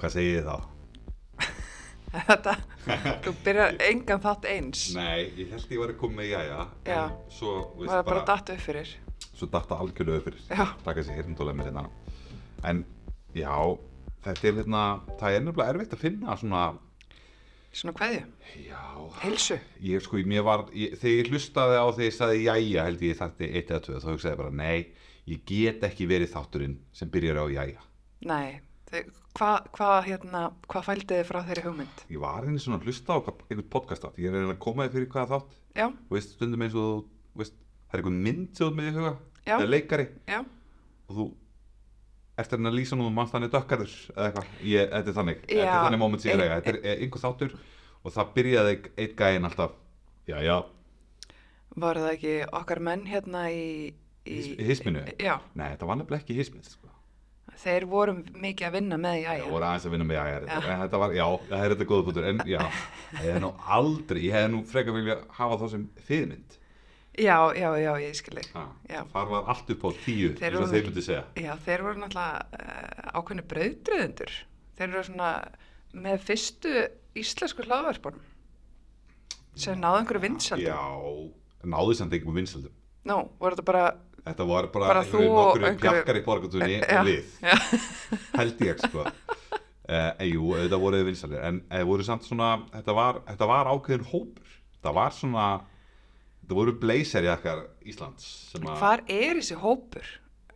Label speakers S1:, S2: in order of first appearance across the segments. S1: Hvað segið þið þá?
S2: Þetta, þú byrjar engan þátt eins.
S1: Nei, ég held ég var að koma með jæja
S2: Já.
S1: en svo,
S2: Maður er bara datt upp fyrir.
S1: svo datta algjörlega upp fyrir
S2: Já.
S1: taka sér hirndólega með hérna en já, þetta er hérna það er nefnilega erfitt að finna svona
S2: Svona hverju?
S1: já,
S2: Hilsu?
S1: ég sko, mér var ég, þegar ég hlustaði á þegar ég sagði jæja held ég þætti eitt eða tvö, þá hugsaði ég bara nei, ég get ekki verið þátturinn sem byrjar á jæja
S2: Nei. Þau- Hvað, hvað, hérna, hvað fældi þið frá þeirri hugmynd?
S1: ég var einu svona að hlusta á hvað- einhvern podcast átt ég er að reyna að koma þér fyrir hvaða þátt
S2: Já,
S1: og veist, stundum eins og þú veist, það er einhvern mynd sem þú ert með í huga
S2: Já.
S1: eða leikari
S2: já.
S1: og þú ert hérna að lýsa nú mannst hann er dökkarður eða eitthvað, Ég- þetta er þannig þetta er
S2: Já,
S1: þannig moment sem ég er
S2: ein-
S1: eiga, þetta er einhver þáttur og það byrjaði einn gæinn alltaf já, já,
S2: Voru það ekki okkar menn hérna í... í
S1: His- í hisminu
S2: Já,
S1: nei, þetta var nefnilega ekki hismið sko.
S2: þeir voru mikið að vinna með, já,
S1: ég
S2: já.
S1: voru aðeins að vinna með já, já, en þetta var, já, það er þetta góða punktur en já, ég hef nú aldrei ég hef nú frekar vilja hafa þá sem fyrirmynd
S2: Já, já, já, ég skilji.
S1: ha,
S2: Já.
S1: þar var allt upp á tíu
S2: Þeir
S1: eins og
S2: voru-
S1: þeir myndi segja
S2: Já, þeir voru náttúrulega uh, ákveðni brauðdröðundur. Þeir eru svona með fyrstu íslensku hlaðvarpunum sem náðu einhverju vinsaldi.
S1: já, náðu samt einhverjum vinsaldum
S2: Nú, voru þetta bara...
S1: Þetta var bara,
S2: Bara þú og
S1: nokkur
S2: einhverju-
S1: pjakkar í borgatunni
S2: Já,
S1: lið,
S2: já.
S1: held ég sko. Uh, jú, auðvitað voru þið vinsalir, en eh, voru samt svona, þetta var, þetta var ákveðin hópur, þetta var svona, þetta voru blazerjakkar Íslands sem að...
S2: Hvar er þessi hópur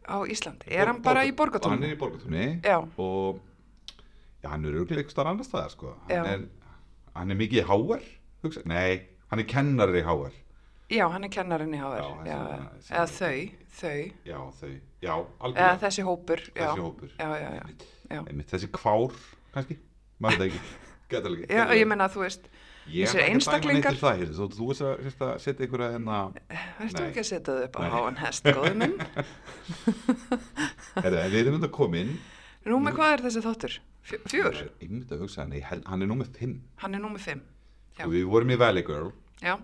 S2: á Íslandi? Er hann bara í
S1: Hann
S2: borgatónu?
S1: er í borgatunni
S2: Já.
S1: og já, hann er auðvitað einhver starf annar staðar sko.
S2: Já.
S1: Hann er, hann er mikið í HR, hugsa, nei, hann er kennari í HR,
S2: Já, hann er kennarinn í
S1: Já,
S2: HR.
S1: hann
S2: Já,
S1: sem- sem-
S2: eða þau, þau,
S1: já þau, já,
S2: eða
S1: algjörlega,
S2: þessi hópur. Já,
S1: þessi hópur.
S2: já, já. já. Já.
S1: einmitt þessi kvár kannski, maður veit það ekki geta líka
S2: Já, ég meina þú veist,
S1: ég ætla ekki
S2: þessir
S1: að dæma neitt
S2: einstaklingar-
S1: til það, hér, þú, þú veist að, sérst að setja einhverja hérna
S2: verðstu
S1: Nei.
S2: ekki að setja þau upp á
S1: Nei.
S2: háan hest, góðu minn.
S1: herri, en við erum þetta komin
S2: Nú með hvað er þessi þáttur? Fjö- Fjör?
S1: Ég er einmitt að hugsa hann, ég held- hann er númer 5
S2: Hann er númer fimm. Já.
S1: og við vorum í Valley Girl
S2: Já,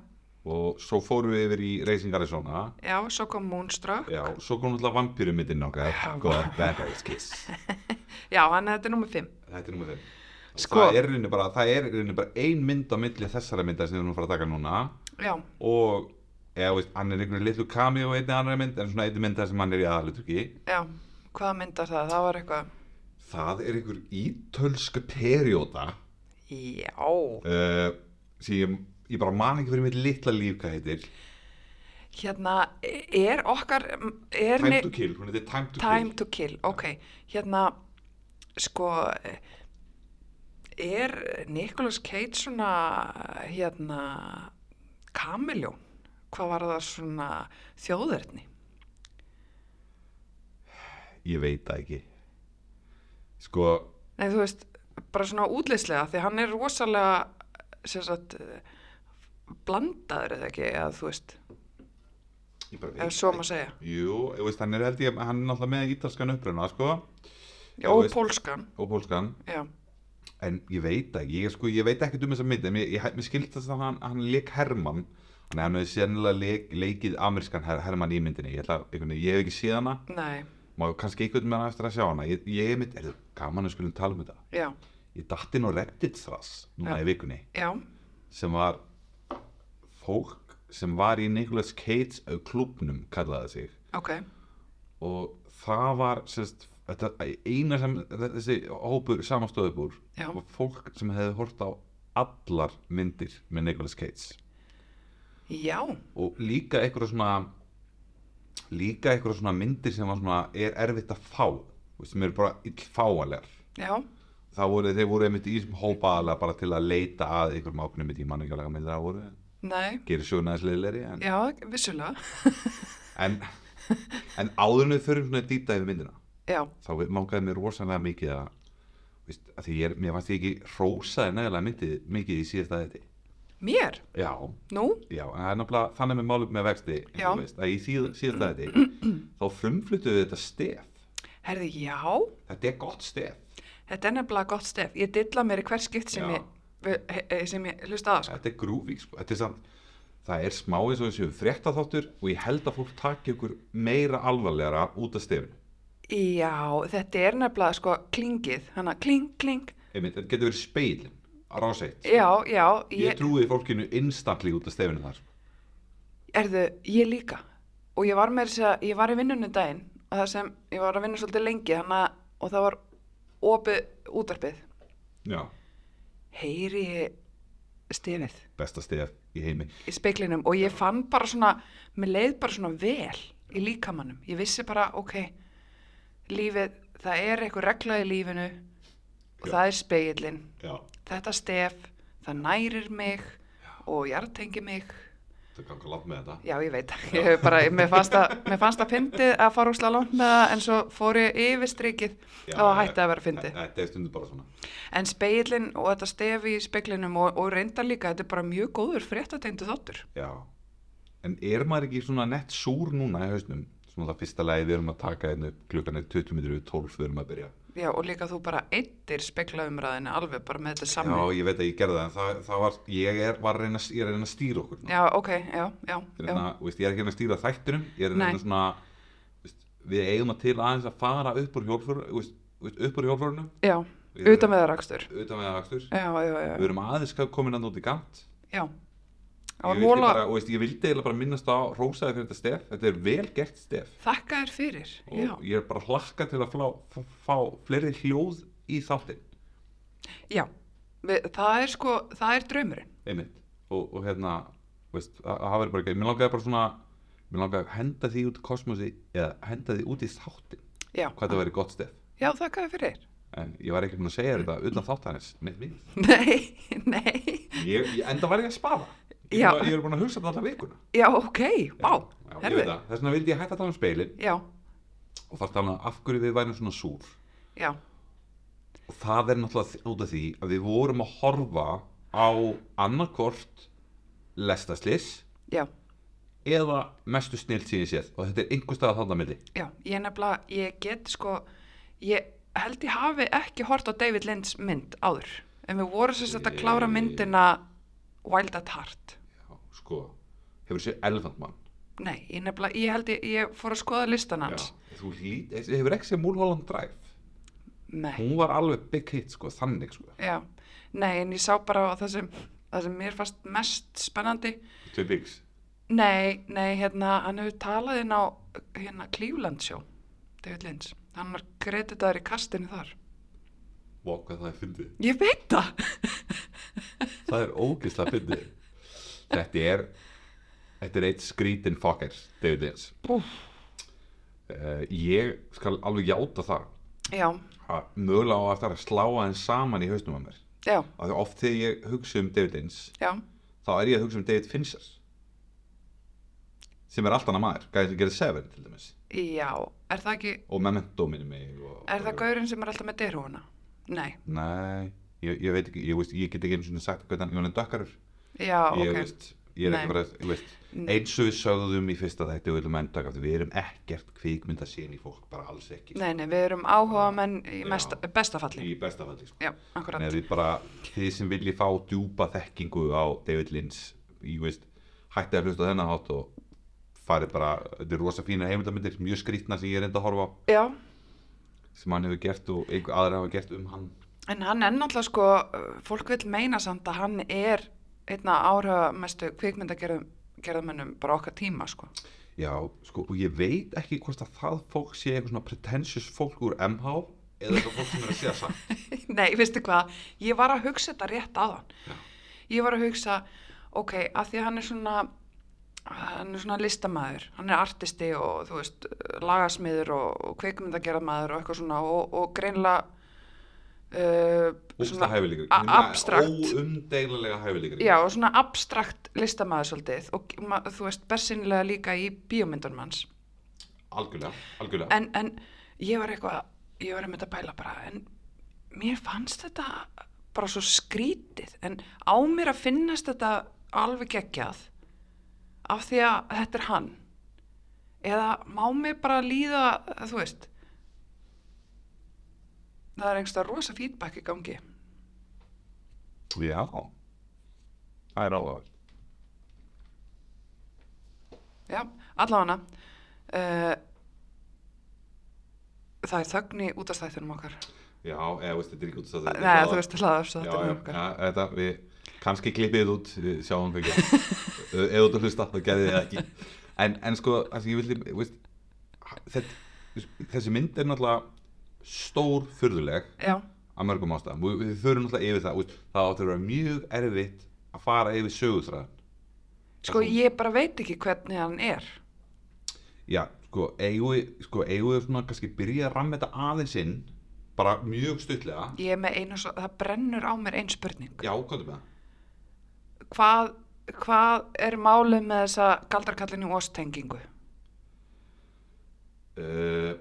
S1: og svo fórum við yfir í Racing Arizona
S2: já, svo kom Moonstruck.
S1: já, svo kom alltaf vampýrumitinn okkar
S2: Já.
S1: góða, bad guys kiss
S2: Já, hann er þetta er númer fimm.
S1: þetta er númer 5
S2: Sko-
S1: það er í rauninni bara, það er í rauninni bara ein mynd á milli þessara mynda sem við erum að fara að taka núna
S2: Já,
S1: og eða, veist, hann er einhvern litlu kami og einni annari mynd en svona einni mynd þar sem hann er í aðaluturki
S2: já. Hvaða myndar það? Það var eitthvað...
S1: það er einhver ítölsku perjóta
S2: Já.
S1: uh, sem ég, ég bara man ekki fyrir mitt litla líf hvað heitir
S2: Hérna, er okkar... Er
S1: Time
S2: ni-
S1: to Kill, hún heitir Time to
S2: Time
S1: Kill
S2: to kill, ok. Hérna, sko, eh, er Nicolas Cage svona, hérna, kamiljón? Hvað var það svona þjóðurni?
S1: ég veit það ekki sko,
S2: Nei, þú veist, bara svona útleyslega, því hann er rosalega, sem sagt, eh, blandaður eða ekki, eða þú veist,
S1: ég bara veit
S2: eða svo
S1: það
S2: maður
S1: ekki
S2: segja.
S1: jú, ég veist, hann er held ég hann er náttúrulega með ítalskan uppruna sko,
S2: Já,
S1: þú
S2: og
S1: veist.
S2: pólskan,
S1: og pólskan
S2: já,
S1: en ég veit það ekki, ég, sko, ég veit ekkert um þessa mynd en ég, ég, mér skildast að hann, hann leik Herman þannig að hann hefði sennilega leik, leikið amerískan her, Herman í myndinni ég, ætla, að- einhvern veginn- ég hef ekki séð hana
S2: nei,
S1: má kannski einhvern með hana eftir að sjá hana ég, ég mynd, er það gaman að skulum tala um þetta
S2: já,
S1: ég datt inn á Reddit þras núna
S2: Já.
S1: í vikunni
S2: já,
S1: sem var fólk sem var í Nicolas Cage klubnum kallaði það sig
S2: ok,
S1: og það var sérst, þetta, eina sem þessi hópur samanstóðu búr
S2: Já.
S1: var fólk sem hefði hort á allar myndir með Nicolas Cage
S2: já,
S1: og líka einhverja svona líka einhverja svona myndir sem var svona er erfitt að fá þú veist, sem eru bara illfáanlegar
S2: já,
S1: það voru, þeir voru einmitt í þessum hópa aðlega bara til að leita að einhverjum ákveðnum mynd í manningjálega myndir það voru
S2: nei,
S1: gerir sjóna aðeins leiðilegri en,
S2: já, vissulega,
S1: en, en áðurinn við förum svona dýta yfir myndina
S2: já,
S1: þá mangaði mér rosalega mikið að, veist, að því ég er, mér fannst ég ekki rósaði nægilega myndið mikið í síðasta þetta
S2: mér,
S1: já,
S2: nú,
S1: já, en það er náttúrulega þannig með málum með vexti eins og
S2: Já.
S1: þú veist, að í síð, síðasta þetta þá frumflutuðu þetta stef
S2: Herði, já,
S1: þetta er gott stef,
S2: þetta er nefnilega gott stef. Ég dilla mér í hver skipt sem,
S1: Já.
S2: ég, við- he- he- sem ég hlusta aða, sko.
S1: þetta er grúfi sko. þetta er samt, það er smá eins og þessu frétta þáttur og ég held að fólk taki ykkur meira alvarlegra út af stefinu
S2: Já, þetta er nefnilega sko klingið, hana kling, kling,
S1: einmitt, þetta getur verið speilin að rása eitt
S2: já, já,
S1: ég, ég trúi fólkinu instantly út af stefinu þar sko.
S2: Erðu, ég líka og ég var með þess að, segja- ég var í vinnunni um daginn og það sem, ég var að vinna svolítið lengi hana, og það var opið útarpið
S1: já,
S2: heyri ég stefið
S1: besta stef í heimi
S2: í speiklinum og ég fann bara svona mér leið bara svona vel í líkamannum ég vissi bara, ok lífið, það er eitthvað regla í lífinu og
S1: Já.
S2: það er speilin
S1: já,
S2: þetta stef, það nærir mig og jartengi mig
S1: það gangur langt með þetta
S2: Já, ég veit það. Ég hef bara, mér fannst að, mér fannst að fyndið að fara úrslega langt með það en svo fór ég yfir strikið
S1: Já,
S2: og hætti að vera
S1: þe-
S2: fyndið.
S1: þetta er stundu bara svona
S2: En speilin og þetta stefi í speiklinum og, og reyndar líka, þetta er bara mjög góður fréttategndu þáttur.
S1: já, en er maður ekki svona nett súr núna í hausnum svona það fyrsta lagi við erum að taka einu klukkan er 20 minnir við 12 við erum að byrja
S2: Já, og líka þú bara eittir speiklaumræðinu alveg bara með þetta
S1: já,
S2: saman.
S1: ég veit að ég gerði það en það, það var, ég er, var að reyna, ég er að reyna að stýra okkur núna.
S2: Já, ok, já, já,
S1: Ég er
S2: já.
S1: hérna, þú veist, ég er ekki hérna að stýra þættinum ég er hérna
S2: Nei.
S1: svona veist, við eigum að til aðeins að fara upp úr hjólflórinu upp úr hjólflórinu
S2: Já, utan með það rakstur.
S1: utan með aðakstur
S2: Já, já, já,
S1: við erum aðeins komin að nóti gant
S2: já. Það
S1: ég
S2: var
S1: vildi,
S2: hóla,
S1: bara, þú veist, ég vildi eiginlega bara minnast á rósaði fyrir þetta stef, þetta er vel gert stef
S2: þakka þér fyrir,
S1: og
S2: já.
S1: ég er bara hlakka til að flá, fá, fá fleiri hljóð í þáttinn
S2: Já, við, það er sko, það er draumurinn.
S1: einmitt og, og hérna, þú veist, það það verður bara ekki mér langaði bara svona mér langaði að henda því út í kosmosi eða henda því út í þáttinn
S2: Já,
S1: hvað þetta verið gott stef
S2: já, þakka þér fyrir.
S1: en ég var ekki búin að segja þér þetta utan þáttanins neitt mín
S2: Nei, nei,
S1: ég, ég, enda var ég að spara ég,
S2: Já.
S1: var- ég er búin að hugsa þetta alla vikuna
S2: já, ok, vá,
S1: Já, ég veit
S2: herðu,
S1: það. þess vegna vildi ég hætta að tala um speilin
S2: já,
S1: og þar tala um af hverju við værum svona súr
S2: já,
S1: og það er náttúrulega þ- út af því að við vorum að horfa á annarkort lestaslis
S2: já,
S1: eða mestu snilt síðan séð og þetta er einhver stað að þarna milli
S2: já, ég nefnilega, ég get sko, ég held ég hafi ekki hort á David Lynch mynd áður, en við vorum sérst að klára myndina Wild at Heart,
S1: Já, sko, hefur séð elefantmann
S2: nei, ég nefnilega, ég held ég, ég fór að skoða listan hans,
S1: þú lít, hefur ekki séð Múlholland Drive
S2: nei,
S1: hún var alveg big hit sko, þannig sko
S2: já, nei, en ég sá bara á það sem, það sem mér fannst mest spennandi,
S1: Tvei byggs
S2: Nei, nei, hérna, hann hefur talað inn á hérna Cleveland Show, David Lynch. Hann var kreditaður í kastinu þar.
S1: Vá, hvað það er fyndið.
S2: Ég veit það.
S1: Það er ógeðslega fyndið. Þetta er, þetta er eitt skrítin fokker, David Lynch.
S2: Úff.
S1: Uh, ég skal alveg játa það.
S2: Já,
S1: að Mögulega á eftir að slá aðeins saman í hausnum að mér.
S2: já,
S1: Af því oft þegar ég hugsa um David Lynch,
S2: já,
S1: þá er ég að hugsa um David Fincher. Sem er allt annað maður, gæði sem gerir Seven til dæmis.
S2: já. Er það ekki,
S1: Og Memento minni mig. Og,
S2: er það gaurinn sem er alltaf með derhúfuna? Nei,
S1: Nei, ég, ég veit ekki, ég, veist, ég get ekki einu sinni sagt hvernig hann er dökkarur.
S2: já,
S1: ég,
S2: ok.
S1: veist, ég er
S2: Nei.
S1: ekki bara, ég veist, eins og við sögðum í fyrsta þætti og viljum enda aftur, við erum ekkert kvíkmynda í fólk, bara alls ekki
S2: Nei, nei, við erum áhuga menn í
S1: Já.
S2: mest, bestafalli.
S1: í besta falli sko.
S2: Já, akkurat.
S1: Þannig að við bara, þið sem viljið fá djúpa þekkingu á David Lynch ég veist, hættið að hlusta á þennan hátt og farið bara, þetta er rosa fína heimildamindir, mjög skrýtna sem ég er enda að horfa á
S2: Já,
S1: sem hann hefur gert og einhver aðra hafa gert um hann
S2: en hann er náttúrulega sko, uh, fólk vil meina samt að hann er einna áhuga mestu kvikmyndagerðamennum bara okkar tíma, sko.
S1: Já, sko, og ég veit ekki hvort að það fólk sé eitthvað svona pretentious fólk úr MH eða eitthvað fólk sem er að segja satt
S2: Nei, veistu hvað, ég var að hugsa þetta rétt aðan. Ég var að hugsa, ok, að því að hann er svona, hann er svona listamaður, hann er artisti og þú veist, lagasmiður og, og kveikmyndagerðamaður og eitthvað svona og, og greinlega, uh,
S1: Ústa hæfilegur
S2: a- abstrakt.
S1: Óumdeilanlega hæfilegur
S2: Já, og svona abstrakt listamaður svolítið og ma, þú veist, bersinlega líka í bíómyndunum hans.
S1: Algjörlega, algjörlega
S2: en, en ég var eitthvað ég var einmitt að pæla bara en mér fannst þetta bara svo skrítið en á mér að finnast þetta alveg geggjað af því að þetta er hann eða má mér bara líða þú veist það er einhversta rosa feedback í gangi
S1: Já Það er áhugaður
S2: já, allavega uh, eh, það er þögn í útastættunum okkar
S1: Já, eða veist, þetta er ekki út að þetta
S2: Nei, þú veist,
S1: Já,
S2: hlaðarstættunum
S1: já,
S2: okkar
S1: já, þetta, við kannski klippið þetta út, við sjáum hvað ekki Eða út að hlusta, þá gerði þið það ekki En, en sko, það sem ég vildi, veist, þetta, þessi mynd er náttúrulega stór furðuleg
S2: Já,
S1: að mörgum ástæðum Við, við þurfum náttúrulega yfir það, veist, það átti að vera mjög erfitt að fara yfir sögutræðan
S2: sko ég bara veit ekki hvernig hann er
S1: Já, sko, eigum við, sko, eigum við svona kannski byrja að ramma þetta aðeins inn Bara mjög stuttlega
S2: Ég er með einu svo, það brennur á mér ein spurning
S1: Já, hvað er með það?
S2: Hvað, hvað er málið með þessa galdarkallinu óstengingu?
S1: Uh,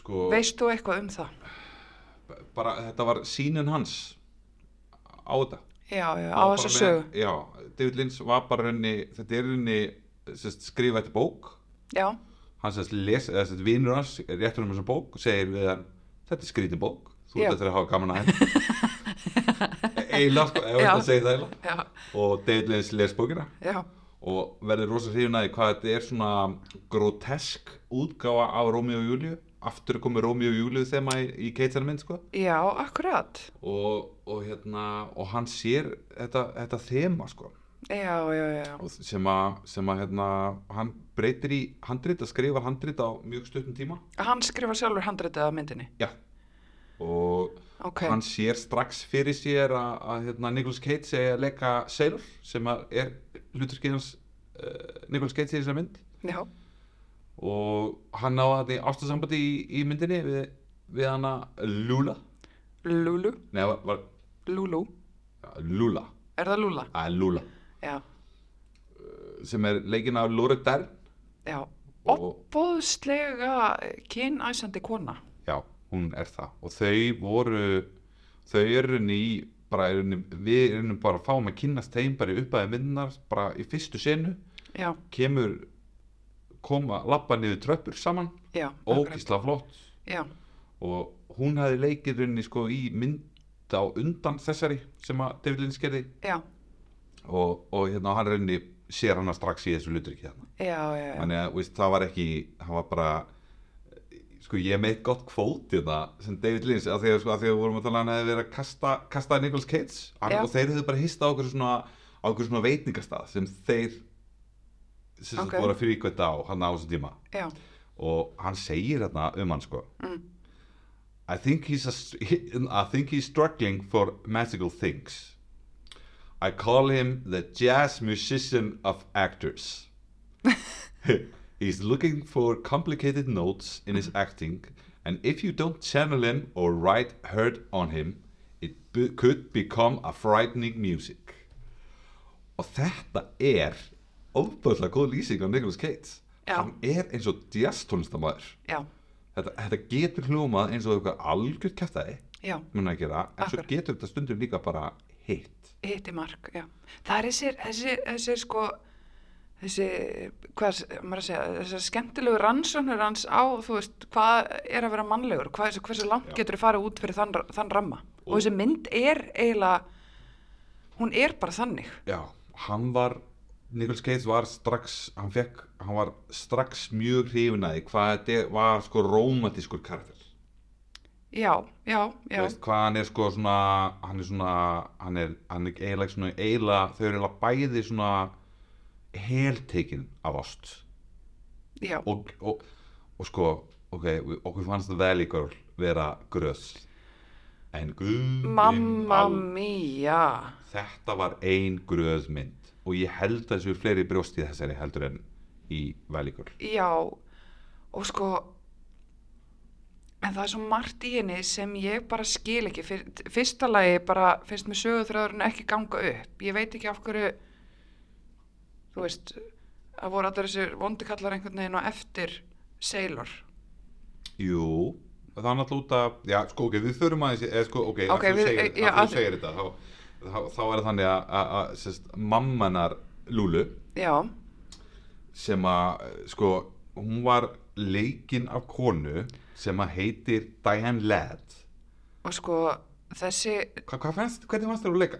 S1: sko,
S2: Veist þú eitthvað um það?
S1: b- bara þetta var sínin hans á þetta
S2: Já, já, á
S1: Hann var
S2: þessa
S1: bara
S2: sögu
S1: með- já, David Lynch var bara henni þetta er henni sest, skrifa þetta bók
S2: Já,
S1: hann sest, les, eða, sest, vinur hans réttur um þessa bók segir við hann þetta er skrítin bók þú
S2: Já.
S1: ert eftir að hafa gaman að henni eiginlega sko, ef
S2: Já.
S1: þetta segir það eiginlega
S2: já,
S1: og David Lynch les bókina
S2: já,
S1: og verður rosa hrifin að því hvað þetta er svona grotesk útgáfa af Rómíu og Júliu aftur komið Rómíu og Júliu þema í, í keitarinn minn sko
S2: já, akkurat
S1: og, og hérna og hann sér þetta, þetta þema sko
S2: Já, já, já,
S1: og sem að, sem að hérna, hann breytir í handrit að skrifa handrit á mjög stuttum tíma
S2: hann skrifa sjálfur handritið af myndinni
S1: já og
S2: Ok,
S1: hann sér strax fyrir sér að, að hérna, Nicolas Cage segja að leika Sailor sem að er hluturskið hans uh, Nicolas Cage í þessari mynd
S2: já,
S1: og hann á þetta ástasambandi í, í myndinni við, við hana Lula
S2: Lulu,
S1: nei, var, var,
S2: Lulu
S1: Lula,
S2: Er það Lula?
S1: að Lula
S2: Já,
S1: sem er leikinn af Laura Dern
S2: já
S1: Og-
S2: Oppoðslega kynæsandi kona
S1: Já, hún er það og þau voru þau eru ný bara er henni, við erum bara að fáum að kynast þeim bara í uppæði minnar bara í fyrstu senu
S2: Já,
S1: kemur koma lappa niður tröppur saman
S2: já akkurat.
S1: ógisla flott
S2: Já,
S1: og hún hafi leikið henni sko í mynd á undan þessari sem að David Lynch gerði
S2: já,
S1: og, og hérna hann henni sér hana strax í þessu lutur ekki hérna
S2: já, já, já.
S1: þannig að veist, það var ekki það var bara sko ég er með eitt gott kvót í þetta sem David Lynch af því að, sko, af því að við vorum að tala hann hefði verið að kasta, kasta Nicholas Cage hann,
S2: Já.
S1: og þeir hefðu bara hist á okkur svona á okkur svona veitingastað sem þeir sem sagt
S2: Ok.
S1: voru að fyrirkvæta á hann á þessum tíma
S2: já.
S1: og hann segir hérna um hann sko
S2: Mm.
S1: I think he's a, I think he's struggling for magical things I call him the jazz musician of actors he's looking for complicated notes in his acting and if you don't channel him or write hurt on him it b- could become a frightening music og þetta er ofböðlega góð lýsing á Nicholas Cage
S2: Já.
S1: hann er eins og jazztónlistamæður
S2: Já,
S1: þetta, þetta getur hljómað eins og eitthvað algjörð kæftæði
S2: já,
S1: mun að gera, en svo
S2: Akkurat.
S1: getur þetta stundum líka bara hitt
S2: hitti mark, já. Það er þessir, þessi, þessi sko, þessi, hvað, s- maður að segja, þessar skemmtilegu rannsóknur hans á, þú veist, hvað er að vera mannlegur, hvað, þessi- hversu langt
S1: Já.
S2: getur þú farið út fyrir þann, þann ramma. Og,
S1: Og-
S2: þessi mynd er eiginlega, hún er bara þannig.
S1: já, hann var Nicholas Cage var strax hann, fekk, hann var strax mjög hrifin að því hvað þetta var sko rómatískur karakter
S2: Já, já,
S1: Þú
S2: já,
S1: veist, hvað hann er sko svona hann er svona, hann er, hann er eiginlega svona eiginlega, þau eru eiginlega bæði svona heltekin af ást
S2: já,
S1: og, og, og sko ok, við- okkur fannst Valley Girl vera gröðs en guð minn
S2: mamma
S1: al-
S2: mía,
S1: þetta var ein gröð mynd og ég held að þessu er fleiri brjóst í þessari heldur en í Valley Girl
S2: já, og sko, en það er svo margt í henni sem ég bara skil ekki, Fyr- fyrsta lagi bara finnst mér sögurþröðurinn ekki ganga upp, ég veit ekki af hverju, þú veist, að voru allar þessir vondikallar einhvern veginn og eftir Sailor,
S1: jú það er náttúrulega út af, já sko ok, við förum aðeins eða sko ok,
S2: Ok,
S1: að þú
S2: við-
S1: segir,
S2: já,
S1: að
S2: að-
S1: þú segir þetta þá, þá, þá er það þannig að, að, að sest, mammanar Lulu
S2: já,
S1: sem að sko, hún var leikinn af konu sem að heitir Diane Ladd
S2: og sko, þessi,
S1: Hva, hvað fannst, hvernig fannst þér að leika?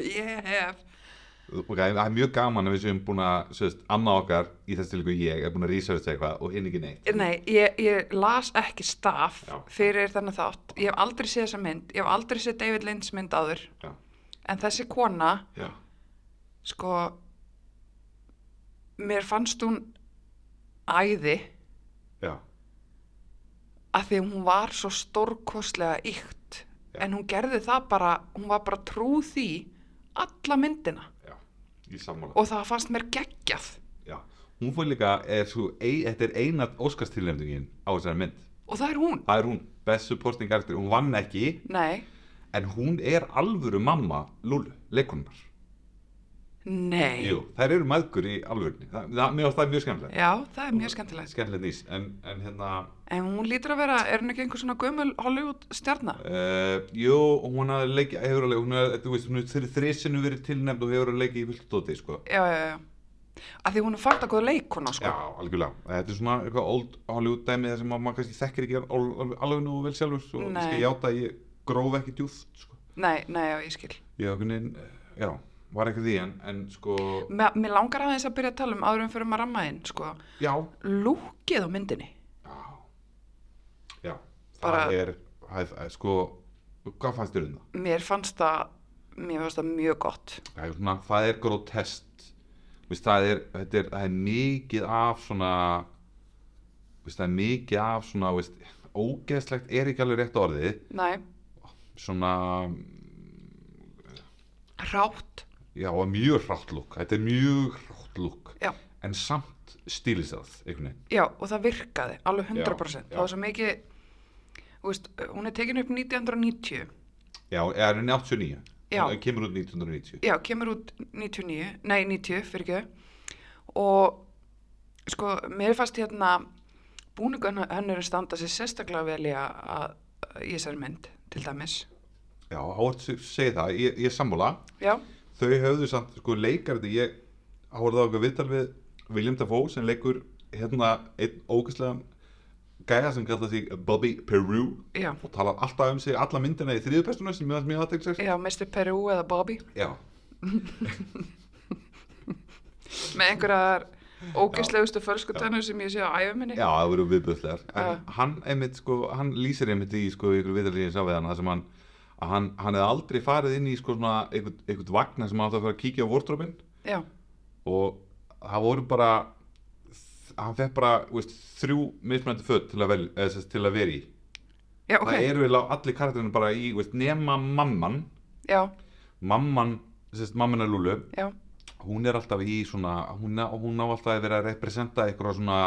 S2: ég hef,
S1: og það er mjög gaman að við séum búin að sem sagt, annað okkar í þessu tilíku ég er búin að researcha eitthvað og hinn ekki neitt
S2: Nei, ég, ég las ekki staf
S1: Já.
S2: fyrir þennan þátt. Ég hef aldrei séð þessa mynd. Ég hef aldrei séð David Lynch mynd áður.
S1: já,
S2: En þessi kona,
S1: já,
S2: sko, mér fannst hún æði
S1: já,
S2: að því hún var svo stórkostlega ykt.
S1: Já.
S2: En hún gerði það bara, hún var bara trú því alla myndina.
S1: já í sammála
S2: Og það fannst mér geggjað.
S1: já. hún fór líka, er, svo, ei, þetta er eina óskastilnefningin á þessari mynd
S2: Og það er hún.
S1: það er hún, best supporting character hún vann ekki,
S2: Nei,
S1: en hún er alvöru mamma Lulu, leikunnar
S2: nei.
S1: Jú, þær eru maðgur í alvörni það, það, mér finnst það mjög skemmtilegt
S2: Já, það er mjög skemmtilegt.
S1: skemmtilegt nýs, en, en hérna
S2: En hún lítur að vera, er hún ekki einhver svona gömul Hollywood stjarnar?
S1: Uh, jú, hún hafði leikið, hefur alveg, hún hafði, þú veist, hún hefur þrísinu verið tilnefnd og hefur alveg leikið í viltóti, sko.
S2: já, já, já. Að því hún er fært að góða leikuna,
S1: Já,
S2: sko.
S1: algjörlega. Þetta er svona eitthvað old Hollywood dæmi þar sem að maður kannski þekkir ekki al- al- alveg nú vel sjálfur og
S2: Nei.
S1: kannski játa að ég gróf ekki djúft, sko.
S2: Nei, nei, já, ég skil.
S1: Ég hafði kunni, já, var ekki því, en, en sko,
S2: Mér, mér langar aðeins að byrja að tala um áður en fyrir maður rammaðinn, sko.
S1: já,
S2: Lúkið á myndinni.
S1: já, já,
S2: Bara-
S1: það er, hæð, sko, hvað fannst þér um það?
S2: Mér fannst það, mér fannst það mjög gott.
S1: Það er, svona, það er grotest Vist, það, er, þetta er, það er mikið af svona Vist, það er mikið af svona veist, ógeðslegt er ekki alveg rétt orðið
S2: Nei,
S1: svona
S2: rátt.
S1: já, mjög hrátt lúk þetta er mjög hrátt lúk
S2: Já,
S1: en samt stílisað einhvern veginn
S2: já, og það virkaði, alveg 100%.
S1: Já, já.
S2: Það var svo mikið, þú veist, hún er tekin upp 1990.
S1: já, eða er henni 89
S2: Já.
S1: það kemur út 1990
S2: Já, kemur út 99, nei 90 fyrir ekki og sko, mér fannst hérna búningun hennur standa sér sérstaklega vel í að að- í þessari mynd, til dæmis
S1: já, áhört segi það, ég, ég sammála
S2: Já,
S1: þau höfðu samt, sko, leikarði ég hóraði á eitthvað viðtal við William Dafoe sem leikur hérna einn ógæslega gæja sem kallar sig Bobby Peru
S2: já,
S1: og talar alltaf um sig alla myndina í þriðu personu sem mjög mjög aðtekst sér
S2: já, Mr. Peru eða Bobby
S1: já,
S2: með einhverjar ógeðslegustu fölskutönnu sem ég sé á æfuminni
S1: já, það voru viðbjöðslegar en
S2: Já.
S1: hann einmitt, sko, hann lýsir einmitt í sko, ykkur viðtalið ég sá við hann þar sem hann að hann, hann hefði aldrei farið inn í sko, svona, einhvern, einhvern vagna sem hann átti að fara að kíkja á vortrópin
S2: já,
S1: og það voru bara hann fekk bara, þú veist, þrjú mismunandi föt til að, vel, eða, sem sagt, til að vera í
S2: já, ok
S1: það eru eiginlega allir karakterinu bara í, veist, nema mamman
S2: Já,
S1: mamman, sérst, mamman er Lulu
S2: já,
S1: hún er alltaf í svona hún, á- hún á alltaf að vera að representa eitthvað svona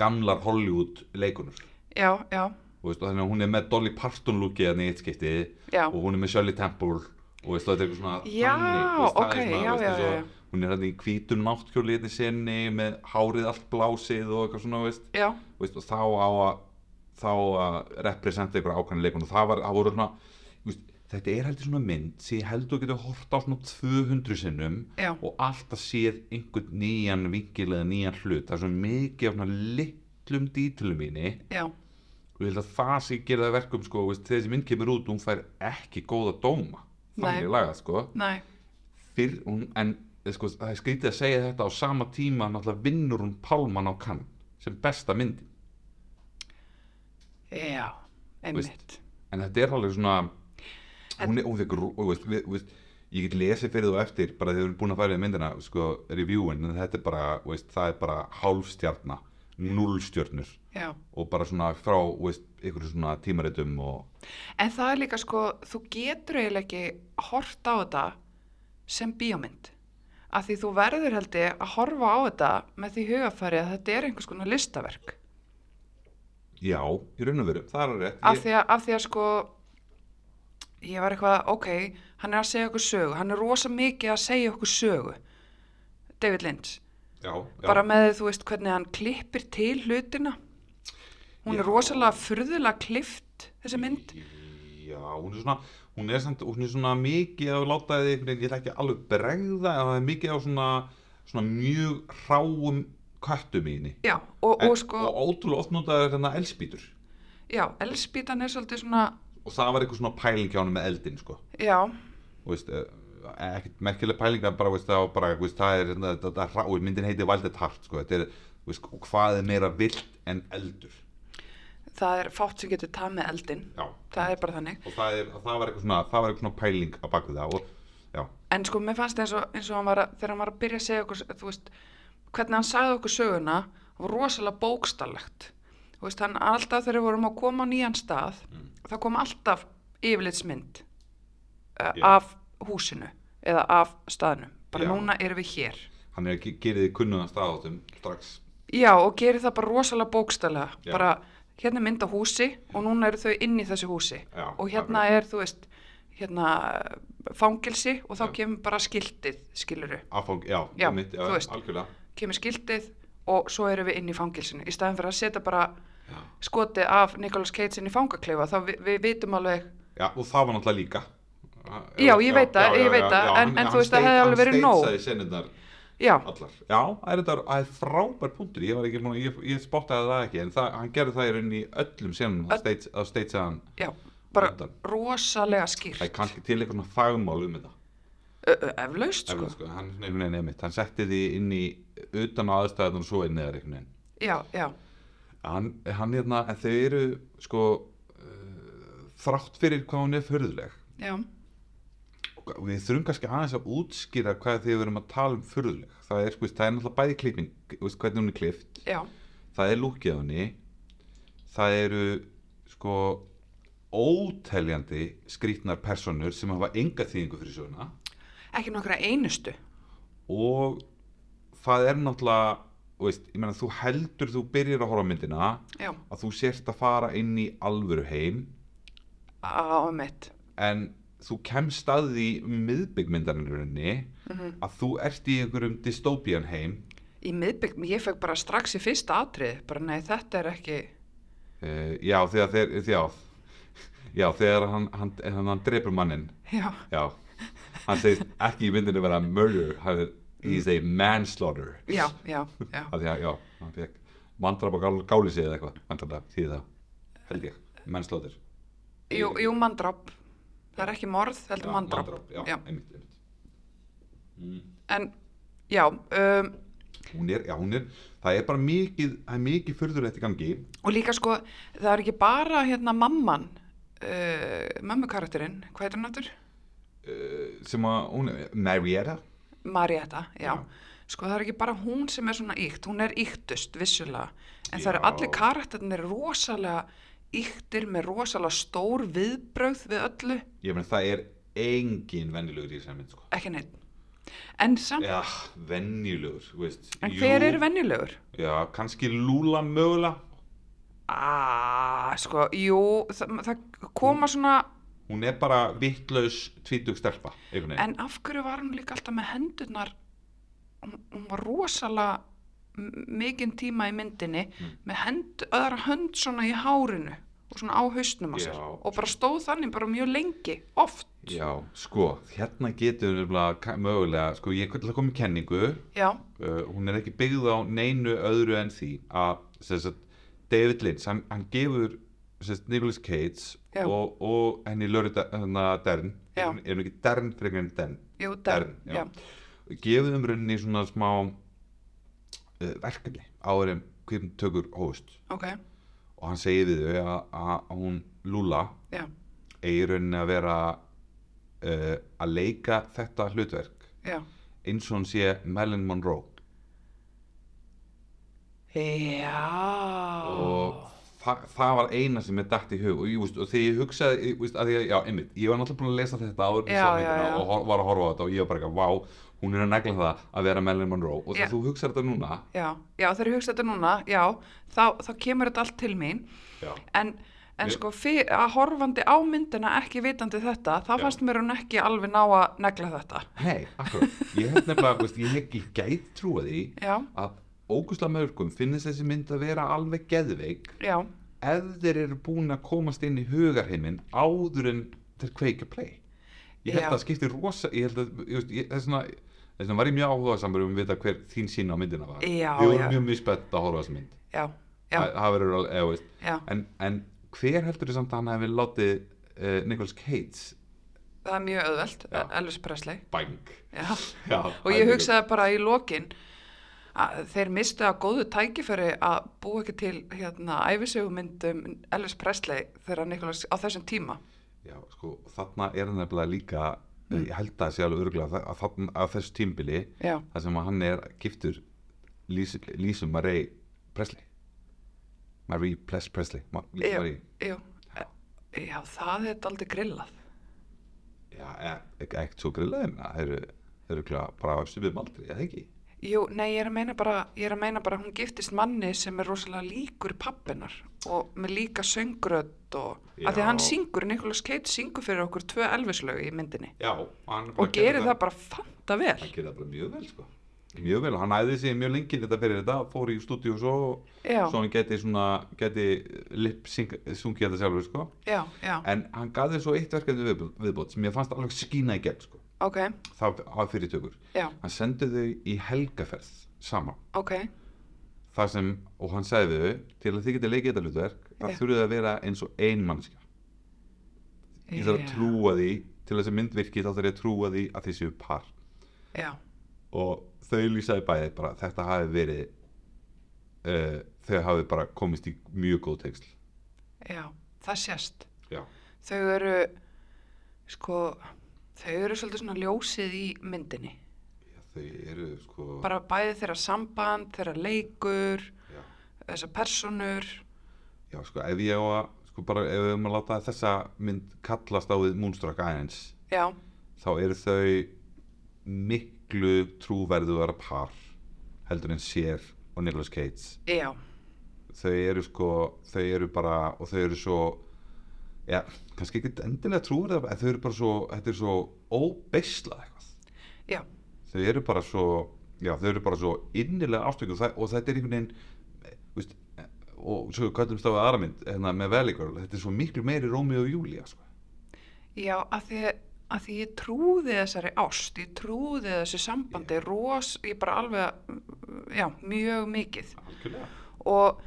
S1: gamlar Hollywood leikunur
S2: já, já,
S1: og, veist, og þannig að hún er með Dolly Parton lúkið þannig í eitt skipti
S2: já
S1: og hún er með Shirley Temple og veist, það er eitthvað svona
S2: Já,
S1: þannig, þú veist, það er
S2: ok,
S1: svona,
S2: já,
S1: veist,
S2: já,
S1: eins og
S2: já, já.
S1: hún er hann í hvítum náttkjóli í senni með hárið allt blásið og eitthvað svona veist,
S2: Já,
S1: veist, og þá á að þá að representa ykkur ákvæmni leikun og það, var, það voru svona þú veist, þetta er heldur svona mynd sem ég heldur getur hort á svona 200 sinnum
S2: Já.
S1: og alltaf séð einhvern nýjan vingil eða nýjan hlut það er svona mikið af svona litlum dítilum mínu
S2: já,
S1: og ég held að það sem gera það verkum sko, þú veist, þegar þessi mynd kemur út hún fær ekki góða dóma
S2: Nei.
S1: þannig lagað sko
S2: nei,
S1: fyrr, hún, en eh, sko, það er skrítið að segja þetta á sama tíma náttúrulega vinnur hún Pálman á kann sem besta myndin
S2: já, einmitt
S1: en þetta er alveg svona hún er óþegur veist, við, veist, ég get lesið fyrir þú eftir bara þegar við erum búin að fara í myndina sko, reviewin, en þetta er bara, veist, það er bara hálfstjarna, nullstjörnur
S2: Já,
S1: og bara svona frá veist, einhverjum svona tímaritum og
S2: En það er líka sko, þú getur eiginlega ekki hort á þetta sem bíómynd. Af því þú verður held ég að horfa á þetta með því hugafæri að þetta er einhvers konar listaverk.
S1: já, í raun og veru, það er rétt
S2: Af því að, af því að sko, ég var eitthvað, ok, hann er að segja okkur sögu, hann er rosa mikið að segja okkur sögu. David Lynch,
S1: já, já,
S2: bara með þú veist hvernig hann klippir til hlutina. Hún
S1: Já.
S2: er rosalega furðulega klift, þessi mynd.
S1: já, hún er svona hún er, samt, hún er svona mikið að láta þig einhvern veginn, ég ætla ekki alveg bregða en það er mikið á svona, svona mjög hráum köttum í henni
S2: Já, og,
S1: En-
S2: og sko,
S1: og ótrúlega oft notaður hérna elspýtur
S2: já, elspítan er svolítið svona
S1: og það var eitthvað svona pæling hjá hann með eldin sko.
S2: Já,
S1: og veist, eh, ekkert merkileg pælinga bara, veist, það, var bara, veist, það er hérna, þetta, þetta, rá- og myndin heiti Valdett Hart sko, þetta er, veist, hvað er meira vilt en eldur
S2: það er fátt sem getur tað með eldin
S1: já,
S2: það er bara þannig
S1: og það, er, það var eitthvað svona það var eitthvað svona pæling á baku það og, já,
S2: en sko mér fannst eins og, eins og hann var að, þegar hann var að byrja að segja okkur þú veist, hvernig hann sagði okkur söguna var rosalega bókstallegt þú veist, hann alltaf þegar við vorum að koma á nýjan stað
S1: Mm.
S2: þá kom alltaf yfirlitsmynd uh,
S1: Já.
S2: af húsinu eða af staðnum bara
S1: Já.
S2: núna erum við hér
S1: hann er að ge- gera þið kunnuðan staðáttum strax
S2: já og gerir það bara rosalega bókstallega
S1: Já.
S2: bara hérna er mynd á húsi og núna eru þau inn í þessu húsi
S1: Já,
S2: og hérna er þú veist hérna fangilsi og þá
S1: Já.
S2: kemur bara skiltið skiluru
S1: Afang, já,
S2: Já,
S1: einmitt, já,
S2: þú veist.
S1: algjörlega
S2: kemur skiltið og svo erum við inn í fangilsinu í staðin fyrir að setja bara
S1: Já.
S2: skotið af Nicolas Cage inn í fangakleifa þá við, við vitum alveg
S1: Já, og það var náttúrulega líka.
S2: Já, ég veit það, ég veit það, en- en þú veist, það hefði alveg verið nóg.
S1: Hann steitsaði senundar
S2: já,
S1: allar. Já, það er þetta það er frábær punktur, ég var ekki, búinn að- ég, ég spottaði það ekki, en það, hann gerði það í rauninni í öllum senum,
S2: Öll-
S1: það steitsaði hann.
S2: já bara
S1: Undan. Það
S2: rosalega
S1: er
S2: skýrt
S1: kannski til eitthvað svona fagmál um þetta.
S2: Sko. Ö, ö, eflaust sko
S1: Sko. Sko, hann er einhvern veginn einmitt, hann setti því inn í, utan á aðstæðan og svo inn eða einhvern veginn.
S2: já, já,
S1: Hann, hann hérna, en þau eru, sko, uh, þrátt fyrir hvað hún er förðuleg.
S2: já,
S1: við þurfum kannski aðeins að útskýra hvað þið verum að tala um furðuleg það er, sko, það er náttúrulega bæði klipping þú veist, hvernig hún er klippt,
S2: já
S1: það er lúkið á henni það eru sko óteljandi skrýtnar personur sem hafa enga þýðingu fyrir söguna
S2: ekki nokkra einustu
S1: og það er náttúrulega þú veist, ég meina, þú heldur þú byrjar að horfa á myndina
S2: já,
S1: að þú sért að fara inn í alvöru heim
S2: á mitt
S1: en þú kemst að því miðbyggmyndarinnurinni mm
S2: Mhm.
S1: að þú ert í einhverjum dystopian heim
S2: í miðbygg, ég fekk bara strax í fyrsta atrið bara nei, þetta er ekki
S1: uh, já þegar þeir já, já þegar hann, hann, hann, hann drepur mannin
S2: já,
S1: já hann segist ekki í myndinu vera murder hann er he's a manslaughter
S2: já, já, já
S1: af því að já hann fekk mandrap á gál, gáli sig eða eitthvað vantarlega því það held ég manslaughter
S2: jú, jú mandrap það er ekki morð, heldur mandrap,
S1: já,
S2: Já.
S1: Einmitt, einmitt.
S2: en, já um,
S1: hún er, já hún er það er bara mikið það er mikið furðulegt í gangi
S2: og líka sko, það er ekki bara hérna mamman uh, mömmukarakterinn, hvað heitir hann aftur?
S1: uh, sem að hún, Marietta
S2: Marietta, já.
S1: Já.
S2: sko það er ekki bara hún sem er svona íkt, hún er íktust vissulega, en það eru
S1: Já.
S2: allir karakterinir rosalega íktir með rosalega stór viðbrögð við öllu,
S1: ég meina það er engin venjulegur í þessari mynd sko.
S2: ekki neitt en samt,
S1: já, venjulegur þú veist,
S2: en
S1: jú,
S2: hver er venjulegur?
S1: já, kannski Lula mögulega
S2: Ah, sko, jú það, það koma svona
S1: hún er bara vittlaus tvítug stelpa einhvern veginn.
S2: En af hverju var hún líka alltaf með hendurnar, hún, hún var rosalega m- mikinn tíma í myndinni
S1: Hmm.
S2: með hend, öðra hönd svona í hárinu og svona á hausnum á sér
S1: Já.
S2: og bara stóð þannig bara mjög lengi, oft.
S1: já, sko, hérna getur hún nefnilega ka- mögulega, sko, ég ætla að koma í kenningu uh,
S2: Já,
S1: hún er ekki byggð á neinu öðru en því að sem sagt, David Lynch, hann, hann gefur sem sagt, Nicolas Cage
S2: Já.
S1: og, og henni Lörita, hérna Dern
S2: Já.
S1: er hún- er hún ekki Dern frekar en Dern
S2: jú,
S1: Dern,
S2: Dern,
S1: já.
S2: já.
S1: gefið um rauninni svona smá uh, verkefni áður en kvipntökur hóst
S2: ok,
S1: og hann segir við þau að, að hún Lúla
S2: já,
S1: eigi í rauninni að vera uh, að leika þetta hlutverk
S2: já.
S1: eins og hann sé Marilyn Monroe
S2: Já,
S1: og þa það var eina sem ég dætt í hug og, ég, veist, og þegar ég hugsaði ég, veist, að ég, já, einmitt, ég var náttúrulega búin að lesa þetta áður en ég
S2: Já,
S1: sá
S2: já,
S1: myndina
S2: já.
S1: og hor- var að horfa á þetta og ég var bara eitthvað, vá, hún er að negla það að vera Marilyn Monroe og
S2: Já.
S1: þegar þú hugsar þetta núna
S2: já, já, þegar ég hugsa þetta núna, já, þá, þá kemur þetta allt til mín.
S1: já,
S2: en, en
S1: Mér-
S2: sko fyr, að horfandi á myndina ekki vitandi þetta þá
S1: Já.
S2: fannst mér hún ekki alveg ná að negla þetta
S1: Nei, akkurat. Ég hef nefnilega, veist, ég hef ekki gæt trúa því
S2: já,
S1: að ógustlega mörgum finnist þessi mynd að vera alveg geðveik
S2: já,
S1: ef þeir eru búin að komast inn í hugarheiminn áður en þeir kveikja play. Ég held
S2: Já.
S1: að það skipti rosa, ég held að, ég veist, ég, þess vegna, þess vegna var ég mjög áhuga samverjum um að vita hver þín sín á myndina var.
S2: Já,
S1: Við
S2: já.
S1: vorum mjög mjög spennt að horfa á þessa mynd.
S2: já, já,
S1: Það- Það verður alveg, eða veist.
S2: já.
S1: En, en hver heldur þið samt að hann hefði látið uh, Nicholas eh, Cage
S2: það er mjög öðvelt,
S1: Já.
S2: Elvis Presley
S1: bang
S2: já.
S1: Já,
S2: og ég hugsaði bara í lokin að þeir mistu að góðu tækifæri að búa ekki til hérna æfisögumyndum Elvis Presley þegar Nikolas á þessum tíma
S1: Já, sko, þarna er hann nefnilega líka
S2: Mm.
S1: ég held að það sé alveg örgulega að, þarna- að þessu tímbili
S2: já,
S1: þar sem að hann er giftur Lís- Lísu Marie Presley Marie Ples Presley Ma,
S2: Já.
S1: Marie.
S2: jú já, það er aldrei grillað
S1: Já, e- ekki ekki svo grillað en það eru örgulega bara á stupið maldri, eða ekki?
S2: jú, nei, ég er að meina bara ég er að meina bara að hún giftist manni sem er rosalega líkur pappinar og með líka söngrödd og
S1: Já.
S2: að því að hann syngur, Nikolas Cage syngur fyrir okkur tvö Elvis lög í myndinni
S1: Já, hann
S2: og gerir það bara fanta vel
S1: Hann gerir það bara mjög vel, sko Mjög vel, og hann æði sig mjög lengi þetta fyrir þetta fór í stúdíu og svo
S2: Já.
S1: svo hann geti svona, geti lip sungið þetta sjálfur, sko
S2: já, já,
S1: en hann gaði svo eitt verkefni viðbú- viðbót sem ég fannst alveg skína í gegn sko.
S2: ok
S1: það var fyrirtökur
S2: já,
S1: hann sendi þau í helgaferð saman
S2: ok,
S1: þar sem, og hann sagði við þau til að þið getið leikið þetta hlutverk það
S2: Já.
S1: þurfið að vera eins og ein mannskja ég þarf
S2: Já.
S1: að trúa því til þess að mynd virki þá þarf ég að trúa því að þið séu par
S2: já
S1: og þau lýsaði bæði bara þetta hafi verið uh, þau hafi bara komist í mjög góð tengsl
S2: Já, það sést.
S1: já,
S2: Þau eru, sko, þau eru svolítið svona ljósið í myndinni.
S1: já þau eru sko
S2: Bara bæði þeirra samband, þeirra leikur,
S1: já.
S2: þessar personur.
S1: Já, sko, ef ég á að, sko, bara ef við erum að láta þessa mynd kallast á við Moonstruck aðeins,
S2: Já,
S1: þá eru þau miklu trúverðuðara par heldur en sér og Nicolas Cage.
S2: já,
S1: Þau eru sko, þau eru bara, og þau eru svo, já, kannski ekki endilega trúverðuðara, en þau eru bara svo, þetta er svo óbeislað eitthvað.
S2: já,
S1: Þau eru bara svo, já, þau eru bara svo innilega ástöku og þetta er einhvern veginn, veist, og svo kallumst á við aðra mynd, hérna með Veligurl, þetta er svo miklu meiri Rómi og Júlía, sko.
S2: já, að því að því ég trúði þessari ást, ég trúði þessu sambandi, ros, ég bara alveg, mm, já, mjög mikið.
S1: Algjörlega.
S2: og,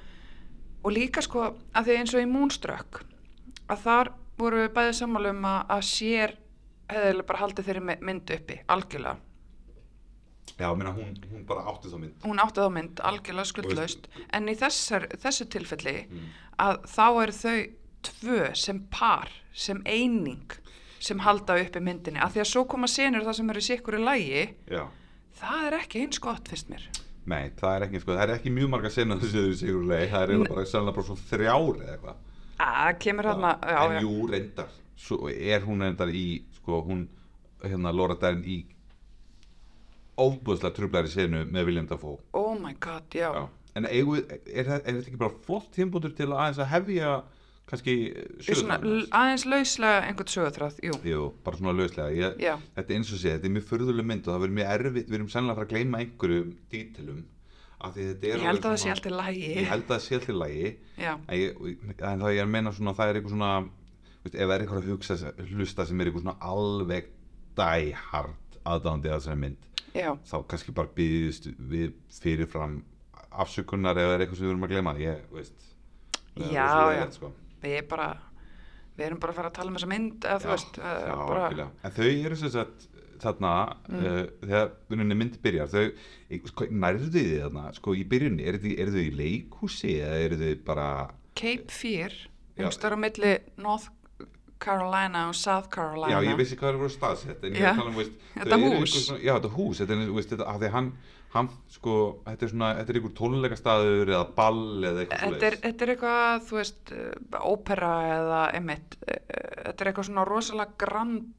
S2: og líka sko að því eins og í Moonstruck að þar voru við bæðið sammála um að, að sér hefði eiginlega bara haldið þeirri my- mynd uppi algjörlega,
S1: Já, ég meina, hún, hún bara átti þá mynd.
S2: hún átti þá mynd algjörlega skuldlaust, en í þessar, þessu tilfelli
S1: Mm.
S2: að þá eru þau tvö sem par sem eining sem halda uppi myndinni, að því að svo koma senur það sem eru sikkur í lægi,
S1: Já.
S2: það er ekki eins gott finnst mér
S1: Nei, það er ekki, sko, það er ekki mjög marga sinna þessu þau sigur leið, það er eiginlega bara sannlega bara svo þrjár eða eitthvað.
S2: að kemur hérna
S1: en jú, reyndar, svo er hún reyndar í, sko, hún, hérna, Laura Dern í óbúðslega trublæri sinu með William Dafoe.
S2: oh my god, já,
S1: Já. En eigum við, er, það- er þetta ekki bara flott tímbútur til að aðeins að hefja kannski
S2: svona,
S1: sögurnar?
S2: l- aðeins lauslega einhvern sögutráð, jú,
S1: Jú, bara svona lauslega. Ég,
S2: Já.
S1: þetta er eins og sé, þetta er mjög furðuleg mynd og það verður mjög erfitt, við erum sennilega að fara að gleyma einhverjum dítilum. af því þetta er
S2: ég
S1: alveg
S2: held að það sé
S1: svona-
S2: alltaf lægi
S1: Ég held að það sé alltaf í lagi.
S2: já,
S1: En, ég, en það ég er að meina svona, það er eitthvað svona, veist, ef það er eitthvað að hugsa, hlusta sem er eitthvað svona alveg dæhart aðdándi að þessari mynd,
S2: já,
S1: þá kannski bara býðist við fyrirfram afsökunar ef það er eitthvað sem við erum að gleyma ég veist það er
S2: Já,
S1: rosalega
S2: já.
S1: leiðinlegt, sko.
S2: við erum bara við erum bara að fara að tala um þessa mynd eða þú
S1: Já,
S2: veist, eh,
S1: já,
S2: bara, Mm.
S1: algjörlega. en þau eru sem sagt þarna uh, þegar rauninni myndi byrjar þau, ég- sko, nærðu þið þarna sko í byrjunni, eru þau, eru þau í leikhúsi eða eru þau bara
S2: Cape Fear
S1: Já.
S2: umstöru á milli North Carolina og South
S1: já,
S2: Carolina
S1: ég vissi hvað það voru staðsett en ég
S2: Já.
S1: er að tala um, veist, þau
S2: Þetta
S1: eru
S2: hús.
S1: einhver svona- já, þetta hús, þetta er, eins- veist, þetta, af því hann, hann sko, þetta er svona, þetta er einhver tónleikastaður eða ball eða eitthvað
S2: Þetta er,
S1: svoleiðis.
S2: þetta er eitthvað, þú veist, eh, ópera eða emitt, þetta er eitthvað svona rosalega grand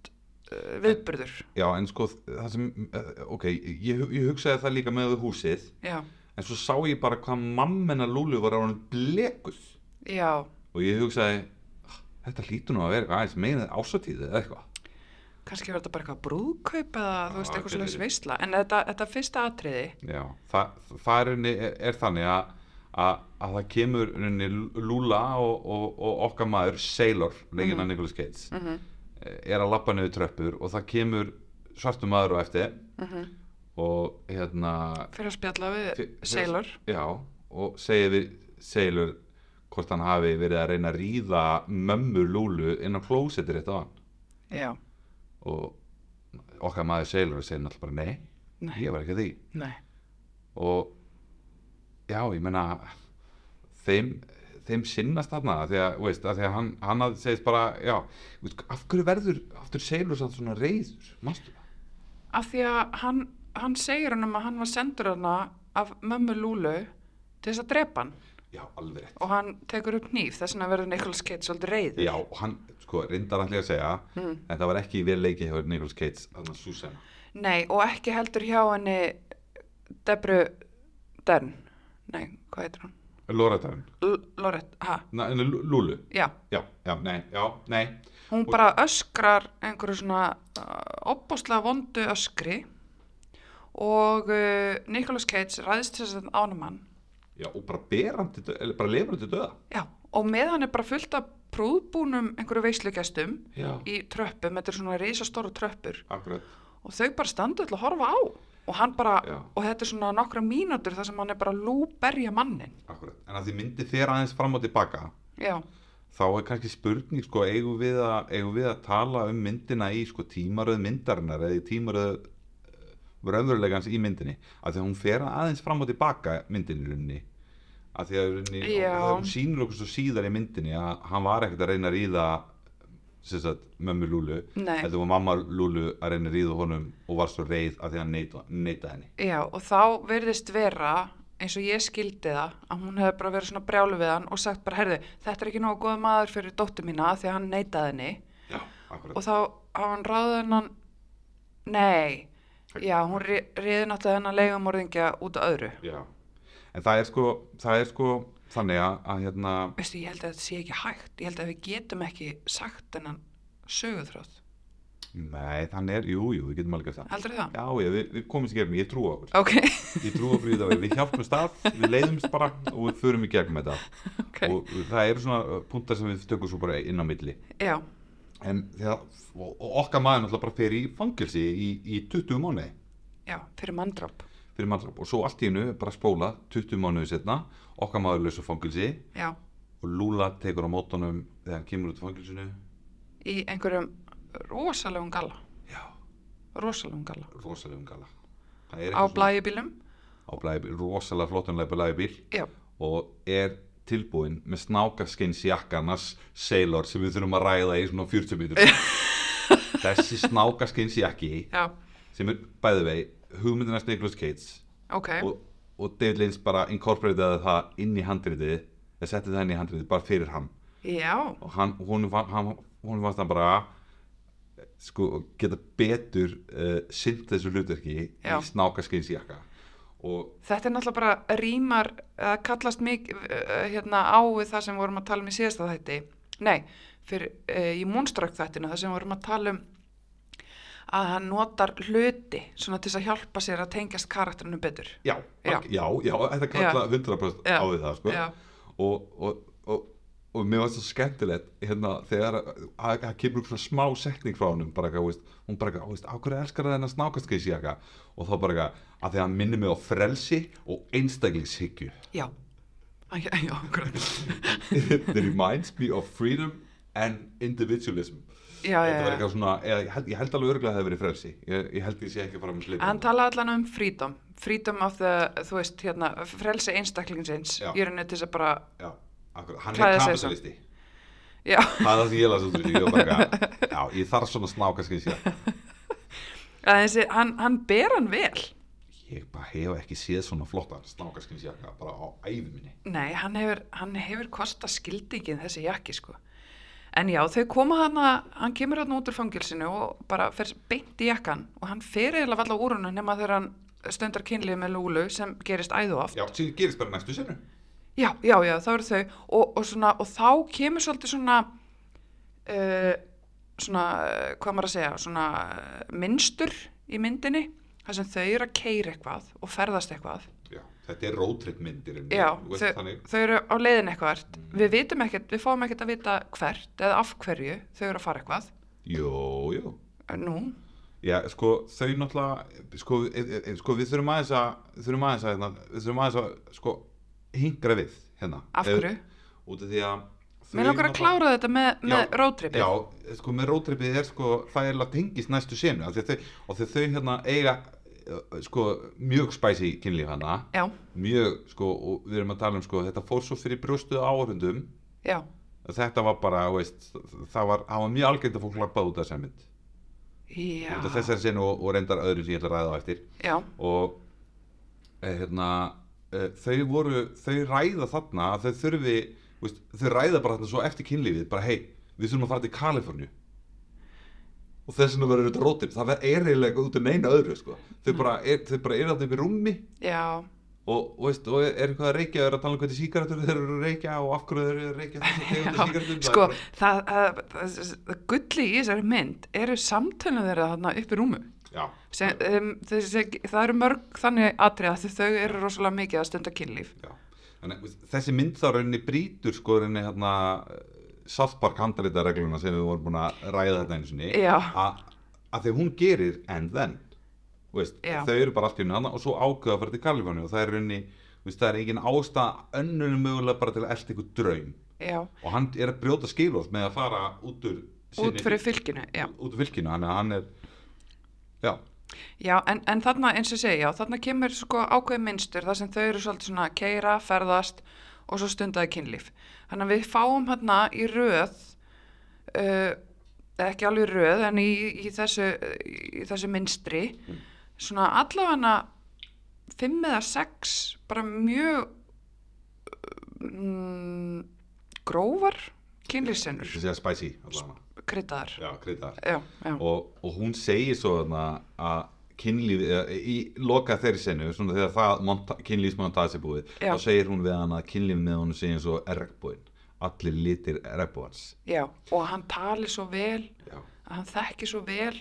S2: eh, viðburður,
S1: Já, en sko, það sem, eh, ok, ég, ég hugsaði það líka með húsið,
S2: já,
S1: en svo sá ég bara hvað mammenna Lúlu var á hann blekuð
S2: já,
S1: og ég hugsaði, "Ah, þetta hlýtur nú að vera eitthvað aðeins meina ásatíð eða eitthvað.
S2: kannski var þetta bara eitthvað brúðkaup eða þú veist,
S1: Já,
S2: eitthvað
S1: gæti
S2: slags
S1: verið.
S2: veistla, en þetta, þetta fyrsta atriði,
S1: Já, það, það er, henni- er þannig að, að, að það kemur henni Lúla og, og, og okkar maður, Sailor, leikinn af Nicolas Cage,
S2: Mm.
S1: er að lappa niður tröppur og það kemur svartum maður á eftir og hérna,
S2: fyrir að spjalla við
S1: Fyr-
S2: Sailor,
S1: Já, og segir við Sailor hvort hann hafi verið að reyna að ríða mömmu Lúlu inn á klósettir rétt á hann
S2: já,
S1: og okkar maður seilur segir náttúrulega bara nei,
S2: Nei.
S1: ég var ekki að því
S2: Nei.
S1: og já, ég meina þeim, þeim sinnast þarna af því að, þú veist, að því að hann, hann að segist bara, já, þú veist, af hverju verður aftur seilur samt svona reyður manstu það?
S2: Af því að hann, hann segir hann um að hann var sendur hana af mömmu Lúlu til þess að drepa hann
S1: Já, alveg rétt.
S2: og hann tekur upp nýf þess vegna verður Nicolas Cage svolítið reyður.
S1: Já, og hann, sko, reyndar allir að segja
S2: Mm.
S1: en það var ekki í veruleiki hjá Nicolas Cage þannig að Susanna.
S2: Nei, og ekki heldur hjá henni Debru Dern. Nei, hvað heitir hún?
S1: Loratarinn.
S2: L- Lorette, ha,
S1: Na, en Lú- Lúlu.
S2: já.
S1: Já, já, nei, já, nei.
S2: Hún bara öskrar einhverju svona uh, opbóstlega vondu öskri og uh, Nicolas Cage ræðist þess að ánum hann.
S1: Já, og bara berandi, dö- eller bara lefandi döða.
S2: Já, og með hann er bara fullt af prúðbúnum einhverju veislugestum
S1: Já.
S2: í tröppum, þetta er svona risastóru tröppur
S1: Akkurat.
S2: og þau bara standu öll að horfa á og hann bara,
S1: Já.
S2: og þetta er svona nokkra mínútur þar sem hann er bara að lúberja mannin.
S1: Akkurat. En að því myndi fer aðeins fram og tilbaka
S2: Já,
S1: þá er kannski spurning sko, eigum við, að, eigum við að tala um myndina í sko, tímaröð myndarinnar eða í tímaröð raunverulegans í myndinni af því að hún fer aðeins fram og tilbaka myndinni í rauninni af því að í rauninni,
S2: Já.
S1: og hún sýnir okkur svo síðar í myndinni að hann var ekkert að reyna að ríða sem sagt, mömmu Lúlu
S2: Nei.
S1: eða var mamma Lúlu að reyna að ríða honum og var svo reið af því að hann neita, neita henni
S2: já, og þá virðist vera eins og ég skildi það að hún hefði bara verið svona brjálu við hann og sagt bara, herðu, þetta er ekki nógu góð maður fyrir dóttur mína af því að hann neitaði henni
S1: Já, akkurat
S2: og þá hafa hann ráðið hennan nei já, hún ri- riði náttúrulega hennan leigumorðingja út af öðru
S1: Já. En það er sko, það er sko þannig að, að hérna
S2: veistu, ég held að þetta sé ekki hægt ég held að við getum ekki sagt hennan sögutráð,
S1: Nei, þannig er, jú, jú, við getum alveg að það.
S2: heldur það?
S1: Já, já, við, við komumst í gegnum, ég trú á okkur.
S2: ok,
S1: Ég trú á okkur í þetta, við hjálpumst að, við leiðumst bara og við förum í gegnum þetta.
S2: ok,
S1: Og það eru svona uh, punktar sem við tökum svo bara inn á milli.
S2: já
S1: En þegar, og og okkar maður náttúrulega bara fer í fangilsi í, í 20 mánuði
S2: já, fyrir manndróp,
S1: fyrir mannskap og svo allt í hennu bara spóla 20 mánuði setna, okkar maður laus á fangilsi
S2: já
S1: og Lúla tekur á mótunum þegar hann kemur út á fangilsinu.
S2: í einhverjum rosalegum galla
S1: Já,
S2: rosalegum galla
S1: rosalegum gala. Það er
S2: á
S1: eitthvað svona-
S2: blæjubílum
S1: Á blæði, rosalega flottunlega blæði bíl.
S2: já,
S1: og er tilbúin með snákaskins jakkarnas sailor sem við þurfum að ræða í svona 40 mítur þessi snákaskins jakki
S2: já,
S1: sem er bæði vei hugmyndinast Nicholas Cates
S2: ok
S1: og, og David Lynch bara inkorporataði það inn í handriðið eða setti það inn í handriðið bara fyrir hann
S2: já,
S1: og hann, hún, var, hann, hún varst hann bara sko, geta betur uh, sint þessu hlutverki
S2: Já.
S1: í snákaskins jakka og
S2: Þetta er náttúrulega bara rýmar eða kallast mikið uh, hérna, á við það sem vorum að tala um í síðasta þætti. Nei, fyrir, uh, í múnstrakk þættinu það sem vorum að tala um að hann notar hluti svona til þess að hjálpa sér að tengjast karakterinu betur.
S1: já,
S2: Já.
S1: já. já, já, þetta kalla 100%
S2: Já.
S1: á við það sko.
S2: Já.
S1: og, og, og, og mér var svo skemmtilegt hérna, þegar að- að að kemur upp svona smá setning frá honum bara, eitthvað, þú veist, hún bara, eitthvað, "Á, veist, á hverju elskar það þennan snákastkeisjaka og þá bara, eitthvað, að því að hann minnir mig á frelsi og einstaklingshyggju
S2: Já, Æ, já, já, akkurat.
S1: it reminds me of freedom and individualism
S2: já, já,
S1: þetta var
S2: já.
S1: eitthvað svona, eða, ég, held, ég held alveg örglega að það hefði verið frelsi ég, ég held ég sé ekki að fara með
S2: En Hann
S1: hlipin
S2: talaði allan um freedom, freedom of the, þú veist, hérna, frelsi einstaklingsins,
S1: Já.
S2: í rauninni til þess að bara,
S1: já, akkurat, hann er
S2: Klæða sig svo.
S1: kapitalisti
S2: já,
S1: það er það sem ég las út úr því, ég var bara eitthvað, já, ég þarf svona snákaskins ég,
S2: að þessi, hann, hann ber hann vel.
S1: ég bara hef ekki séð svona flottan snákaskins bara á æfi minni
S2: Nei, hann hefur, hann hefur kosta skildingin þessi jakki sko. En já, þau koma hann hann kemur hann út úr fangilsinu og bara fer beint í jakkan og hann fer eiginlega valla úr hann nema þegar hann stundar kynlið með Lúlu sem gerist æðu oft.
S1: já, sem gerist bara næstu senu
S2: Já, já, já, þá eru þau og, og, svona, og þá kemur svolítið svona, uh, svona, uh, hvað maður að segja, svona uh, mynstur í myndinni þar sem þau eru að keira eitthvað og ferðast eitthvað
S1: já, þetta er roadtrip myndir
S2: Já,
S1: þau...
S2: þau,
S1: þannig,
S2: þau eru á leiðin eitthvað Við vitum ekkert, við fáum ekkert að vita hvert eða af hverju þau eru að fara eitthvað Eh,
S1: jú, jú
S2: Nú,
S1: já, sko, þau náttúrulega sko, e, e, e, sko við þurfum aðeins að þurfum aðeins að, hérna, við þurfum aðeins að sko, hingra við hérna
S2: af
S1: Ef-
S2: hverju?
S1: út af því að
S2: Mér langar að klára þetta með, með rótrippi.
S1: Já, sko með rótrippið er sko þægilega tengist næstu senu af því að þau, og því að þau hérna eiga eh, sko mjög spæsi kynlíf hana
S2: Já,
S1: mjög sko og við erum að tala um sko þetta fór svo fyrir brjóstuð áhörundum
S2: já,
S1: þetta var bara, þú veist, það var, það var mjög algjönd að fólk lappa út af þessari mynd
S2: já,
S1: út af þessari senu og, og reyndar öðru sem ég ætla að ræða á eftir
S2: já,
S1: og eh, hérna, eh, þau voru þau ræða þarna að þau þurfi þú veist, þau ræða bara þarna svo eftir kynlífið bara hei, við þurfum að fara til Kaliforníu og þess vegna verður þetta rótið það er eiginlega eitthvað út um einu öðru sko.
S2: Mm.
S1: þau, bara er, þau bara eru þarna upp í rúmi
S2: já,
S1: og, og, veist, og er eitthvað að reykja þau eru að tala um hvernig sígarettur þeir eru að reykja og af hverju þeir eru að reykja þess að tegunda
S2: já.
S1: sígarettum
S2: Sko, það, það, það, það gulli í þessari mynd eru samtölu þeirra þarna upp í rúmu.
S1: já,
S2: Sem, um, þessi, það eru mörg þannig atrið að þau eru rosalega mikið að stunda kynlíf.
S1: já. Þannig, veist, þessi mynd þá rauninni brýtur sko rauninni hérna South Park handrita regluna sem við vorum búin að ræða þetta einu sinni
S2: Já.
S1: að að því hún gerir and then Þú veist,
S2: Já.
S1: þau eru bara allt í unna hana og svo ákveða að fara til Kaliforni og það er rauninni þú veist, það er engin ástæða önnunum mögulega bara til að elta ykkur draum
S2: Já,
S1: og hann er að brjóta skilorð með að fara út úr sinni-
S2: út fyrir fylginu, já.
S1: út úr fylkinu, hann, hann er já,
S2: Já, en, en þarna eins og segja, já, þarna kemur sko ákveðin minnstur þar sem þau eru svolítið svona að keira, ferðast og svo stundaði kynlíf. Þannig að við fáum hérna í röð, uh, ekki alveg í röð, en í, í, þessu, í þessu minnstri, svona allavega fimm eða sex, bara mjög mm, grófar kynlífsennur,
S1: þessi að spicy allavega.
S2: kryddaðar.
S1: já, kryddaðar
S2: Já, já,
S1: og, og hún segir svo þarna að kynlífið, eða í loka þeirri senu, svona þegar það monta, kynlífsmontage er búið,
S2: Já.
S1: þá segir hún við hann að kynlífið með honum sé eins og regnbúinn allir litir regnbúans
S2: já, og hann tali svo vel,
S1: Já.
S2: að hann þekki svo vel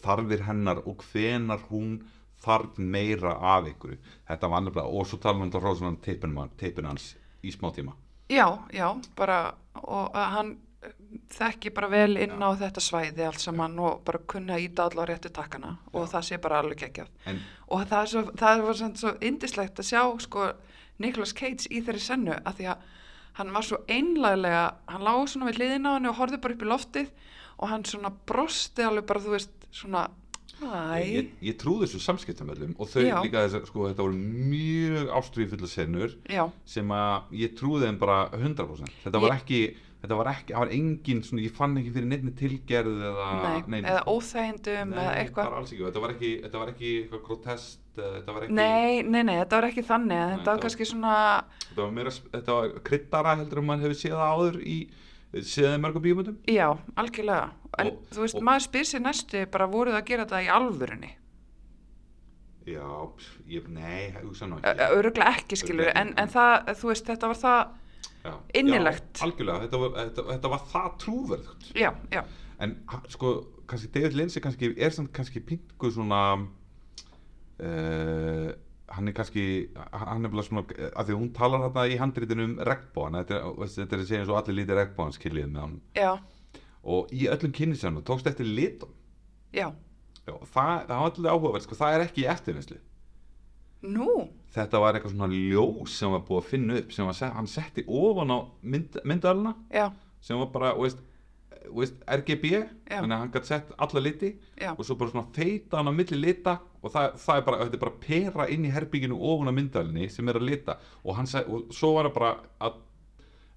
S1: þarfir hennar og hvenar hún þarf meira af ykkur þetta var annafnilega, og svo tala hann þá hrósum hann um teipin hans í smá tíma
S2: Já, já, bara og að hann eh, þekki bara vel inn á þetta svæði allt saman og bara kunni að íta allar réttu takkana og það sé bara alveg geggjað
S1: en
S2: og það, er svo, það var samt svo indislegt að sjá sko Nicolas Cage í þeirri sennu að því að hann var svo einlæglega hann lág svona við hliðina á henni og horfði bara upp í loftið og hann svona brosti alveg bara þú veist svona
S1: ég,
S2: Æ,
S1: ég trúði þessu samskiptamöllum og þau
S2: Já.
S1: líka þess sko, þetta voru mjög ástrífulla senur
S2: já,
S1: sem að ég trúði þeim bara 100% þetta var
S2: Ég-
S1: ekki þetta var ekki, það var engin svona, ég fann ekki fyrir neinni tilgerð eða
S2: Ah, nei,
S1: neinu.
S2: eða óþægindum eða
S1: Nei,
S2: eitthvað
S1: bara alls ekki, þetta var ekki, þetta var ekki eitthvað grotest eh, þetta var ekki,
S2: Nei, nei, nei, þetta var ekki þannig en þetta
S1: þetta
S2: var
S1: var-
S2: kannski svona
S1: þetta var meira þetta var kryddara heldur en maður hefur séð það áður í, séð það í mörgum bíumöndum
S2: Já, algjörlega. En
S1: Og-
S2: þú veist,
S1: og-
S2: maður spyr sér næstu bara voruð að gera þetta í alvörunni.
S1: já, pff, ég, nei, hugsa nú ekki
S2: Öruglega ekki skilur,
S1: Örugglega
S2: en,
S1: ekki.
S2: en það, þú veist, þetta var það,
S1: já,
S2: innilegt.
S1: já, algjörlega, þetta var, þetta, þetta var það trúverðugt
S2: já, já,
S1: en ha- sko, kannski David Lindsay kannski, er samt kannski pingu svona uh, hann er kannski hann er bara svona, eh, af því að hún talar þarna í handritinu um regnbóðan þetta, er- veist, þetta er að segja eins og allir lítið regnbóðan skiljið með hann
S2: já,
S1: og í öllum kynnisennum tókst eftir litum
S2: já.
S1: Já, og það, það var allir áhugaverð, sko, það er ekki í eftirvinnslu
S2: Nú,
S1: þetta var eitthvað svona ljós sem var búið að finna upp sem var, se- hann setti ofan á mynd, myndalina
S2: já,
S1: sem var bara, veist, veist RGB,
S2: Já.
S1: þannig að hann gætt sett alla liti
S2: Já.
S1: og svo bara svona feita hann á milli lita og það, það er bara, þetta er bara pera inn í herbygginu ofan á myndalinni sem er að lita og hann sagði, og svo var það bara að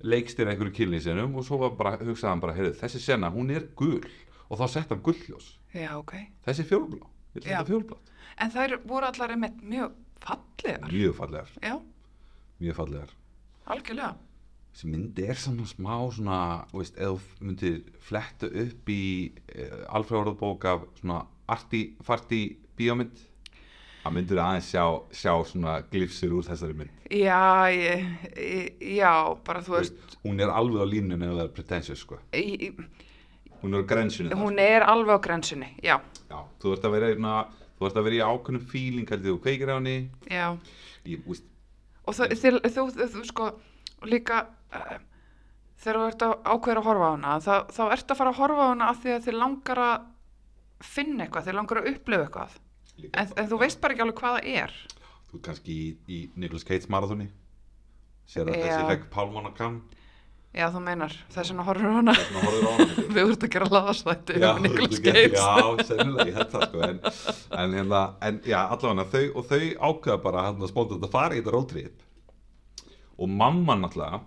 S1: leikstýra einhverju kynni sinum og svo var bara, hugsaði hann bara, heyrðu, þessi sena, hún er gul og þá sett hann gullljós,
S2: já, ok.
S1: þessi er fjólublá, ég ætla
S2: Já.
S1: þetta fjólublátt.
S2: En þær voru allar einmitt mjög fallegar.
S1: Mjög fallegar,
S2: Já,
S1: mjög fallegar.
S2: algjörlega.
S1: þessi myndi er svona smá svona, þú veist, eða þú myndir fletta upp í uh, alfræðorðabók af svona arti, farti bíómynd að myndir aðeins sjá, sjá svona glifsir úr þessari mynd
S2: Já, ég, ég, já, bara þú
S1: Þú
S2: veist,
S1: veist, hún er alveg á línunni að vera pretentious sko.
S2: í, í,
S1: hún er á grensunni þar,
S2: hún er alveg á grensunni, já,
S1: sko. Já, þú ert að vera í svona- þú ert að vera í ákveðnum feeling heldur þú kveikir á henni
S2: já.
S1: ég, þú veist,
S2: og þú, þú, þú, þú, þú sko líka uh, þegar þú ert að ákveður að horfa á hana þá, þá ert að fara að horfa á hana af því að þið langar að finna eitthvað þið langar að upplifa eitthvað
S1: líka,
S2: en, en þú veist bara ekki alveg hvað það er
S1: þú ert kannski í, í Nicolas Cage marathoni sér að
S2: Já.
S1: þessi legg pálmann á kann
S2: Já, þú meinar, þess vegna horfur hana
S1: Þess vegna horfðirðu á hana mikið.
S2: Við vorum að gera laðastætti
S1: Já,
S2: um Niklas
S1: þú getur-
S2: Geirs
S1: Já, sennilega, ég held það sko en, en, hérna, en já, allavega þau, og þau ákveða bara hérna spóndum að fara í þetta roadtrip og mamma náttúrulega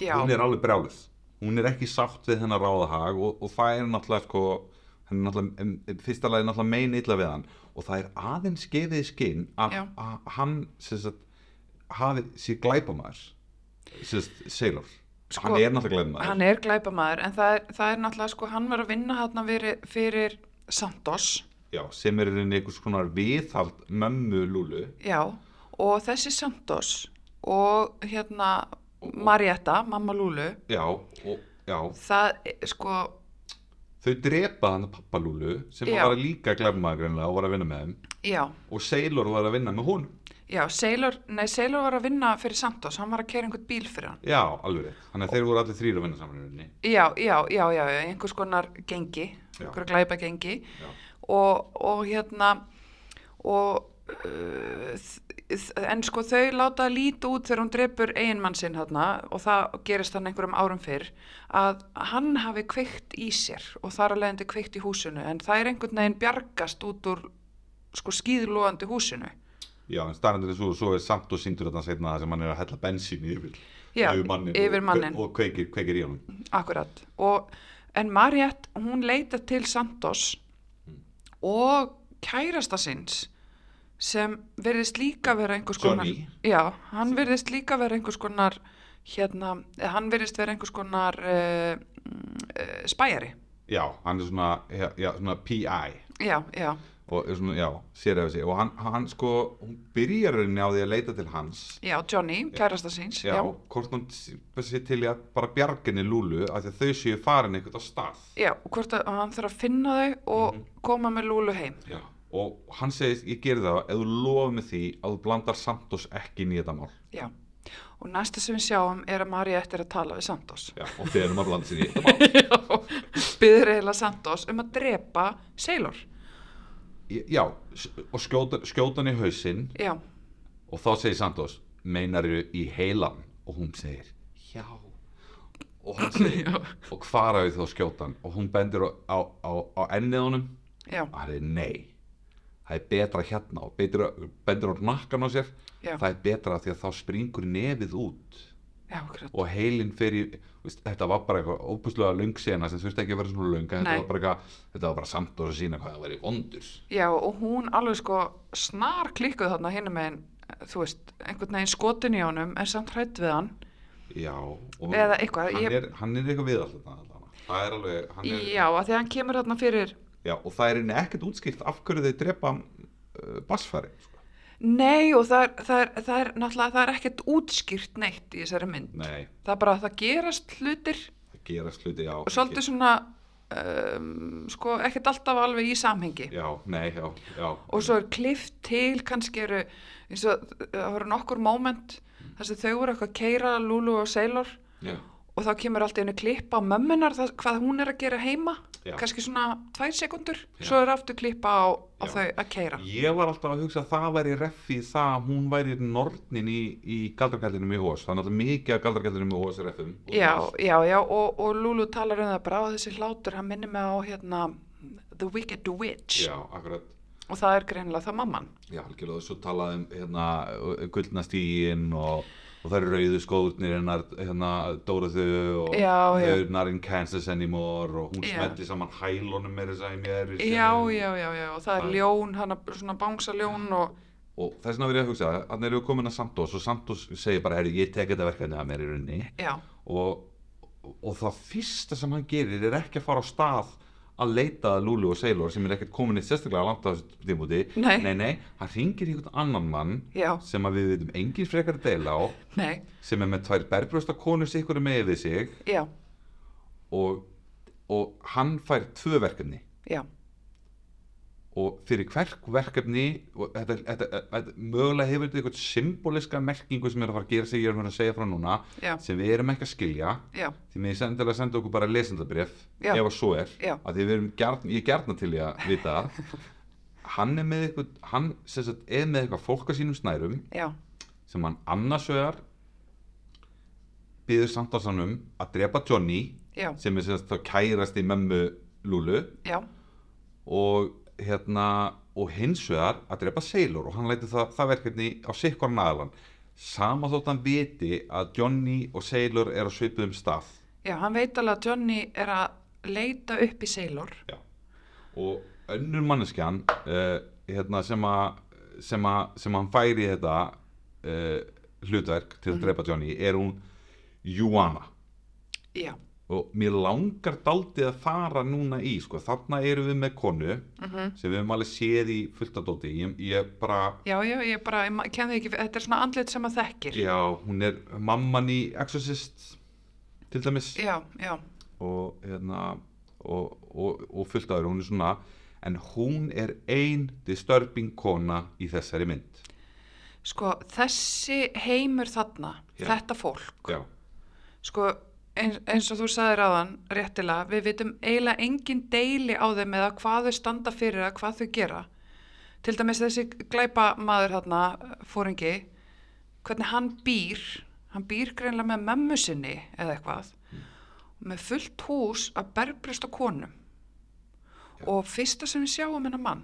S2: Já,
S1: hún er alveg brjálið hún er ekki sátt við hennar ráðahag og, og það er náttúrulega sko hann er náttúrulega, em- em- fyrsta lagi náttúrulega mein illa við hann og það er aðeins gefið í skinn að,
S2: Já.
S1: að hann sem sagt, hafi sér glæpamaður sem sagt, Sailor
S2: Sko,
S1: hann er náttúrulega glæpamaður
S2: hann er glæpamaður en það er, það er náttúrulega sko, hann var að vinna hann fyrir, fyrir Santos
S1: já, sem er í rauninni einhvers konar viðhald mömmu Lúlu
S2: Já, og þessi Santos og hérna Marietta, mamma Lúlu
S1: já, og, já,
S2: það, eh, sko,
S1: þau drepa hann pappa Lúlu sem
S2: Já.
S1: var líka glæpamaður greinlega og var að vinna með þeim
S2: já
S1: og Sailor var að vinna með hún
S2: Já, Sailor, nei, Sailor var að vinna fyrir Santos, hann var að kera einhvern bíl fyrir hann
S1: já, alveg rétt, þannig að þeir voru allir þrýr að vinna saman í rauninni
S2: Já, já, já, já, já, einhvers konar gengi,
S1: Já.
S2: einhver glæpa gengi
S1: Já.
S2: og, og hérna og uh, þ- en sko þau láta líti út þegar hún drepur eiginmann sinn þarna og það gerist hann einhverjum árum fyrr að hann hafi kveikt í sér og þar að leiðandi kveikt í húsinu en það er einhvern veginn bjargast út úr sko skýðlóandi húsinu
S1: Já, en staðrendur er svo, svo er samt og síndur þarna seinna það sem hann er að hella bensín yfir,
S2: Já,
S1: yfir mannin,
S2: yfir
S1: og-
S2: manninn.
S1: og, kveikir, kveikir í honum.
S2: Akkurat. Og, en Mariette, hún leita til Santos
S1: Hmm.
S2: og kærasta sinns sem virðist líka vera einhvers konar...
S1: Johnny.
S2: Já, hann virðist líka vera einhvers konar, hérna, eh, hann virðist vera einhvers konar uh, uh, spæjari.
S1: Já, hann er svona, já, já, svona PI
S2: Já, já,
S1: og er svona, já, sér eða sér og hann, hann sko, hún byrjar rauninni á því að leita til hans
S2: já, Johnny, kærasta sinns.
S1: Já, hvort hann sé til í að bara bjarginni Lúlu af því að þau séu farin einhvern á stað
S2: Já, og hvort að hann þarf að finna þau og
S1: Mhm.
S2: koma með Lúlu heim.
S1: Já Og hann segist, ég geri það ef þú lofum með því að þú blandar Santos ekki inn í þetta mál
S2: Já, og næsta sem við sjáum er að Mariette er að tala við Santos.
S1: Já, og þeir erum að blanda sér í þetta mál
S2: byður eiginlega Santos um að drepa Sailor
S1: Já, s- og skjóta, skjóta hann í hausinn
S2: já,
S1: og þá segir Santos meinaru í heilan og hún segir já og hann segir
S2: Já.
S1: og hvar á ég þá skjótan og hún bendir á, á, á, á ennið honum
S2: já,
S1: og hann er nei það er betra hérna og betra, bendir á nakkan á sér
S2: Já.
S1: það er betra því að þá springur nefið út
S2: já, akkurat
S1: og heilin fyrir veist, þetta var bara eitthvað óbúslega löng sena sem þurfti ekki að vera svona löng en þetta
S2: Nei.
S1: var, bara eitthvað, þetta var bara samt og að sína hvað það væri vondur
S2: já, og hún alveg sko snar klikkuð þarna hinn með þú veist, einhvern veginn skotin í honum en samt hrætt við hann
S1: Já, og
S2: Eða eitthvað,
S1: hann,
S2: ég-
S1: er, hann er eitthvað við alltaf þarna. það er alveg hann er,
S2: já, að því að hann kemur þarna fyrir
S1: Já, og það er henni ekkert útskipt af hverju þau drepa uh, basfæri sko.
S2: nei, og það er, það er, það er náttúrulega, það er ekkert útskýrt neitt í þessari mynd
S1: Nei,
S2: það er bara að það gerast hlutir
S1: það gerast hluti já,
S2: og svolítið svona um, sko, ekkert alltaf alveg í samhengi
S1: Já, nei, já, já
S2: og svo er klift til kannski eru eins og eh, það voru nokkur moment þar sem þau voru eitthvað að keira Lulu og Sailor
S1: já,
S2: og þá kemur alltaf einu klippa á mömmunar það, hvað hún er að gera heima
S1: Já.
S2: kannski svona tvær sekundur
S1: Já.
S2: svo er aftur klippa á, á
S1: Já.
S2: þau að keira
S1: Ég var alltaf að hugsa að það væri reffi í það að hún væri nornin í, í galdrakallinum í hós Það er náttúrulega mikið af galdrakallinum í hós reffum út
S2: já,
S1: um allt.
S2: já, já og, og Lulu talar um það bara og þessi hlátur hann minnir mig á hérna The Wicked Witch
S1: Já, akkurat
S2: og það er greinilega það mamman
S1: Já, algjörlega, og svo talaði um hérna, gullnastígin og, og það eru rauðu skóðurnir hennar, hérna, Dóruðu og
S2: Já, já.
S1: þau eru not in Kansas anymore og hún
S2: Já.
S1: smelli saman hælunum meira þess að segja í mér. hérna í
S2: já,
S1: senunni.
S2: já, já, já, og það er
S1: Það-
S2: ljón hana, svona bangsaljón og
S1: Og þess vegna verið ég að hugsa, þannig erum við komin að Santos og Santos segir bara, herri, ég tek þetta verkefni að mér í rauninni
S2: já,
S1: og, og það fyrsta sem hann gerir er ekki að fara á stað að leita að Lulu og Sailor sem er ekkert komin eitt sérstaklega langt á þessu tímúti
S2: Nei.
S1: nei, nei, hann ringir í einhvern annan mann
S2: Já.
S1: sem að við veitum engin frekar að deila á
S2: nei,
S1: sem er með tvær berbrjósta konur sikkur með við sig
S2: já,
S1: og, og hann fær tvö verkefni
S2: já
S1: og fyrir hver verkefni og þetta, þetta, þetta, mögulega hefur þetta eitthvað symboliska merkingu sem er að fara að gera sig ég er að fara að segja frá núna
S2: Já.
S1: sem við erum ekki að skilja
S2: Já,
S1: því með sendilega senda okkur bara lesendabref
S2: Já.
S1: ef að svo er
S2: Já.
S1: að því við erum gjarn, ég er gjarna til í að vita það. hann er með eitthvað hann sem sagt, er með eitthvað fólk á sínum snærum
S2: já,
S1: sem hann annarsvegar býður Sanderson um að drepa Johnny
S2: já,
S1: sem er semst þá kærast í mömmu Lulu
S2: já,
S1: og hérna og hins vegar að drepa Sailor og hann lætur það, það verkefni á sikkorn aðalan sama þótt hann viti að Johnny og Sailor er á svipuðum stað
S2: já, hann veit alveg að Johnny er að leita upp í Sailor.
S1: Já. og önnur manneskjan uh, hérna sem að sem, að- sem hann færi þetta uh, hlutverk til að drepa Johnny er hún Juana
S2: Já,
S1: og mér langar daldið að fara núna í sko, þarna erum við með konu sem við höfum alveg séð í fulltadóti ég, ég bara
S2: já, já, ég bara, ég ma- ken þig ekki, þetta er svona andlit sem að þekkir.
S1: Já, hún er mamman í Exorcist til dæmis
S2: Já, já,
S1: og, hérna, og, og, og fullt aður hún er svona en hún er ein disturbing kona í þessari mynd
S2: sko, þessi heimur þarna,
S1: Já.
S2: þetta fólk,
S1: Já,
S2: sko, eins, eins og þú sagðir áðan, réttilega, við vitum eiginlega engin deili á þeim eða hvað þau standa fyrir eða hvað þau gera. Til dæmis þessi glæpa maður þarna, fóringi, hvernig hann býr, hann býr greinlega með mömmu sinni eða eitthvað, með fullt hús að berbreysta konum. Og fyrsta sem við sjáum hennar mann,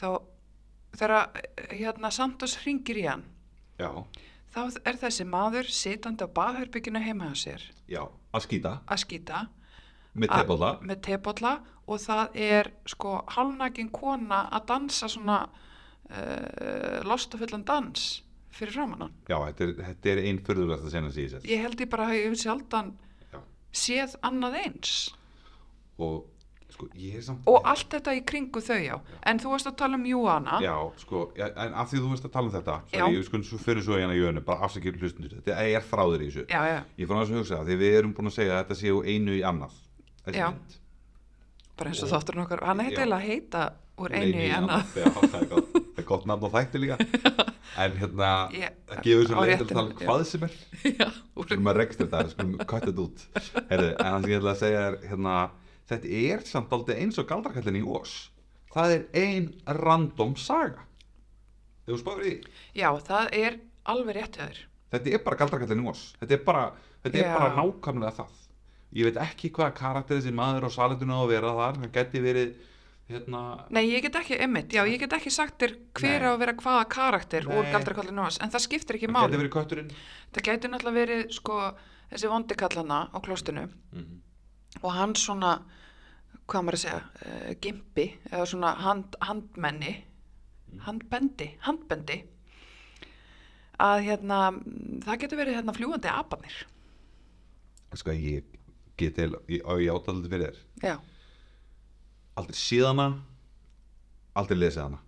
S2: þá þegar hérna Santos hringir í hann,
S1: já,
S2: Þá er þessi maður sitandi á baðherbygginu heima hjá sér
S1: já að skýta
S2: að skýta
S1: með
S2: Ah.
S1: tepóla
S2: með tebolla og það er sko hálnakin kona að dansa svona uh, lostafullan dans fyrir framann hann.
S1: Já, þetta er, þetta er ein fyrðulegasta sena sem ég sér
S2: Ég held ég bara að ég hef sjaldan
S1: Já.
S2: séð annað eins
S1: og sko, ég er samt
S2: og allt þetta í kringu þau já. En þú varst að tala um Júana.
S1: Já, sko, já, en af því þú veist að tala um þetta
S2: Já.
S1: sorry, ég sko, svo fyrir svo hérna í önum, bara afsakir hlustundur þetta er þráður í þessu
S2: já, já,
S1: Ég fann að þessu hugsa það, því við erum búin að segja að þetta sé úr einu í annað. Þessi
S2: Já.
S1: mynd.
S2: bara eins og þátturinn okkar. Hann
S1: Já.
S2: heiti eiginlega að heita úr einu í annað.
S1: Já, það er gott, það er gott nafn á þætti líka. En hérna,
S2: Ég-
S1: það gefur
S2: á
S1: sem leitt að
S2: réttinum,
S1: tala um hvað sem er.
S2: Já, úr,
S1: Skulum að rekst þetta, skulum kvætt þetta út. Herðu, en það sem ég ætla að segja er, hérna, þetta er samt aldrei eins og galdrakallin í ós. Það er ein random saga. Ef þú spáður í, því,
S2: já, það er alveg rétt höður.
S1: þetta er bara galdrakallin í ós. Þetta er bara, þetta er
S2: Já.
S1: bara nákvæmlega það. Ég veit ekki hvaða karakter þessi maður á salenduna á að vera þar, hann geti verið, hérna,
S2: Nei, ég get ekki, einmitt, já, ég get ekki sagt þér hver
S1: Nei.
S2: á að vera hvaða karakter úr
S1: Nei.
S2: galdrakollinu hans, en það skiptir ekki
S1: hann geti
S2: máli.
S1: verið kötturinn.
S2: Það gæti náttúrulega verið, sko, þessi vondikallana á klóstinu
S1: Mhm.
S2: og hann svona, hvað á maður að segja, uh, gimpi, eða svona hand, handmenni,
S1: Mm.
S2: handbendi, handbendi, að hérna, mm, það getur verið hérna fljúandi apanir.
S1: sko ég get eil og ég átaldi fyrir þér
S2: Já,
S1: aldrei síðana aldrei lesið hana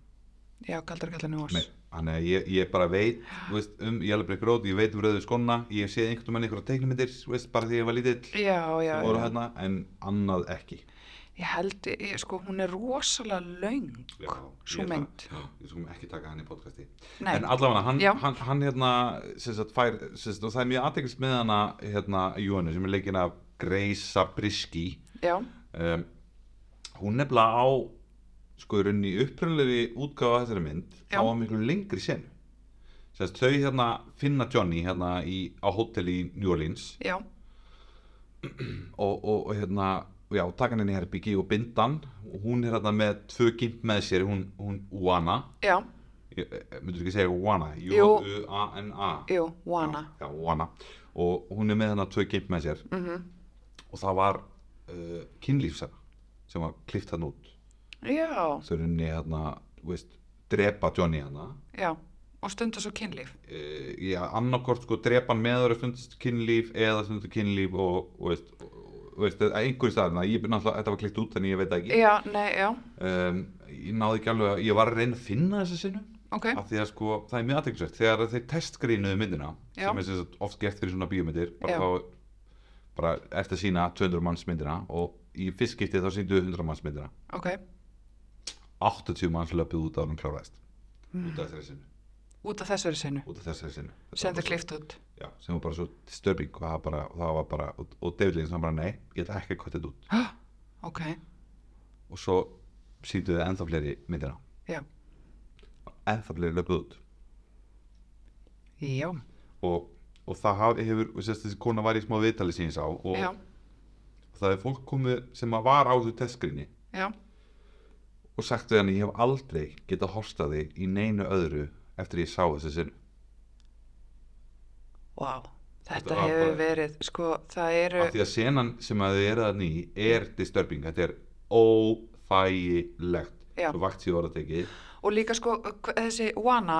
S2: já, galdrakollinu hans.
S1: Nei, þannig að ég, ég bara veit þú veist, um Jælabrik Róð, ég veit um Rauðu skóna ég hef séð einhvern veginn einhverja teiknumyndir þú veist, bara því ég var lítill
S2: Já, já,
S1: sem voru
S2: já.
S1: hérna, en annað ekki
S2: ég held, ég, sko, hún er rosalega laung, svo
S1: ég,
S2: mynd.
S1: já, ég skum ekki taka hann í podcasti
S2: Nei.
S1: en allavega hann,
S2: Já.
S1: hann, hann hérna sem sagt fær, sem sagt, og það er mjög aðtekist með hana hérna Jónu sem er leikinn af Greisa Briski
S2: Já,
S1: um, hún nefnilega á sko í rauninni upprunlegri útgáfa af þessari mynd
S2: Já.
S1: á að miklu lengri senu Sest, þau hérna finna Johnny hérna í, á hótel í New Orleans
S2: já,
S1: og, og, og hérna já, taka hann inn í herbyggi og binda hann og hún er hérna með tvö gimp með sér hún, hún Uana
S2: já,
S1: myndur e, ekki segja Uana
S2: Jú.
S1: J-U-A-N-A
S2: jú, Wana.
S1: já, Uana og hún er með hérna tvö gimp með sér
S2: Mm
S1: og það var uh, kynlífsara sem var klift hann út
S2: Já,
S1: þau runni hérna, þú veist, drepa Johnny hérna
S2: já, og stunda svo kynlíf.
S1: uh, já, annarkort sko drepa hann meður að stundist kynlíf eða stundist kynlíf og, og veist, og, og veist, að einhverjum staðarna, ég er náttúrulega, þetta var klikt út þannig ég veit það ekki
S2: Já, nei, já,
S1: um, ég náði ekki alveg, að- ég var að reyna að finna þessa sinu,
S2: ok,
S1: af því að sko það er mjög aðteklisvægt, þegar þeir testgrínuðu myndina
S2: Já.
S1: sem er sem sagt oft gert fyrir svona bíómyndir
S2: Já.
S1: bara þá, bara eftir að sína 200 manns myndina og í fyrstskipti þá síndu 100 manns myndina
S2: ok.
S1: 80 manns löpuð út á hann kláraðist út af þessari sinu
S2: Út af þessari sinu,
S1: út af þessari sinu Þetta
S2: sem
S1: var
S2: þau klift út.
S1: svo- já, sem var bara svo disturbing og það, bara, það var bara, og, og David Lins var bara nei, ég ætla ekki að kvæta þetta út
S2: Hæ, ok,
S1: og svo sýndu þið ennþá fleiri myndina
S2: já,
S1: ennþá fleiri löpuð út
S2: já,
S1: og, og það haf- hefur, sérst, þessi kona var í smá viðtali síns á og
S2: já,
S1: það er fólk komið sem að var á þau testgrinni
S2: já,
S1: og sagt við hann ég hef aldrei getað horsta þig í neinu öðru eftir ég sá þessi sinn
S2: vá, þetta
S1: var
S2: hefur
S1: bara-
S2: verið, sko, það eru,
S1: af því að senan sem að þau eru þann í er disturbing, þetta er óþægilegt
S2: Já.
S1: svo vakt síðu orða tekið
S2: og líka sko, hv- þessi Wana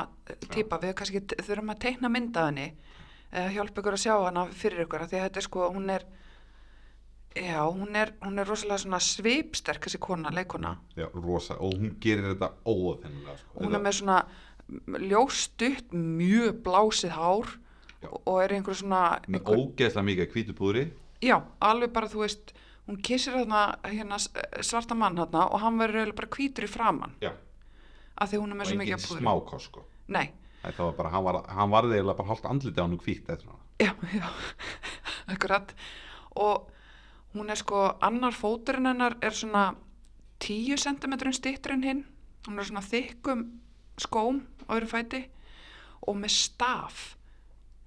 S2: típa, við kannski t- þurfum að teikna mynda henni, uh, hjálpa ykkur að sjá hana fyrir ykkur, af því að þetta er sko, hún er, já, hún er, hún er rosalega svona svipsterk, þessi kona, leikona,
S1: Já, rosa, og hún gerir þetta óaþennilega sko.
S2: hún er með svona ljóstutt, mjög blásið hár
S1: Já.
S2: og, og er í einhverju svona,
S1: með ógeðslega mikið kvítupúðri
S2: já, alveg bara, þú veist, hún kissir þarna, hérna, s- svarta mann þarna og hann verður eiginlega bara hvítur í framann
S1: Já,
S2: af því hún er
S1: og
S2: með svo mikið
S1: engin
S2: að púðri.
S1: smákos sko.
S2: Nei,
S1: Æ, Það var bara, hann, var, hann varði eiginlega bara hálft andliti á hann og kvít eftir hann
S2: já, já, akkurat. Og hún er sko, annar fóturinn hennar er svona 10 cm stýttur en hinn. Hún er svona þykkum skóm á öðru fæti og með staf.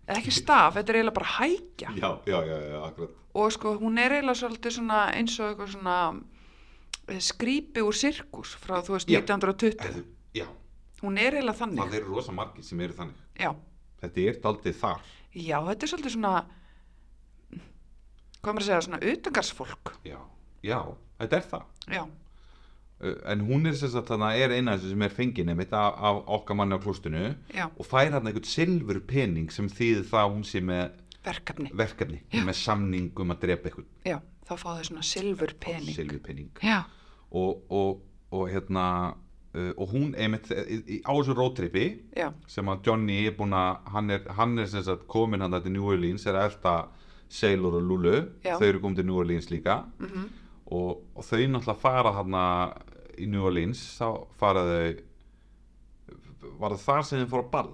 S2: Eða ekki staf, þetta er eiginlega bara hækja.
S1: Já, já, já, já, akkurat
S2: Og sko, hún er eiginlega svolítið svona eins og eitthvað svona eh, skrípi úr sirkus frá, þú veist,
S1: Já.
S2: 1920.
S1: Já,
S2: Hún er eiginlega þannig.
S1: það eru rosa margir sem eru þannig
S2: Já.
S1: Þetta er daldið þar
S2: Já, þetta er svolítið svona hvað maður að segja, svona utangarsfólk
S1: Já, já, þetta er það
S2: Já,
S1: Uh, En hún er sem sagt þannig að er eina þessu sem er fengin einmitt af, af okkar manni á klostinu
S2: já,
S1: og fær hann einhvern silfur pening sem þýðir það að hún sé með
S2: verkefni
S1: verkefni, með samning um að drepa einhvern
S2: Já, þá fá þau svona silfur pening
S1: silfur pening
S2: Já,
S1: og, og, og hérna uh, og hún einmitt eh, í, í, á þessu rótripi
S2: já,
S1: sem að Johnny er búin að hann er, hann er sem sagt komin hann til New Orleans er elda Sailor og Lulu
S2: Já.
S1: þau eru komin til New Orleans líka -hmm.
S2: mhm.
S1: og, og þau náttúrulega fara hann í New Orleans þá fara þau var það þar sem þau fór að ball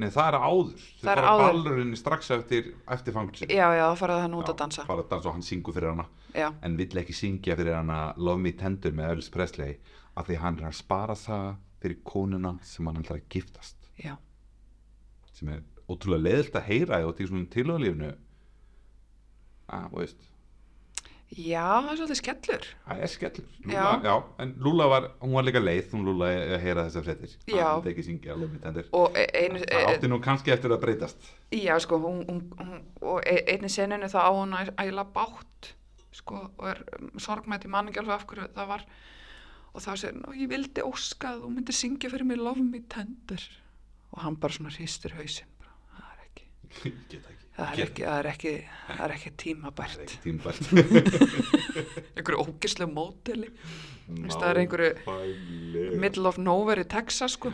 S1: Nei, það er áður. Þau
S2: Það er
S1: fara á
S2: áður.
S1: ballurinn strax eftir, eftir fangelsi.
S2: já, já, þá fara það nú út að dansa
S1: Fara að dansa og hann syngur fyrir hana
S2: Já,
S1: en vill ekki syngja fyrir hana Love Me Tender með Elvis Presley af því hann er að spara það fyrir konuna sem hann ætlar að giftast
S2: já,
S1: sem er ótrúlega leðilt að heyra og því svona tilhjóðlífinu að, Ah, þú veist,
S2: já, það er svolítið skellur
S1: það er skellur Lúla,
S2: Já.
S1: já, en Lúla var, hún var líka leið hún Lúla að heyra þessar fréttir
S2: Já.
S1: hann vildi ekki syngja Love Me Tender
S2: Og e- einu,
S1: það
S2: e,
S1: átti nú kannski eftir að breytast
S2: já, sko, hún, hún, hún og e- einni seninu þá á hún að æla bátt sko, og er um, sorgmætt í manningjálfu af hverju það var og þá segir hann, "Ó, ég vildi óska að þú myndir syngja fyrir mig Love Me Tender og hann bara svona hristir hausinn bara, það er ekki,
S1: ég get ekki,
S2: það er ekki, það er ekki, það er ekki tímabært
S1: tímbært
S2: einhverju ógislu móteli það er einhverju-
S1: Nákvæmlega.
S2: middle of nowhere í Texas sko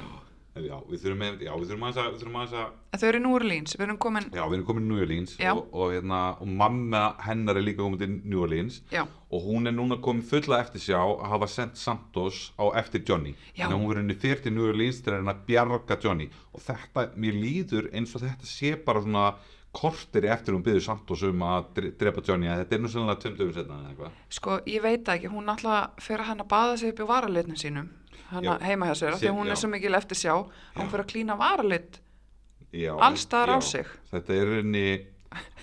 S1: já, við þurfum með- já, við þurfum aðeins að, við þurfum aðeins að
S2: en þau eru í New Orleans, við erum komin
S1: Já, við erum komin í New Orleans
S2: Já.
S1: og, og, hérna, og mamma hennar er líka komin til New Orleans
S2: já,
S1: og hún er núna komin fulla eftir sjá að hafa sendt Santos á eftir Johnny
S2: Já.
S1: en hún verður henni fyrir til New Orleans til að reyna að bjarga Johnny og þetta, mér líður eins og þetta sé bara svona kortir eftir hún byrður Santos um að dre- drepa Johnny að þetta er nú sannlega tömdöfum setna eða eitthvað
S2: sko, ég veit það ekki hún náttúrulega fyrir hann að baða sig upp í varalitnum sínum hann
S1: Já.
S2: heima hjá sér, af því
S1: Sér-
S2: að hún
S1: já.
S2: er svo mikil eftir sjá að hún
S1: Já.
S2: fyrir að klína varalit
S1: já,
S2: Alls staðar á
S1: já.
S2: sig.
S1: þetta er henni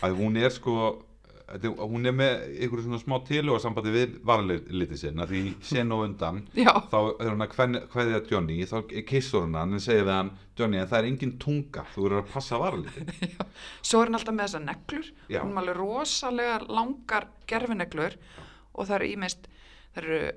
S1: að hún er sko þetta er- hún er með einhverju svona smá tilhuga sambandi við varalitið sinna því sen og undan
S2: já,
S1: þá er hún að kven- kveðja Johnny þá kissur hún hann en segir við hann Johnny en það er engin tunga, þú verður að passa varalitin
S2: svo er hann alltaf með þessar neglur
S1: Já.
S2: hún er alveg rosalega langar gerfineglur og það eru ímest það eru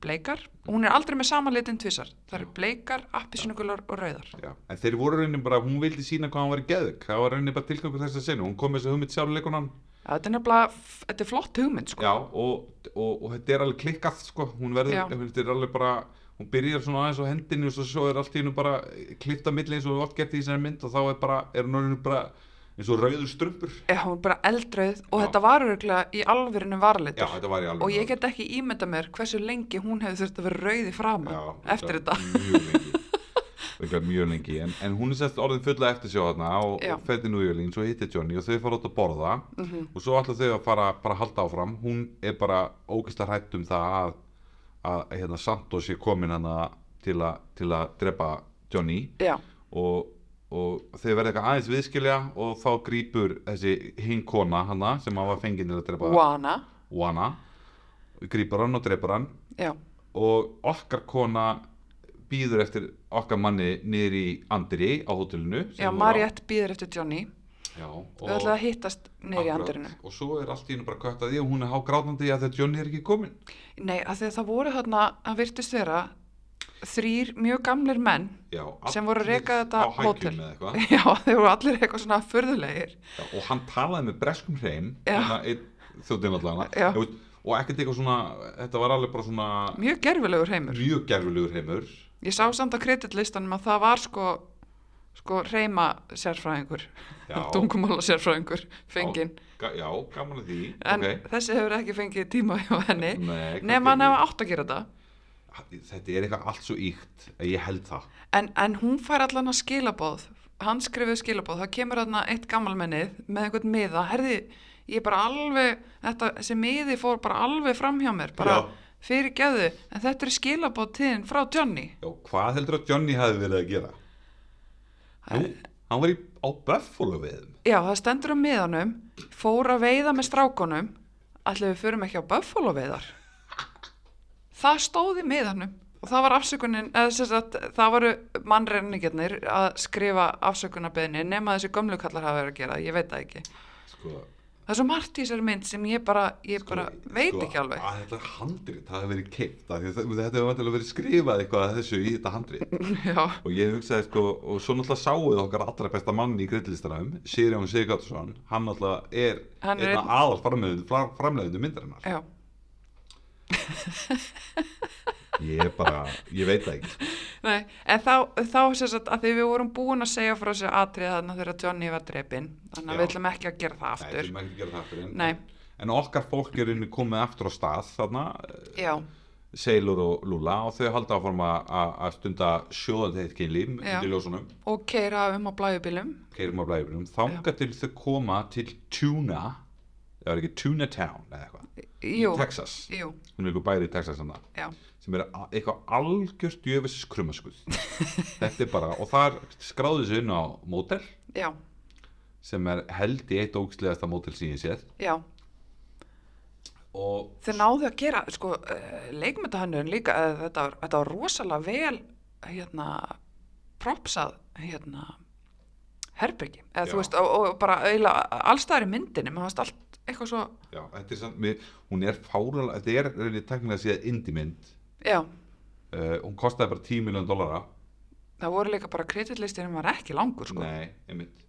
S2: bleikar hún er aldrei með sama litin tvisar það eru bleikar, appisinugular og rauðar
S1: en þeir voru raunin bara, hún vildi sína hvað hann var í geðug það var raunin bara tilgangur þess að sinna hún kom með þessu hugmynd sjálfleikunan
S2: Já, þetta er nefnilega, f- þetta er flott hugmynd sko.
S1: já, og, og, og þetta er alveg klikkað sko. hún verður,
S2: Já.
S1: þetta er alveg bara hún byrjar svona aðeins á hendinni og svo, svo er allt í hennu bara klipta milli eins og oft gert í þessari mynd og þá er bara, er hún orðin bara eins og rauður strumpur
S2: Já, hún er bara eldrauð og
S1: Já.
S2: þetta var öruglega í alvörinu
S1: já,
S2: varalitur
S1: þetta var í alveg
S2: og ég get ekki ímynda mér hversu lengi hún hefur þurft að vera rauð í framan eftir þetta.
S1: mjög lengi, Örugglega mjög lengi. En, en hún er sérst orðin fulla eftir sjá þarna og,
S2: Já.
S1: og ferði nú í Jölín, svo hittir Johnny og þau fara út að borða og svo ætla þau að fara bara að halda áfram hún er bara ógistar hætt um það að, að hérna, Santos er komin hana til, a, til að drepa Johnny
S2: Já,
S1: og, og og þau verða eitthvað aðeins viðskilja og þá grýpur þessi hinn kona hana sem hafa fengið til að drepa
S2: Wana,
S1: Wana grýpur hann og dreipur hann
S2: já,
S1: og okkar kona býður eftir okkar manni niður í Andri á hótelinu sem
S2: já,
S1: voru á-
S2: Mariette býður eftir Johnny
S1: já, og,
S2: Þau ætlaði að hittast niður í
S1: Akkurat.
S2: andirinu
S1: og svo er allt í hennu bara kött að því og hún er hágrátandi að þetta Johnny er ekki komin
S2: Nei, af því að það voru þarna, hann virtist vera þrýr mjög gamlir menn
S1: já,
S2: Sem voru að
S1: allir
S2: reka þetta
S1: á hækjum
S2: hótel.
S1: eða eitthvað.
S2: Já, þeir voru allir eitthvað svona furðulegir
S1: Já, og hann talaði með breskum hreim hérna
S2: Já.
S1: þjóttinn allavega
S2: Já.
S1: Ég veist, og ekkert eitthvað svona þetta var alveg bara svona
S2: Mjög gerfilegur heimur
S1: mjög gerfilegur heimur
S2: Ég sá samt að kreditlistanum að það var sko sko reyma sérfræðingur
S1: Já.
S2: tungumála sérfræðingur fenginn
S1: Ga já, gaman að því
S2: en
S1: ok.
S2: þessi hefur ekki fengið tíma hjá henni
S1: Nei, kannski
S2: nema hann
S1: ekki.
S2: hefur átt að gera þetta
S1: þetta er eitthvað allt svo íkt ég held það
S2: en, en hún fær allan að skilabóð hann skrifuð skilabóð, það kemur hann eitt gammalmennið með einhvern miða herði, ég bara alveg þetta, þessi miði fór bara alveg fram hjá mér bara
S1: Já.
S2: fyrir geðu en þetta er skilabóð tíðin frá Johnny
S1: já, hvað heldur að Johnny hefði verið að gera Nú,
S2: Eh.
S1: hann var í, á Buffalo við
S2: já, það stendur á miðanum fór að veiða með strákonum allir við förum ekki á Buffalo veiðar það stóð í miðanum og það var afsökunin eða sem sagt, það voru mannreiningarnir að skrifa afsökunarbeðni nema þessi gömlu kallar hafa verið að gera, ég veit það ekki
S1: sko,
S2: það er svo margt í þessari mynd sem ég bara, ég bara veit ekki alveg
S1: sko, að þetta handrit, það hefði verið keipt af því að þetta hefði vantilega verið skrifað eitthvað að þessu í þetta handrit
S2: já,
S1: og ég hugsaði sko, og svo náttúrulega sáuð okkar allra besta mann í grillistanum Sirjón Sigurdsson, hann náttúrulega er
S2: Hann er
S1: einn af aðal framlegðundu myndarinnar
S2: já,
S1: ég er bara, ég veit það ekki sko.
S2: nei en þá, þá sem sagt að því við vorum búin að segja frá þessu atrið þarna þegar Johnny var drepin þannig að
S1: Já.
S2: við ætlum ekki að gera það
S1: Nei, við
S2: aftur
S1: erum ekki að gera það aftur, en,
S2: Nei.
S1: en okkar fólk er inni komið aftur á stað þarna, eh,
S2: já,
S1: Seilur og Lúla og þau halda áfram að- að að stunda sjóðandheit kynlím
S2: Já.
S1: undir ljósunum
S2: og keira um á blæjubílum
S1: keirum á blæðurum, þanga til þau koma til Tuna það var ekki Tuna Town eða eitthvað, í
S2: Jú,
S1: Texas
S2: jú,
S1: hún er eitthvað bæri í Texas þannig
S2: já,
S1: sem er a- eitthvað algjört djöfis krummaskuð þetta er bara, og þar skráðu þessu inn á mótel
S2: já,
S1: sem er held í eitt ógslegasta mótel sem ég séð
S2: já.
S1: og
S2: Þeir náðu að gera, sko, uh, leikmyndahannurinn líka, uh, þetta, var- þetta var rosalega vel, hérna, propsað, hérna, herbyggi. Eða
S1: Já.
S2: þú veist, og, og bara eiginlega allstaðar í myndinni, maður fannst allt eitthvað svo,
S1: já, þetta er samt, mér, hún er fáralega þetta er reynið tæknilega síðan indimynd
S2: já,
S1: uh, hún kostaði bara 10 miljón dollara
S2: það voru líka bara kreditlistinum var ekki langur, sko.
S1: nei, einmitt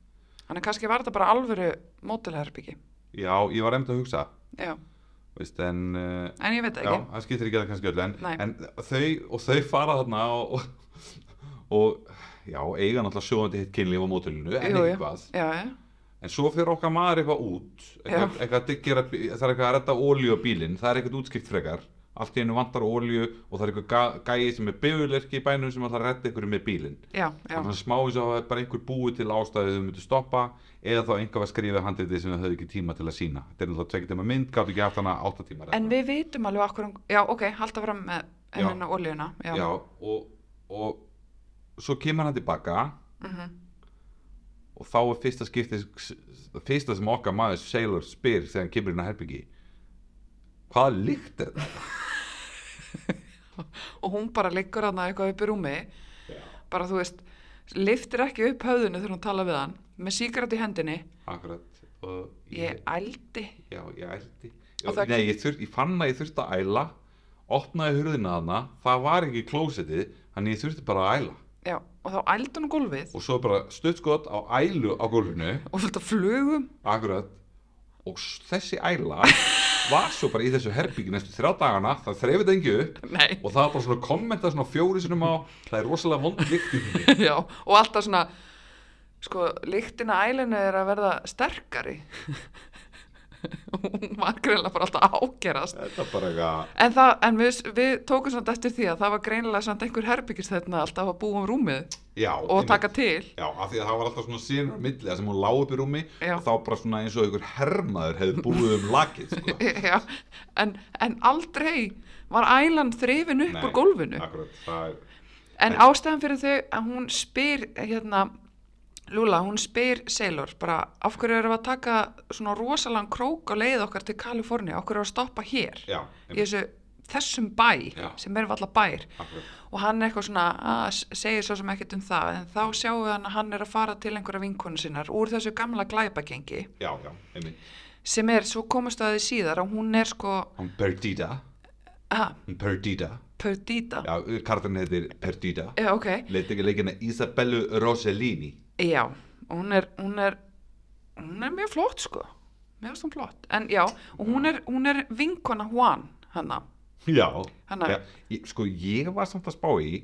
S2: Þannig kannski var þetta bara alvöru mótilherbyggi,
S1: já, ég var einmitt að hugsa
S2: já,
S1: veist, en uh,
S2: en ég veit það
S1: Já,
S2: ekki.
S1: það skiptir ekki að það kannski öll en,
S2: Nei.
S1: en þau, og þau fara þarna og, og, og já, eiga náttúrulega sjóðandi hitt kynlíf á mótilinu en
S2: Jú, jú.
S1: eitthvað
S2: Já, já,
S1: En svo fyrir okkar maður eitthvað út, eitthvað,
S2: Já.
S1: eitthvað að gera, það er eitthvað að redda ólíu á bílinn, það er eitthvað útskipt frekar, allt í einu vantar ólíu og það er eitthvað ga- gæi sem er bifurlerki í bænum sem ætlar að redda ykkur með bílinn.
S2: já, já,
S1: Þannig að smá eins og það er bara einhver búið til ástæðu þau myndu stoppa eða þá einhver var skrifið handriðið sem þau höfðu ekki tíma til að sína. Þetta er náttúrulega tvekja tíma mynd, gáttu ekki haft hana átta tíma
S2: En við vitum alveg okkur, já, ok, halda fram með
S1: Já.
S2: hennar olíuna. Já,
S1: Já, og, og svo kemur hann tilbaka
S2: Mhm.
S1: og þá er fyrsta skipti fyrsta sem okkar maður Sailor spyr þegar hann kemur inn á herbyggi hvaða líkt er það?
S2: Og hún bara liggur hann eitthvað upp í rúmi, bara þú veist, liftir ekki upp höfðinu þegar hún tala við hann, með síkrat í hendinni,
S1: Akkurat og
S2: ég ældi.
S1: já, ég ældi já,
S2: Og það-
S1: Nei, ég, þur, ég fann að ég þurfti að æla opnaði hurðina þarna það var ekki klósetið, þannig ég þurfti bara að æla
S2: Já, og þá ældi hún á gólfið
S1: og svo bara stuttskot á ælu á gólfinu
S2: og fullt af flugum.
S1: Akkurat Og s- þessi æla var svo bara í þessu herbyggi næstu þrjá dagana Það þrefið engi upp
S2: Nei,
S1: Og það var bara svona kommenta svona fjóri sinum á Það er rosalega vond líkt í henni
S2: já, og alltaf svona, sko, lyktina ælinu er að verða sterkari. hún var greinlega bara alltaf að ágerast.
S1: Þetta er bara eitthvað
S2: En, það, en við, við tókum samt eftir því að það var greinilega samt einhver herbyggist þarna alltaf að búa um rúmið
S1: Já,
S2: og
S1: einmitt.
S2: taka til.
S1: Já, af því að það var alltaf svona sínur á milli þar sem hún lá upp í rúmi
S2: Já.
S1: og þá bara svona eins og einhver hermaður hefði búið um lakið sko.
S2: Já, en, en aldrei var ælan þrifin upp úr gólfinu.
S1: Akkurat, það er
S2: En ástæðan fyrir þau að hún spyr hérna, Lúla, hún spyr Sailor bara af hverju erum við að taka svona rosalega krók á leið okkar til Kaliforni af hverju erum við að stoppa hér
S1: já,
S2: í þessu, þessum bæ
S1: Já.
S2: sem er valla bær
S1: akkurat,
S2: og hann er eitthvað svona að segir svo sem ekkert um það en þá sjáum við hann að hann er að fara til einhverja vinkonu sinnar úr þessu gamla glæpagengi
S1: já, já, einmitt.
S2: sem er, svo komast að því síðar að hún er sko
S1: Hún Perdita,
S2: aha,
S1: hún Perdita,
S2: Perdita
S1: já, kartan heitir Perdita,
S2: já, ok,
S1: leitt ekki leikina Isabellu Rossellini,
S2: já og hún er, hún er hún er mjög flott sko mjög veist hún flott, en já og hún er, hún er vinkona Juan hana,
S1: já,
S2: Hanna-
S1: já ég, sko ég var samt að spá í,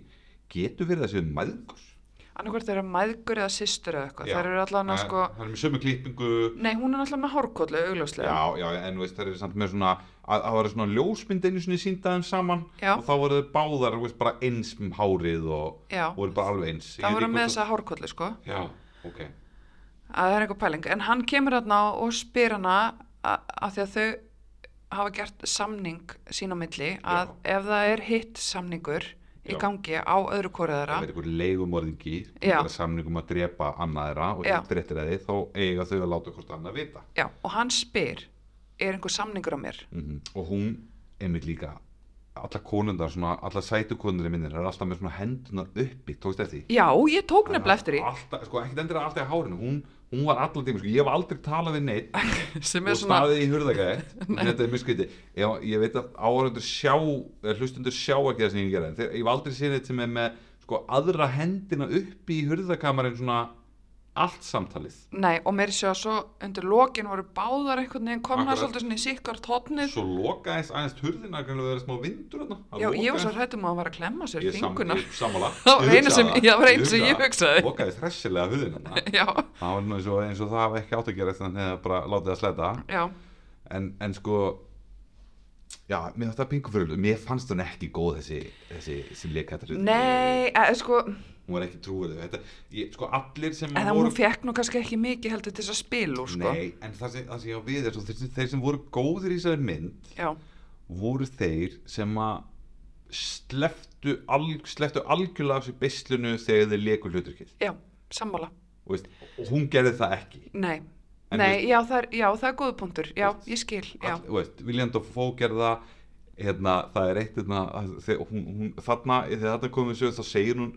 S1: getur verið þessi maðgur?
S2: annarkvært þeirra mæðgur eða systur eða eitthvað,
S1: Já.
S2: þær eru allan að sko
S1: Það er með sömu klippingu,
S2: nei, hún er allan með hárkóllu, augljóslega
S1: Já, já, en þú veist, það er samt með svona að það var svona ljósmynd einu sinni síndaðum saman
S2: Já.
S1: og þá voru þau báðar, þú veist, bara eins um hárið og
S2: Já.
S1: voru bara alveg eins Ég
S2: það
S1: veit
S2: voru
S1: ekki
S2: með
S1: hvort
S2: þessa hárkóllu sko
S1: það- Já, ok
S2: að það er einhver pæling en hann kemur þarna og spyr hana að því að þau hafa gert samning sín á milli að ef það er hitt samningur í
S1: Já.
S2: gangi á öðru kóriðara
S1: Það er einhver leigumorðingi
S2: Já.
S1: einhver samningum að drepa annað þeirra og
S2: Já.
S1: eftir eftir þeir þá eiga þau að láta hvort annað vita
S2: já, og hann spyr er einhver samningur á mér
S1: mm og hún, einmitt líka alla konundar, svona, alla sætu konundar í minnir, það er alltaf með svona hendunar uppi tókst eftir því
S2: já, ég tók nefnilega eftir
S1: Alltaf, sko, ekkert endur alltaf í hárinu hún, hún var allan tíma, sko, ég hef aldrei talað við neitt
S2: því sem er
S1: og
S2: svona
S1: staðið í hurðagætt þetta er mjög skrítið ég, ég veit að áhörundur sjá eða hlustundur sjá ekki það sem ég gera en þeir, ég hef aldrei séð þetta sem er með sko, aðra hendina upp í hurðakamarinn svona allt samtalið
S2: Nei, og mér séu að svo undir lokin voru báðar einhvern veginn komna
S1: Akkurat.
S2: svolítið svona í sikkart hotnið
S1: svo lokaðist aðeins hurðina kannski að vera smá vindur þarna. Það
S2: Já, ég var svo
S1: lokaðist-
S2: hrættum að hann var að klemma sér
S1: ég
S2: finguna
S1: sammála
S2: Það var
S1: Ég
S2: einu sem-
S1: hugsaði
S2: já, það var einu
S1: Ég
S2: sem ég hugsaði.
S1: lokaðist hressilega hurðina þarna.
S2: Já,
S1: það var nú eins og, eins og það hafa ekki átt að gera þannig að bara látið að sletta
S2: já,
S1: en, en sko já, mér þetta pingu fyrir mér fannst hún ekki góð þessi, þessi sem leik þetta
S2: nei, eða sko
S1: hún var ekki trúið þetta, ég, sko allir sem
S2: En það hún fekk nú kannski ekki mikið heldur til þess að spilu, sko.
S1: nei, en það sem, það sem ég á við er svo, þeir, sem- þeir sem voru góðir í þessari mynd
S2: Já,
S1: voru þeir sem að sleftu, alg, sleftu algjörlega af sér beislunu þegar þeir leikur hluturkið
S2: já, sammála.
S1: og, veist, og hún gerði það ekki
S2: Nei,
S1: En
S2: nei,
S1: veist-
S2: já það, er, já, það er góðu punktur. Já,
S1: Veist-
S2: ég skil, já.
S1: All- þú veist, William Dafoe gerði það hérna, það er eitt hérna, að þegar hún, hún, þarna, þegar þetta komið sögur þá segir hún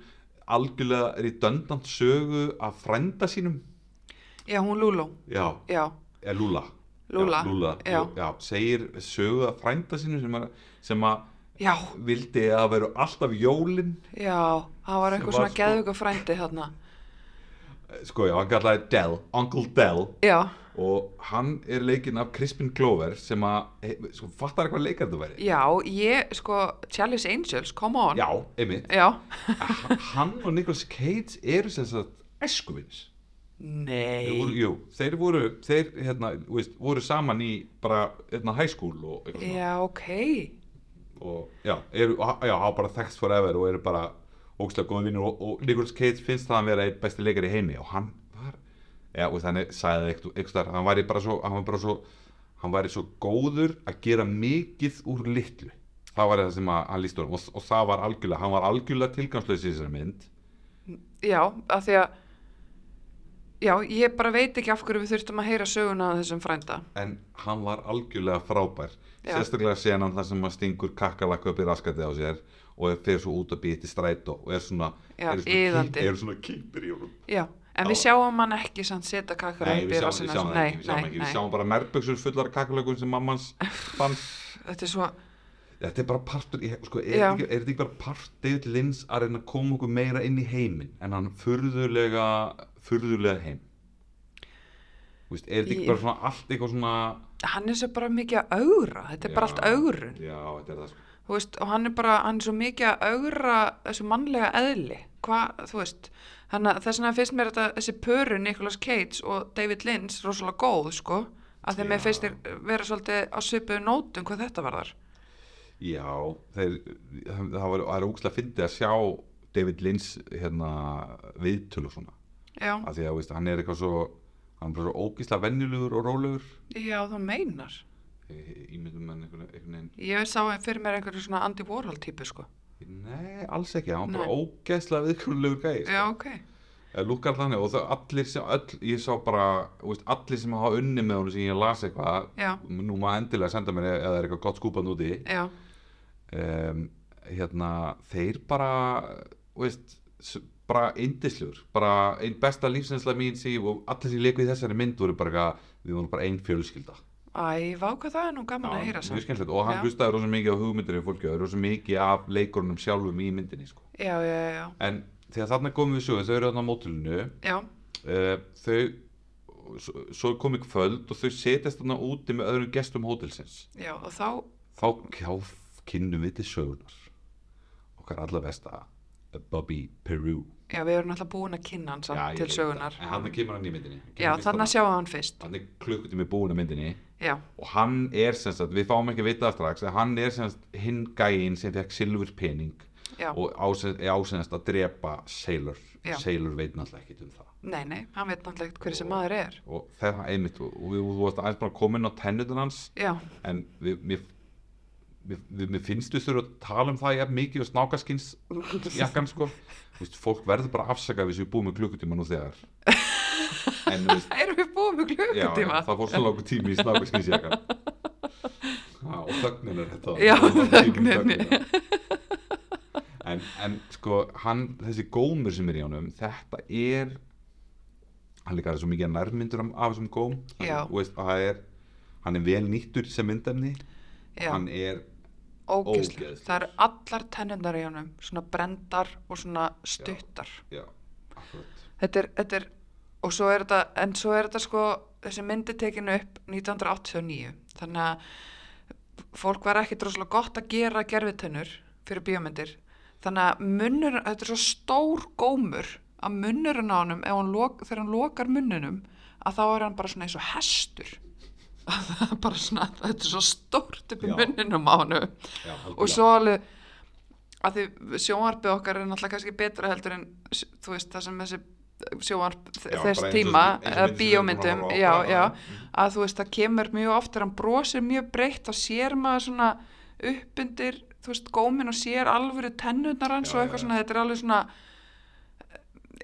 S1: algjörlega redundant sögu af frænda sínum
S2: Já, hún Lúló,
S1: já,
S2: já,
S1: eða Lúla
S2: Lúlla,
S1: já, Lúla
S2: já.
S1: já, segir sögu af frænda sínum sem, að- sem að
S2: já,
S1: vildi að vera alltaf jólin
S2: já, það var
S1: Sem
S2: eitthvað
S1: var
S2: svona
S1: sko-
S2: geðvöku frændi þarna.
S1: sko já, hann kallaði Dell, Uncle Dell
S2: Já,
S1: og hann er leikinn af Crispin Glover sem að, he- sko, fattar eitthvað leikar þetta væri
S2: já, ég, sko, Charlie's Angels, come on.
S1: já, einmitt
S2: Já.
S1: hann og Nicolas Cage eru sem sagt æskuvinns þeir voru,
S2: Nei.
S1: jú, þeir voru, þeir, hérna, þú veist, voru saman í bara hérna, high school og eitthvað svona.
S2: Já, ok.
S1: og já, eru, og ha- já, hafa bara þekkst forever og eru bara ógstlega góðum vinnur og, og Nicolas Cage finnst það að vera einn besti leikari í heimi og hann var já, og þannig sagði eitthvað, eitthvað hann væri bara svo, hann var bara svo hann væri svo góður að gera mikið úr litlu það var það sem að, hann líst honum og, og það var algjörlega, hann var algjörlega tilgangslösi í þessari mynd
S2: Já, af því að, já, ég bara veit ekki af hverju við þurftum að heyra söguna af þessum frænda.
S1: en hann var algjörlega frábær
S2: Já.
S1: sérstaklega senan þar sem hann stingur kakkalakku upp í raskatið á sér og fer svo út að býja til strætó og er svona,
S2: Já,
S1: er svona,
S2: iðandi.
S1: kýp, er svona kýpir í honum
S2: Já, en
S1: Já.
S2: við sjáum hann ekki samt setja kakkar
S1: Nei, við
S2: í
S1: sjáum, við
S2: rassinn á
S1: sjáum
S2: sér.
S1: það ekki, við sjáum
S2: nei,
S1: ekki,
S2: nei.
S1: við sjáum bara nærböksur fullar kakkalökun sem mammans fann.
S2: Þetta er svo,
S1: Þetta er bara partur, í- sko, er,
S2: Já.
S1: þetta ekki, er þetta ekki bara part David Lynch að reyna að koma okkur meira inn í heiminn en hann furðulega, furðulega heim. Þú Veist, er þetta
S2: Í-
S1: ekki bara svona allt eitthvað svona...
S2: hann er svo bara mikið að augra, þetta er bara allt augrun,
S1: Já, þetta er það sko.
S2: þú veist, og hann er bara, hann er svo mikið að augra þessu mannlega eðli, hvað, þú veist, þannig að þess vegna finnst mér þetta, þessi pöru Nicolas Cage og David Lynch rosalega góð, sko, að þeim
S1: Já.
S2: mér finnst þér vera svolítið á svipuðu nótum hvað þetta varðar.
S1: Já, þeir, það það var, það er ógslag fyndið að sjá David Lynch hérna viðtölu svona
S2: Já,
S1: af því að veist, hann er eitthvað svo hann er bara svo ógislega venjulegur og rólegur
S2: já, þú meinar.
S1: Ég- ég myndum hann einhvern einhvern veginn
S2: Ég sá hann fyrir mér einhverju svona Andy Warhol típu, sko.
S1: nei, alls ekki, hann er bara
S2: Nei.
S1: ógislega viðkunnlegur gæði
S2: Já, ok.
S1: Eh, lúkkar þannig og það allir sem, öll, ég sá bara, þú veist, allir sem hafa unni með honum sem ég las eitthvað,
S2: Já.
S1: nú maður endilega senda mér eða það er eitthvað gott skúpan úti,
S2: já,
S1: um, hérna, þeir bara, þú veist, s- bara indisljur, bara einn besta lífsinsla mín sem ég, og allir sem leiku í þessari mynd voru bara eitthvað, við vorum bara einn fjölskylda.
S2: æ, vá hvað það er nú gaman að
S1: Já,
S2: heyra
S1: mjög
S2: samt.
S1: skemmtilegt og hann
S2: Já.
S1: hlustaði rosa mikið á um hugmyndinni fólki og rosa mikið af leikurunum sjálfum í myndinni sko.
S2: Já, já, já, já,
S1: en þegar þarna komum við sögum þau eru þarna á mótulinu
S2: já,
S1: uh, þau svo- svo komið kvöld og þau setjast þarna úti með öðrum gestum hótelsins
S2: já, og þá,
S1: þá kjá kynnum við til sögunar okkar allar besta Bobby Peru
S2: já, við erum alltaf búin að kynna hann samt til sögunar.
S1: en hann kemur hann í myndinni
S2: Já, þannig að sjá hann fyrst,
S1: hann er klukkutími búin að myndinni
S2: já,
S1: og hann er sem sagt, við fáum ekki að vita það strax en hann er sem sagt hinn gæinn sem fekk silfur pening
S2: já,
S1: og ásennast, ásennast að drepa Sailor,
S2: Já.
S1: Sailor veit náttúrulega ekkit um það
S2: nei, nei, hann veit náttúrulega ekkert hver sem maður er.
S1: og það er einmitt og og við þú varst aðeins bara komin á tennutun hans
S2: Já,
S1: en við, mér, mér, við, mér finnst við þurfum að tala um það jafn mikið og snákaskins jakkan sko Þú veist, fólk verður bara að afsaka við sem við búum með klukkutíma nú þegar en þú veist
S2: erum við búin með
S1: já,
S2: klukkutíma?
S1: það fór svo langur tími í snákaskinsjaka og þögnin er þetta
S2: Já,
S1: Það var langur tími í
S2: þögnin.
S1: þögnina. en, en sko hann, þessi gómur sem er í honum þetta er hann líka er svo mikið nærmyndur af- af þessum góm Hann-
S2: Já.
S1: þú veist, það er, hann er vel nýttur sem myndefni
S2: já.
S1: hann er,
S2: ógeðslega,
S1: Ógeðslegur.
S2: það eru allar tennundar í honum, svona brendar og svona stuttar
S1: já, akkurat
S2: þetta er, þetta er, og svo er þetta en svo er þetta sko, þessi myndi tekinu upp 1989 þannig að fólk var ekki droslega gott að gera gerfitennur fyrir bíómyndir, þannig að munnur, þetta er svo stór gómur að munnurinn á honum, ef hann lok, þegar hann lokar munninum, að þá er hann bara svona eins og hestur það er bara svona, þetta er svo stórt upp í
S1: Já.
S2: munninum á honum
S1: já,
S2: og
S1: algjörlega.
S2: svo alveg að því sjónvarpið okkar er náttúrulega kannski betra heldur en s- þú veist það sem þessi sjónvarp
S1: Já,
S2: já, þess
S1: bara eins og-
S2: tíma
S1: eins og myndin sem við erum
S2: eða
S1: búin að
S2: bíómyndum
S1: horfa á,
S2: já,
S1: bara-
S2: já,
S1: Mhm.
S2: að þú veist það kemur mjög oft þegar hann brosir mjög breytt og sér maður svona uppbyndir þú veist gómin og sér alvöru tennurnar hans
S1: Já,
S2: og
S1: já,
S2: eitthvað
S1: já.
S2: svona þetta er alveg svona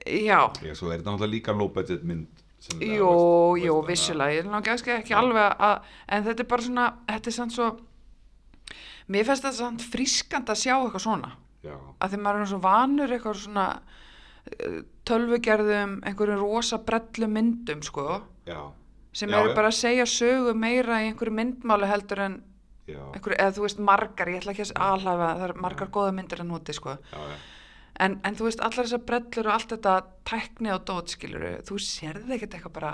S2: já,
S1: já, svo er þetta náttúrulega líka low budget mynd sem þetta er, þú
S2: Jú,
S1: veist,
S2: jú,
S1: þannig að-
S2: vissulega, ég er náttúrulega ekki, ekki
S1: Já.
S2: alveg að, en þetta er bara svona, þetta er samt svo, mér finnst þetta samt frískand að sjá eitthvað svona,
S1: já,
S2: að því maður er svo vanur eitthvað svona eh, tölvugerðum, einhverjum rosa brellum myndum, sko,
S1: já,
S2: sem
S1: Já,
S2: eru
S1: já.
S2: bara að segja sögu meira í einhverju myndmáli heldur en
S1: já,
S2: einhverju, eða þú veist margar, ég ætla ekki að alhafa, það eru margar góða myndir að núti, sko.
S1: já, já.
S2: En, en þú veist, allar þessar brellur og allt þetta tækni og dót, skiluru, þú sérði ekkert eitthvað bara,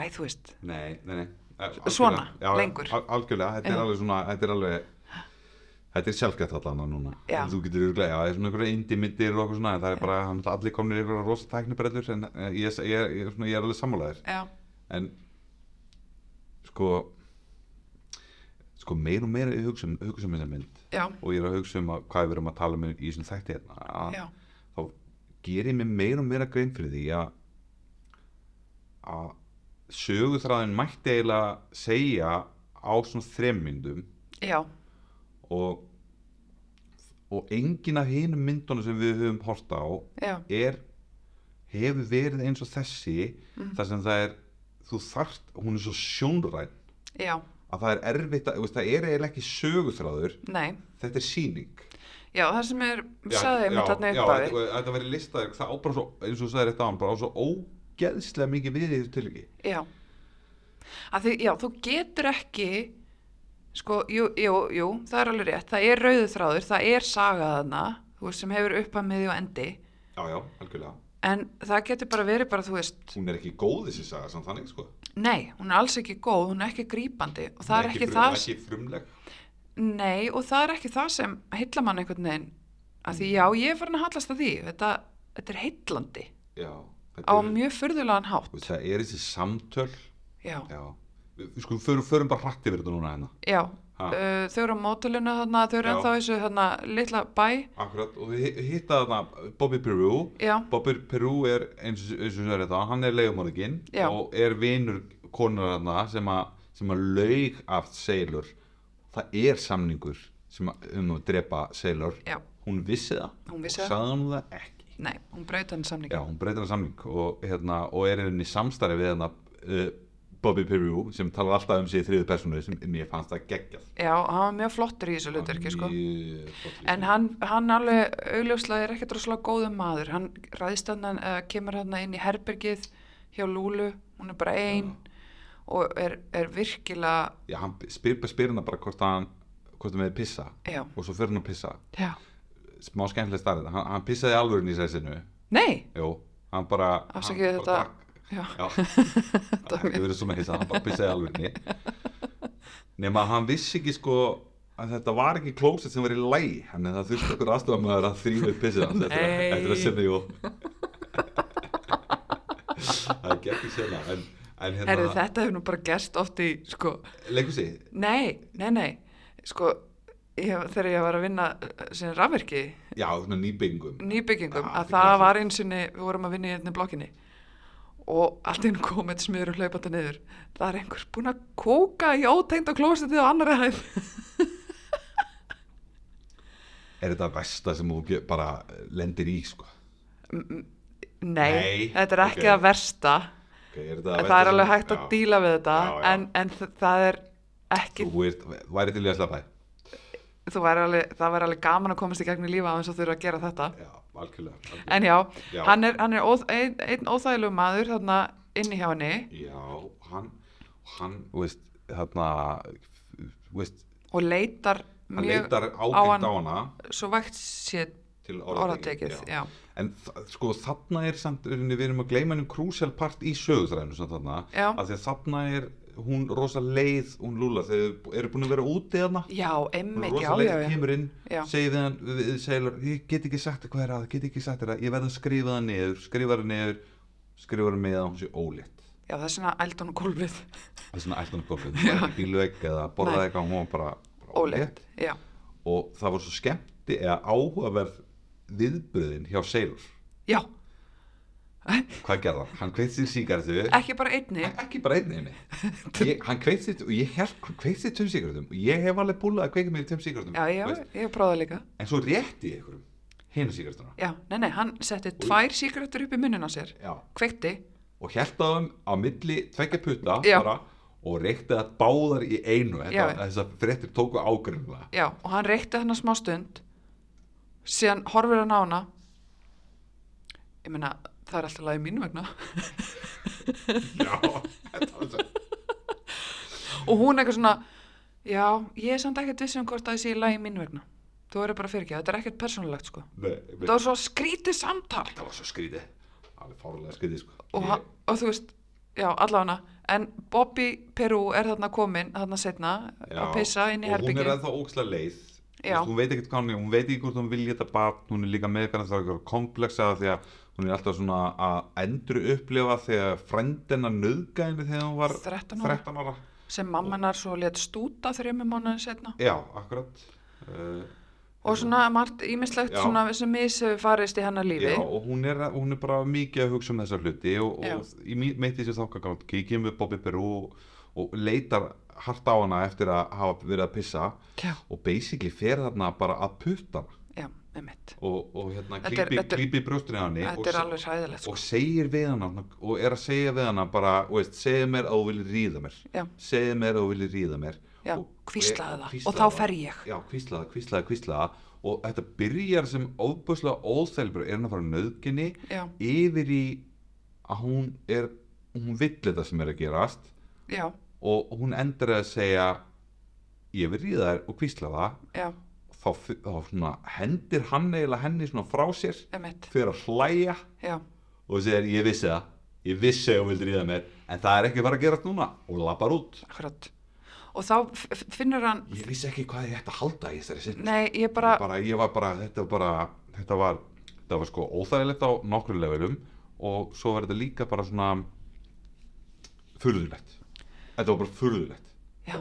S2: æ, þú veist,
S1: Nei, nei, nei Al-
S2: Svona,
S1: algjörlega. já,
S2: lengur.
S1: al- Algjörlega, þetta er
S2: Já.
S1: alveg svona Þetta er alveg Þetta er sjálfgætt allan að núna
S2: Já.
S1: En Þú getur örglega, já, það er svona einhverja indimyndir og okkur svona en Það er bara, hann er allir komnir yfir að rosa tæknibrellur En eh, ég, ég, ég, ég, svona, ég er alveg sammálaðir
S2: já,
S1: En Sko Sko, meir og meira ég hugsa um, hugsa um þessa mynd
S2: já,
S1: Og ég er að hugsa um að, hvað við erum að tala um í þessum þætti hérna að
S2: já,
S1: þá ger ég mér meira og meira grein fyrir því að að söguþræðin mætti eiginlega segja á svona þremmyndum
S2: já,
S1: og og engin af hinum myndunum sem við höfum hort á
S2: já,
S1: er hefur verið eins og þessi þar sem það er þú þarft, hún er svo sjónræn
S2: já,
S1: að það er erfitt að, þú veist, það er eiginlega ekki söguþráður
S2: nei,
S1: þetta er síning
S2: já, það sem er, sagði ég mér þarna
S1: já,
S2: upp á því,
S1: þetta- þetta verið listaður, það á bara svo, eins og þú sagði rétt á hann, bara á svo ógeðslega mikið við í þessu tilviki.
S2: já, að því, já, þú getur ekki, sko, jú, jú, jú, það er alveg rétt, það er rauðu þráður, það er saga þarna, þú veist, sem hefur upp að miði og endi,
S1: Já, já, algjörlega.
S2: en það getur bara verið bara, þú veist,
S1: Hún er ekki góð þessi saga samt þannig, sko.
S2: Nei, hún er alls ekki góð, hún er ekki grípandi og það er ekki,
S1: frum-
S2: það,
S1: Ekki frumleg.
S2: nei og það er ekki það sem heilla mann einhvern veginn að
S1: Mm.
S2: því já, ég er farin að hallast að því þetta, þetta er heillandi
S1: Já. þetta
S2: á
S1: er-
S2: mjög furðulegan
S1: þú veist,
S2: hátt
S1: Það er þessi samtöl,
S2: já,
S1: já. Við við skulum, förum, förum bara hratt yfir þetta núna hérna.
S2: já,
S1: Ha.
S2: uh, þau eru á mótulinu þarna, þau eru
S1: Já.
S2: ennþá í þessu þarna litla bæ,
S1: Akkurat, og við hi- hitta þarna Bobby Peru.
S2: já,
S1: Bobby Peru er, eins og eins og þú sagði þetta, hann er leigumorðinginn
S2: Já.
S1: og er vinur konar þarna sem að, sem að laug af Sailor. Það er samningur sem að, um að drepa Sailor.
S2: já,
S1: Hún vissi það.
S2: Hún vissi
S1: og
S2: það.
S1: sagði hún það ekki.
S2: Nei, hún braut hann samning.
S1: Já, hún breytir hann samning og, hérna, og er henni samstarfi við hérna uh, Bobby Peru sem talar alltaf um sig í þriðu personu sem mér fannst það geggjað.
S2: Já, hann var mjög flottur í þessu hlutverki, sko.
S1: Mjög flott
S2: En
S1: leikur.
S2: hann, hann alveg augljóslega er ekkert rosalega góðum maður. Hann ræðist hann, uh, kemur hann inn í herbergið hjá Lúlu, hún er bara ein og er, er virkilega,
S1: Já, hann spyr, spyr hennar bara hvort hann hvort hann með pissa
S2: já,
S1: og svo fyrir hann að pissa
S2: já.
S1: smá skemmtileg starrið, hann, hann pissaði alvörin í sæsinu
S2: Nei,
S1: jú, hann bara
S2: Afsakið
S1: hann
S2: þetta.
S1: bara drakk.
S2: já,
S1: Já, það hefði verið svona hissa, hann bara pissaði alvörinni nema að hann vissi ekki sko að þetta var ekki klósett sem var í læg hann það þurfti okkur aðstofamæður að þrýfa upp pissið hans eftir, að-
S2: Nei.
S1: eftir að sinna jú það er ekki sinna en, en hérna,
S2: Herðu, þetta hefur nú bara gerst oft í, sko,
S1: leikhúsi,
S2: nei, nei, nei, sko, ég, þegar ég var að vinna eh, sem rafverki,
S1: já, svona nýbyggingum
S2: nýbyggingum,
S1: Já,
S2: að
S1: þetta er
S2: það
S1: glæsilegt.
S2: var eins og við vorum að vinna í einni blokkinni og allt einu kom eitt smiður og hlaupandi niður. Það er einhver búinn að kóka í ótegnd og klósetið á annari hæð.
S1: er þetta versta sem þú ge- bara lendir í sko
S2: Nei,
S1: Nei,
S2: þetta er ekki
S1: ok.
S2: það versta.
S1: okay, er þetta
S2: Það
S1: versta
S2: er
S1: sem-
S2: alveg hægt að
S1: já,
S2: díla við þetta,
S1: Já, já.
S2: En, en þ- það er ekki,
S1: þú ert, væri til í að slappa það
S2: þú væri alveg, það væri alveg gaman að komast í gegn í lífa aðeins að þurfa að gera þetta.
S1: já, algjörlega, algjörlega.
S2: En já,
S1: Já.
S2: hann er, hann er óþ, ein, einn óþægilegu maður þarna inni hjá henni
S1: Já, hann, hann, þú veist, þarna, þú veist,
S2: og leitar
S1: hann
S2: mjög
S1: leitar
S2: á
S1: ágengt
S2: hann
S1: á hana
S2: svo vægt sér
S1: til
S2: orðatekið.
S1: orðatekið.
S2: Já.
S1: En þa- sko þarna er samt, í rauninni, við erum að gleyma hennum krúsel part í sögutræðinu samt þarna,
S2: Já.
S1: af því að þarna er hún rosa leið, hún lúla, þegar þau eru búin að vera úti þarna,
S2: já,
S1: hún er
S2: einmitt, já,
S1: rosa leið,
S2: já, já.
S1: kemur inn,
S2: Já.
S1: segir við hann, við, við- segir, hann, ég get ekki sagt þér hvað er að, get ekki sagt þér að, ég verð að skrifa það niður, skrifa það niður, skrifa það með að hún sé ólétt.
S2: Já, það er svona ældan og gólfið
S1: Það er svona um ætlunum koffið, hún var ekki bílvegg eða borðaði
S2: Nei.
S1: eitthvað, hún var bara, bara ólétt.
S2: óleitt. Já,
S1: og það var svo skemmti eða áhugaverð viðbröðin hjá Seilur
S2: já,
S1: hvað gerði hann? Hann kveitt sér síkartu
S2: ekki bara einni.
S1: ekki bara einni einni ég, hann kveitt sér og ég held hann kveitt sér tveim síkartum og ég hef alveg búlað að kveika mér í tveim síkartum
S2: Já, já,
S1: veist.
S2: ég hef prófað líka.
S1: en svo rétti ég ykkurum hinu síkartuna
S2: Já, nei, nei, hann setti tvær síkrettur upp í munnin á sér.
S1: já.
S2: Kveikti,
S1: og held að þeim á milli tvekja putta
S2: Já.
S1: bara, og reykti það báðar í einu Þetta-
S2: Já.
S1: þessar fréttir tóku ágrunna
S2: já, og hann reykti hann smá stund, síðan horfir hann á hana. Ég meina, það er alltaf lagið mín vegna.
S1: já, þetta var svo
S2: og hún eitthvað svona, já, ég er samt ekkert vissum hvort að það sé lagið mín vegna. Þú verður bara fyrir ekki, þetta er ekkert persónulegt, sko.
S1: Nei, ég veit-
S2: Þetta var svo skrítið samtal.
S1: þetta var svo skrítið alveg fárlega skrítið sko.
S2: og,
S1: Ég-
S2: yeah. og þú veist, já, allavega en Bobby Perú er þarna komin þarna setna að pissa inn
S1: og hún
S2: í
S1: er
S2: herbyggin
S1: ennþá ókslega leið Þú
S2: Já.
S1: veist, hún veit ekkert hvað hún er, hún veit ekki hvort hún vilja þetta barn hún er líka með hvernig það er eitthvað kompleksa því að hún er alltaf svona að endur upplifa þegar frendina nöðga henni þegar hún var
S2: 13 ára.
S1: ára.
S2: sem mamma hennar svo let stúta þrjum mánuðin setna
S1: já, akkurat uh,
S2: og svona margt ímislegt
S1: Já.
S2: svona sem mis hefur farist í hennar lífi
S1: já, og hún er, hún er bara mikið að hugsa um þessa hluti og,
S2: Já.
S1: og í mí- mitt í þessu þákagangi kemur Bobby Peru og, og leitar hart á hana eftir að hafa verið að pissa
S2: já,
S1: og basically fer þarna bara að putta hana
S2: já, einmitt
S1: og, og hérna
S2: Þetta er-
S1: grípi,
S2: þetta er-
S1: grípi brjóstunni á henni og,
S2: þetta er
S1: se-
S2: alveg sæðilegt sko.
S1: og segir við hana og er að segja við hana bara, þú veist, segja mér að þú viljir ríða mér
S2: Já.
S1: segja mér að þú viljir ríða mér
S2: Já,
S1: Og-
S2: hvíslaðu
S1: og-
S2: það.
S1: hvíslaðu
S2: Og þá fer ég.
S1: já, hvíslaða, hvíslaða, hvíslaða og þetta byrjar sem óbúslega óþelbröð er hann að fara nöðginni
S2: Já.
S1: yfir í að hún er hún vill þetta sem er að gerast
S2: já,
S1: og hún endur að segja ég vil ríða þær og hvísla það
S2: já,
S1: þá, þá svona, hendir hann eiginlega henni svona frá sér
S2: einmitt
S1: fyrir að hlæja
S2: já,
S1: og segir ég vissi það, ég vissi að hún vildi ríða mér en það er ekki bara að gerast núna og lapar út
S2: akkurat og þá f- f- finnur hann
S1: ég vissi ekki hvað ég ætti að halda í þessari sinni
S2: nei, ég bara,
S1: bara, ég var bara, þetta var bara þetta var, þetta var sko óþægilegt á nokkru levelum og svo var þetta líka bara svona furðulegt þetta var bara furðulegt
S2: já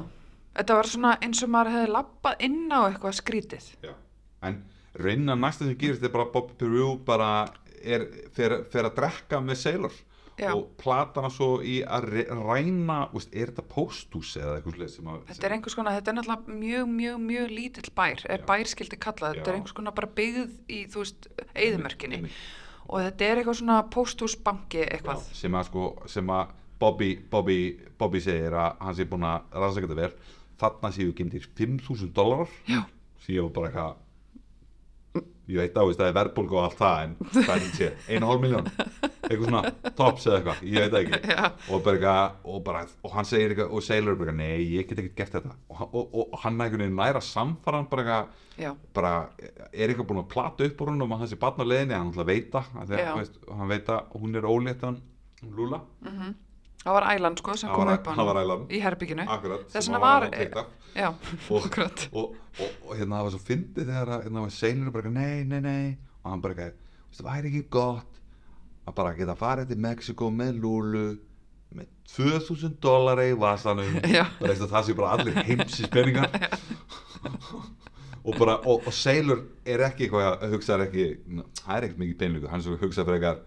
S2: þetta var svona eins og maður hefði lappað inn á eitthvað skrítið
S1: Já. En reyna næsta sem gerist er bara að Bobby Peru bara er, fer, fer að drekka með Sailor
S2: Já.
S1: og plata hana svo í að re- ræna, veist, er þetta pósthús eða eitthvað slið sem að
S2: Þetta er einhvers konar, þetta er náttúrulega mjög, mjög, mjög lítill bær, er
S1: Já.
S2: bær skildi kallað, þetta
S1: Já.
S2: er einhvers konar bara byggð í, þú veist, eigðumörkinni
S1: Einmitt.
S2: og þetta er eitthvað svona pósthúsbanki eitthvað
S1: sem að sko sem að Bobby, Bobby, Bobby segir að hann sé búin að rannsaka þetta vel þarna séu gemdir 5.000 dólarar
S2: Já.
S1: sem ég var bara eitthvað ég veit á veist að það er verðbólgu og allt það en það er sé, einu hálf miljón eitthvað svona tops eða eitthvað, ég veit það ekki
S2: Já.
S1: og bara eitthvað og, bara, og hann segir eitthvað og Sailor er bara eitthvað, nei ég get ekkert gert þetta og, hann- og, og, og hann er einhvern veginn næra samfaran bara eitthvað
S2: Já,
S1: bara er eitthvað búin að plata upp úr hún um að þessi barn á leiðinni hann ætla að veita að þegar,
S2: Já.
S1: þú veist, hann veit að hún er ólétt hann Lula
S2: það var ælan sko sem
S1: Það
S2: kom
S1: var-
S2: upp á
S1: það var
S2: hann
S1: ælan.
S2: í herbygginu
S1: akkurat
S2: Þess
S1: sem
S2: vegna
S1: hann
S2: var- eh,
S1: að teikna.
S2: Já,
S1: Og-
S2: akkurat
S1: og, og, og hérna það var svo fyndið þegar að, hérna var Sailor bara eitthvað, nei, nei, nei og hann bara eitthvað, "Þú veist, það væri ekki gott að bara geta farið til Mexiko með Lulu með 2000 dollari í vasanum
S2: Já.
S1: bara eitthvað það sé bara allir heimsins peningar og bara, og, og Sailor er ekki eitthvað að hugsa ekki, það er ekkert mikið peningur hann er svo að hugsa fyrir eitthvað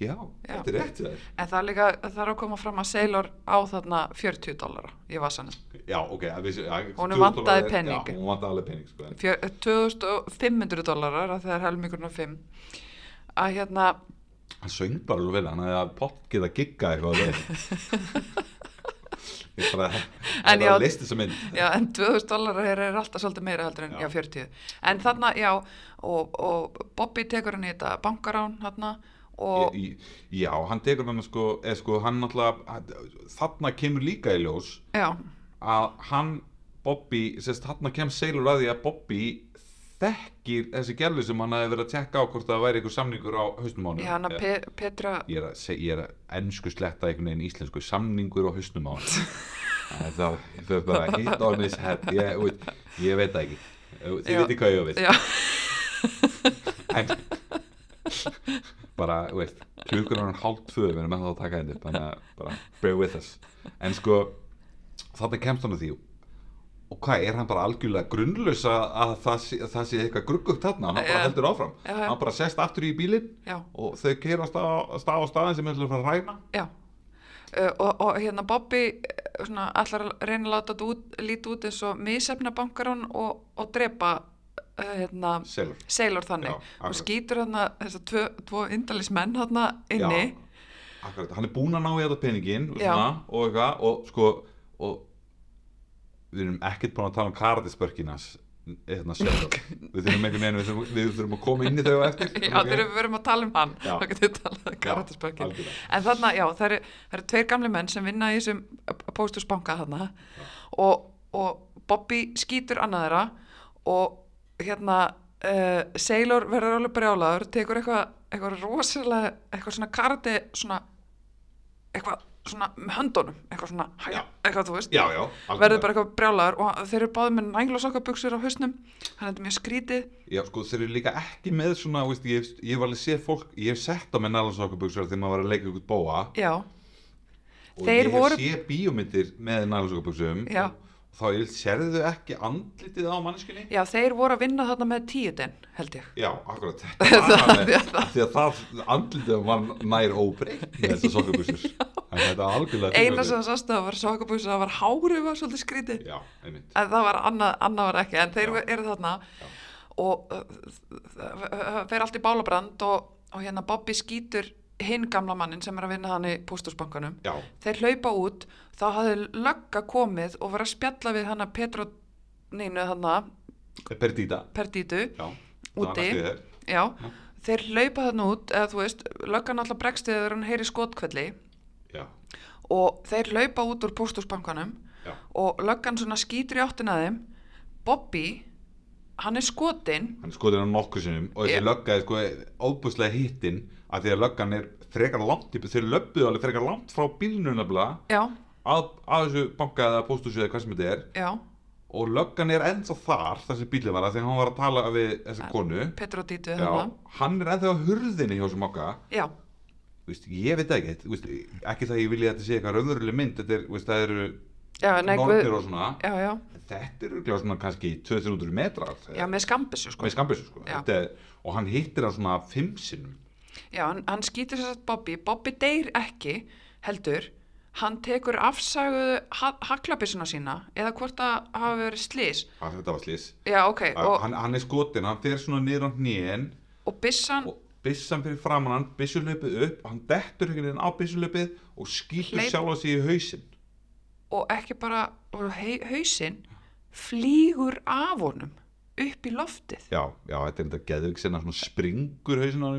S1: já,
S2: Já.
S1: þetta er rétt hjá þér
S2: En það er líka, það er að koma fram að Sailor á þarna 40 dólara í vasanum
S1: já, ok, að vissi, að,
S2: Honum
S1: 2000
S2: vantaði
S1: dollarar er-
S2: pening.
S1: já, hún vantaði alveg pening sko, en,
S2: Fjö- 2500 dólarar að það er helmingurinn og 5 að hérna
S1: hann söng bara alveg vel hann hefði að pott geta gigga eitthvað á leiðinni. ég bara
S2: En
S1: en
S2: já-
S1: já listi sem mynd
S2: já, en 2000 dólarar er, er alltaf svolítið meira heldur en já.
S1: Já.
S2: 40 en þarna, já, og, og Bobby tekur hann í þetta bankarán þarna og
S1: Í- í- já, hann tekur hann sko, eða sko hann náttúrulega hann- þarna kemur líka í ljós
S2: já,
S1: að hann Bobby, sérst þarna kem Sailor að því að Bobby þekkir þessi gerlu sem hann hefði verið að tekka á hvort það væri einhver samningur á Eh, haustum ánum
S2: já, hann að Pe Petra
S1: ég er að, seg, ég er að ennsku sletta einhvern veginn íslensku samningur á hausnum á hann Það- það það er bara hit on his head ég, þú veit- ég veit það ekki þið
S2: Já.
S1: veitir hvað ég á við
S2: já,
S1: en, bara, þú veist, klukkur hann hálf tvö við erum ennþá að taka henni þannig að bara bear with us en sko, þarna kemst hann að því og hvað, er hann bara algjörlega grunnlaus að, að það, sé, það sé eitthvað gruggugt þarna, hann bara
S2: Já.
S1: heldur áfram
S2: Já, já.
S1: hann bara sest aftur í bílinn
S2: já,
S1: og þau keira á stað, stað á staðin sem er að fara að ræna
S2: já Uh, og, og hérna Bobby eh, svona, allar að reyna að láta þetta út, líti út eins og misefna bankarán og, og drepa uh, hérna,
S1: Selur.
S2: Sailor þannig
S1: Já,
S2: og
S1: akkurat.
S2: skýtur þarna þessar tvö, tvö indalis menn þarna inni
S1: Já, akkurat, hann er búinn að ná í þetta peningin og
S2: Já.
S1: svona, og eitthvað og sko og við erum ekkert búin að tala um karatisbörkinas hérna sjálf við þurfum einhvern veginn, við þurfum, við þurfum að koma inn í þau á eftir
S2: Já, þegar við verum að tala um hann
S1: Já.
S2: þá getum við talað um karatisbökin
S1: algjörlega.
S2: en þarna, já, það eru, það eru tveir gamli menn sem vinna í þessum póstusbanka þarna og, og Bobby skýtur annað þeirra og hérna uh, Sailor verður alveg brjálaður tekur eitthvað eitthvað rosalega eitthvað svona karate svona eitthvað svona með höndunum eitthvað svona, hæ,
S1: Já.
S2: eitthvað þú veist
S1: já, já,
S2: verður bara eitthvað brjálaður og þeir eru báðið með næglosokkabuxur á hausnum þannig að þetta er mjög skrítið
S1: já, sko, þeir eru líka ekki með svona veist, ég, hef- ég hef alveg séð fólk, ég hef sett á með nælansokkabuxur þegar maður var að leika ykkur bóa
S2: já,
S1: og
S2: Þeir
S1: ég
S2: voru-
S1: hef séð bíómyndir með nælansokkabuxum
S2: Já.
S1: og þá ég- sérðu þau ekki andlitið á manneskunni
S2: Já, þeir voru að vinna þarna með tíutin, held ég.
S1: Já, akkurat þetta var hann með, af því að það andlitið var nær óbreytt með þessar sokkabúsur en þetta var algjörlega
S2: Eina sem sást það var sokkabúsi, það var hárið var svolítið skrítið,
S1: Já, einmitt
S2: en það var annað, annað var ekki, en þeir
S1: Já.
S2: eru þarna og uh, það það fer allt í bálabrand og, og hérna Bobby skýtur hinn gamla mannin sem er að vinna hann í pústusbankanum.
S1: Já,
S2: Þeir hlaupa út, þá hafði lögga komið og var að spjalla við hana Petro Nínu þarna,
S1: Perdita
S2: Perdítu,
S1: Já,
S2: Úti.
S1: Úti
S2: já, þeir hlaupa þarna út, eða þú veist, löggan alltaf bregst þegar hann heyri skotkvelli
S1: Já,
S2: og þeir laupa út úr pósthúsbankanum
S1: já,
S2: og löggan svona skýtur í áttina að þeim Bobby, hann er skotinn
S1: hann skoður hann nokkuð sinnum og
S2: Já.
S1: þessi lögga er sko óbúslega hittinn af því að löggan er frekar langt upp þeir löbbuðu alveg frekar langt frá bílnum nefnilega
S2: já,
S1: að, að þessu banka eða pósthúsi eða hvað sem þetta er
S2: já,
S1: og löggan er ennþá þar þar sem bílinn var af því að hann var að tala við þessa konu
S2: Petro Dítu
S1: Já,
S2: þarna.
S1: hann er ennþá á hurðinni hjá þessum okka
S2: já,
S1: Vist, ég veit ekki, þú veist, ekki það að ég vilja að þetta sé eitthvað raunveruleg mynd þetta er, þú veist, það eru
S2: já, nei, guð,
S1: nornir og svona
S2: já, já,
S1: En þetta eru örugglega svona kannski 200-300 metrar
S2: já, með skambissu sko
S1: með skambissu sko.
S2: Já.
S1: Þetta er, og hann hittir hann svona fimm sinnum
S2: já, hann, hann skýtur þess að Bobby Bobby deyr ekki, heldur hann tekur afsaguðu ha haklabissuna sína eða hvort það hafi verið slís
S1: að þetta var slís
S2: já, ok, og,
S1: hann, hann er skotin, hann fer svona niður á hnén
S2: og bissan
S1: og, byssan fyrir framann hann, byssulöpið upp hann dettur einhvern veginn á byssulöpið og skýtur
S2: Hleyp-
S1: sjálfa sig í hausinn
S2: og ekki bara og hei, hausinn flýgur af honum upp í loftið
S1: já, já, þetta er þetta geðvik sinna svona springur hausinn á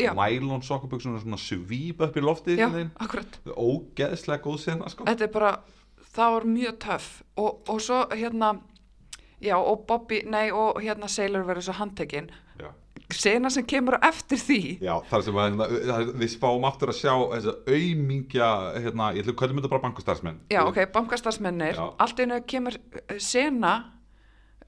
S2: Já.
S1: einhvern nælon sokkaböksunar svona svípa upp í loftið
S2: já,
S1: einhvern veginn.
S2: akkurat
S1: Þetta er ógeðslega góð sinna sko.
S2: þetta er bara, það var mjög töff og, og svo hérna já og Bobby, nei og hérna Sailor verður svo handtekinn
S1: já.
S2: sena sem kemur á eftir því
S1: Já, þar sem að, hérna, við spáum aftur að sjá þessa auðmingja, hérna, ég ætlum að kallum þetta bara bankastarfsmenn.
S2: já ok, bankastarfsmennir
S1: Já.
S2: allt einu kemur eh, sena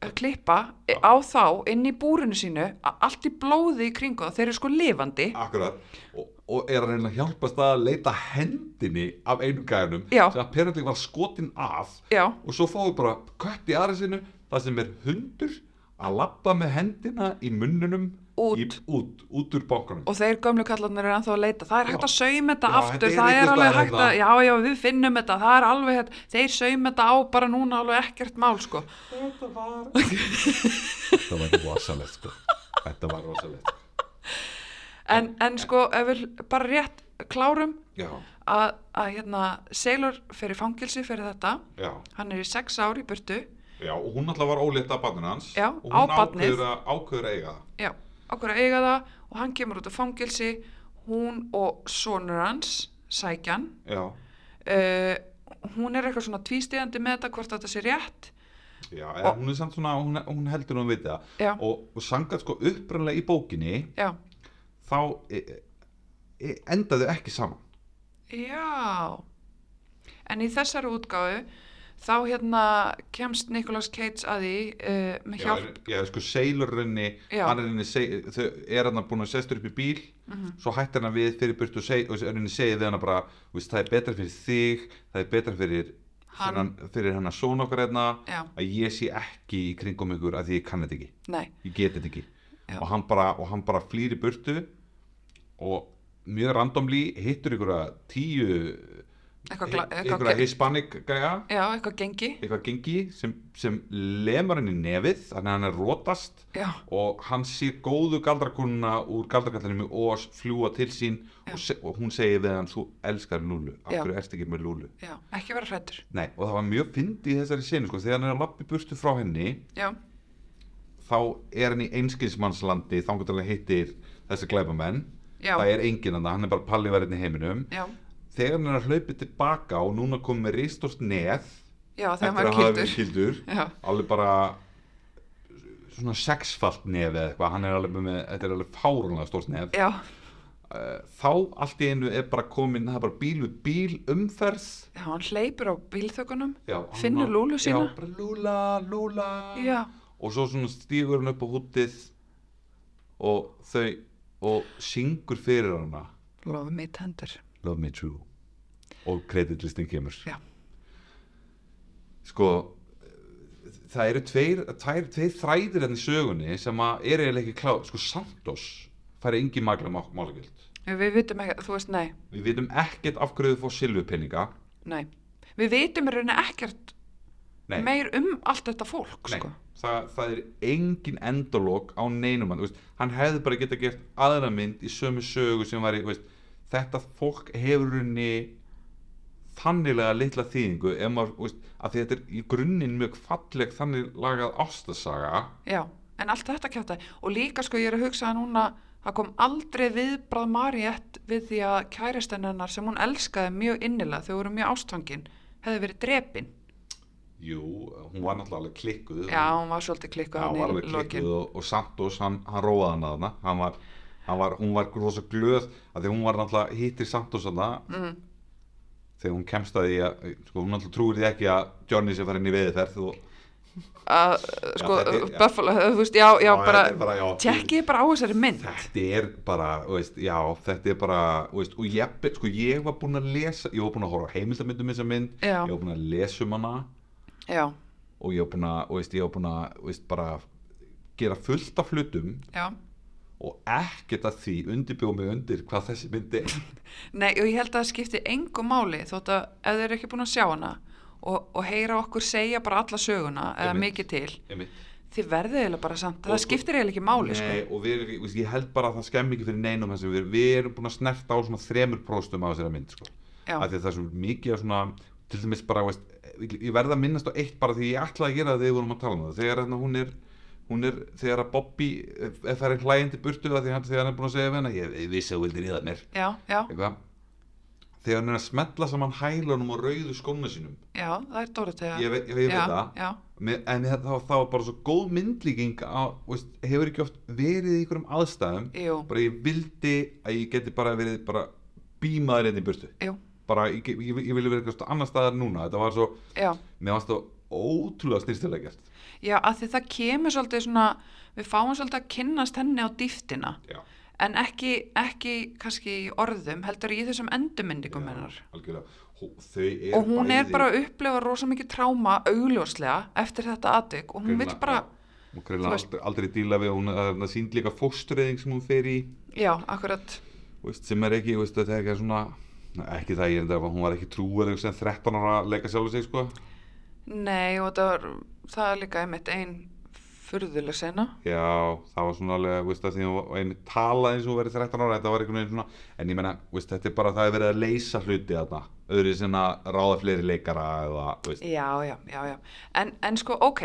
S2: eh, klippa eh, á þá inn í búrinu sínu a- allt í blóði í kringu og þeir eru sko lifandi
S1: Akkurat, og, og er að reyna að hjálpast að leita hendinni af einum gæðunum
S2: Já.
S1: sem að perandi var skotin af
S2: Já.
S1: og svo fáum við bara kött í aðra sinu það sem er hundur að labba með hendina í munnunum
S2: Út.
S1: í, út, út úr bankanum.
S2: og þeir gömlu kallarnir er ennþá að leita það er hægt að sauma þetta
S1: Já, þetta
S2: aftur,
S1: er
S2: það er
S1: einhvers
S2: alveg
S1: staðar
S2: hægt að
S1: hérna.
S2: já, já, við finnum þetta, það er alveg hægt þeir sauma þetta á bara núna alveg ekkert mál sko.
S1: Þetta var... Þetta var rosalegt, sko. Þetta var rosalegt.
S2: En, en sko, ef við bara rétt klárum
S1: Já,
S2: að, að hérna, Sailor fer í fangilsi fyrir þetta,
S1: já.
S2: hann er í sex ár í burtu,
S1: Já, og hún alltaf var ólétt af barninu hans
S2: Já,
S1: og
S2: á
S1: hún
S2: barnið.
S1: ákveður að, ákveður að eiga það.
S2: já, okkur að eiga það og hann kemur út af fangilsi hún og sonur hans Sækjan
S1: Já,
S2: uh, hún er eitthvað svona tvístíðandi með þetta hvort þetta sé rétt
S1: já eða hún er samt svona, hún, hún heldur hún við það
S2: Já.
S1: og, og sangat sko upprænlega í bókinni
S2: já,
S1: þá e, e, endaðu ekki saman
S2: Já, en í þessari útgáfu þá hérna kemst Nicolas Cage að því uh, með
S1: Já,
S2: hjálp,
S1: en- já sko seilurrinni
S2: Já.
S1: hann er henni, seg- þau er hann búin að sestur upp í bíl
S2: Mhm.
S1: svo hættir hann við fyrir burt og, seg, og henni segir við hann bara "Þú veist, það er betra fyrir þig, það er betra fyrir
S2: Hann.
S1: hann, fyrir hann að svona okkar hérna
S2: Já.
S1: að ég sé ekki í kringum ykkur að því ég kann þetta ekki
S2: nei,
S1: ég get þetta ekki
S2: Já.
S1: og hann, bara, og hann bara flýr í burtu og mjög randomli hittur einhverja tíu
S2: eitthvað, gla- eitthvað,
S1: einhverja
S2: ge-
S1: hispanic gæja
S2: já, eitthvað gengi,
S1: eitthvað gengi sem, sem lemur henni í nefið þannig að hann er rótast
S2: já,
S1: og hann sér góðu galdrakunna úr galdrakallinum og fljúa til sín og, se, og hún segir við hann þú elskar Lúlu, af
S2: Já.
S1: hverju erst ekki með Lúlu
S2: já, ekki vera hrættur,
S1: Nei, og það var mjög fyndi í þessari senu sko, þegar hann er að lappi burtu frá henni
S2: já,
S1: þá er hann í einskilsmannslandi þangar til hann hittir þessi glæbamenn
S2: Já.
S1: það er enginn hann, hann er bara palliverðin í heiminum
S2: já,
S1: þegar hann er að hlaupi tilbaka og núna komið með ristort neð
S2: já,
S1: eftir
S2: þegar
S1: að
S2: maður
S1: hafa
S2: er
S1: verið
S2: kildur,
S1: kildur
S2: Já.
S1: alveg bara svona sexfalt nef eða eitthvað, hann er alveg með þetta er alveg fárunlega stórt nef
S2: já,
S1: þá allt í einu er bara komin það er bara bíl við bíl umferð
S2: já, hann hleypur á bílþökunum,
S1: já, hann
S2: Finnur
S1: á-
S2: Lúlu sína?
S1: já, bara Lúla, Lúla
S2: Já.
S1: og svo svona stígur hann upp á húttið og þau og syngur fyrir hana
S2: love me tender,
S1: Love Me True og kreditlistin kemur
S2: Já.
S1: sko það eru tveir, tveir, tveir þræðir enn í sögunni sem að er eiginlega ekki klá sko Santos færi engin magla málgjöld
S2: við vitum ekki, þú veist, nei,
S1: við vitum ekkert af hverju þau fór silfurpenninga
S2: nei, við vitum í rauninni ekkert
S1: nei,
S2: meir um allt þetta fólk,
S1: nei.
S2: sko,
S1: Það, það er engin endalók á neinum hann, þú veist, hann hefði bara geta gert aðra mynd í sömu sögu sem var í veist, þetta fólk hefur henni þannilega litla þýðingu ef maður, þú veist, að því þetta er í grunninn mjög falleg þannig lagað ástasaga
S2: Já, en allt þetta kjátaði og líka sko ég er að hugsa að núna það kom aldrei viðbrað Mariett við því að kæristinn hennar sem hún elskaði mjög innilega þau voru mjög ástfangin hefði verið drepin.
S1: Jú, hún var náttúrulega alveg klikkuð
S2: Já, hún var svolítið
S1: Já,
S2: klikkuð
S1: hún var
S2: hann í
S1: alveg
S2: lokin.
S1: klikkuð og, og Santos, hann, hann róaði hann að hana hann var, hann var, hún var rosa glöð að því hún var náttúrulega hittir Santos hana mm. þegar hún kemst að því að sko, hún náttúrulega trúir því ekki að Johnny sé farin í veðiferð og
S2: Að, sko,
S1: þetta er- já.
S2: Buffalo, þú veist, já, já,
S1: Já,
S2: bara,
S1: þetta er bara, já.
S2: tjekkið bara á þessari mynd.
S1: þetta er bara, þú veist, já, þetta er bara þú veist, og ég, sko, ég var búinn að lesa ég var búinn að horfa á heimildamyndum þessa mynd
S2: Já.
S1: ég var búinn að lesa um hana
S2: Já,
S1: og ég var búinn að, þú veist, ég var búinn að þú veist, bara gera fullt af hlutum
S2: já.
S1: og ekkert að því undirbjóð mig undir hvað þessi myndi er
S2: Nei, og ég held að það skipti engu máli þótt að ef þau eru ekki búin að sjá hana og, og heyra okkur segja bara alla söguna eða
S1: Einmitt.
S2: mikið til
S1: Einmitt.
S2: þið verðið eiginlega bara samt,
S1: Og-
S2: það skiptir eiginlega ekki máli sko.
S1: Nei, og við, erum ekki- þú veist, ég held bara að það skemmi ekki fyrir neinum þessum, við, við erum búin að snerta á svona þremur próstum af þessari mynd sko.
S2: Já.
S1: af því að það er svo mikið af svona til dæmis bara, veist, ég verða að minnast á eitt bara því ég ætlaði að gera það þegar við vorum að tala um það þegar hérna, hún er hún er, þegar að Bobby ef ef það er hlæjandi burtu af því hann, þegar hann er búin að segja við hennar ég, ég vissi að þú vildi ríða mér
S2: já, já,
S1: eitthvað þegar hann er að smetla saman hælunum og rauðu skónu sínum
S2: já, það er Dorotea
S1: ég, ve- ég, ég
S2: já,
S1: veit það
S2: já,
S1: Mér, en það, það, það var bara svo góð myndlíking á, veist, hefur ekki oft verið í einhverjum aðstæðum
S2: jú,
S1: bara ég vildi að ég geti bara verið bara bímaður hérna í burtu
S2: jú,
S1: bara ég, ég, ég, ég vilja verið eitthvað annar staðar núna þetta var svo,
S2: já
S1: mér varst það ótrúlega snýstilega gert
S2: já, að því það kemur svolítið svona við fáum svolítið að kynnast henni á dýftina
S1: já,
S2: en ekki, ekki kannski í orðum, heldur í þessum endurmyndingum hennar
S1: algjörlega Hó- þau er
S2: og hún
S1: bæði,
S2: er bara að upplefa rosa mikið tráma augljóslega eftir þetta aðdygg og hún vil
S1: greinilega-
S2: bara,
S1: já, hún greinlega
S2: þú veist-
S1: aldrei, aldrei díla við hún það er þarna sýnd líka fóstreyðing sem hún fer í
S2: já, akkurat
S1: þú veist, sem er ekki, þú veist, þetta er ekki svona ekki það ég enda, hún var ekki trúið sem 13 ára að leika sjálf sig sko
S2: nei og það, var, það er líka einmitt ein furðuleg sena
S1: Já, það var svona alveg, veist það, því að einu talaði eins og hún verið 13 ára, þetta var einhvern veginn svona, en ég menna, veist, þetta er bara það er verið að leysa hluti þarna, öðru sem að ráða fleiri leikara eða, veist,
S2: já, já, já, já en, en sko, ok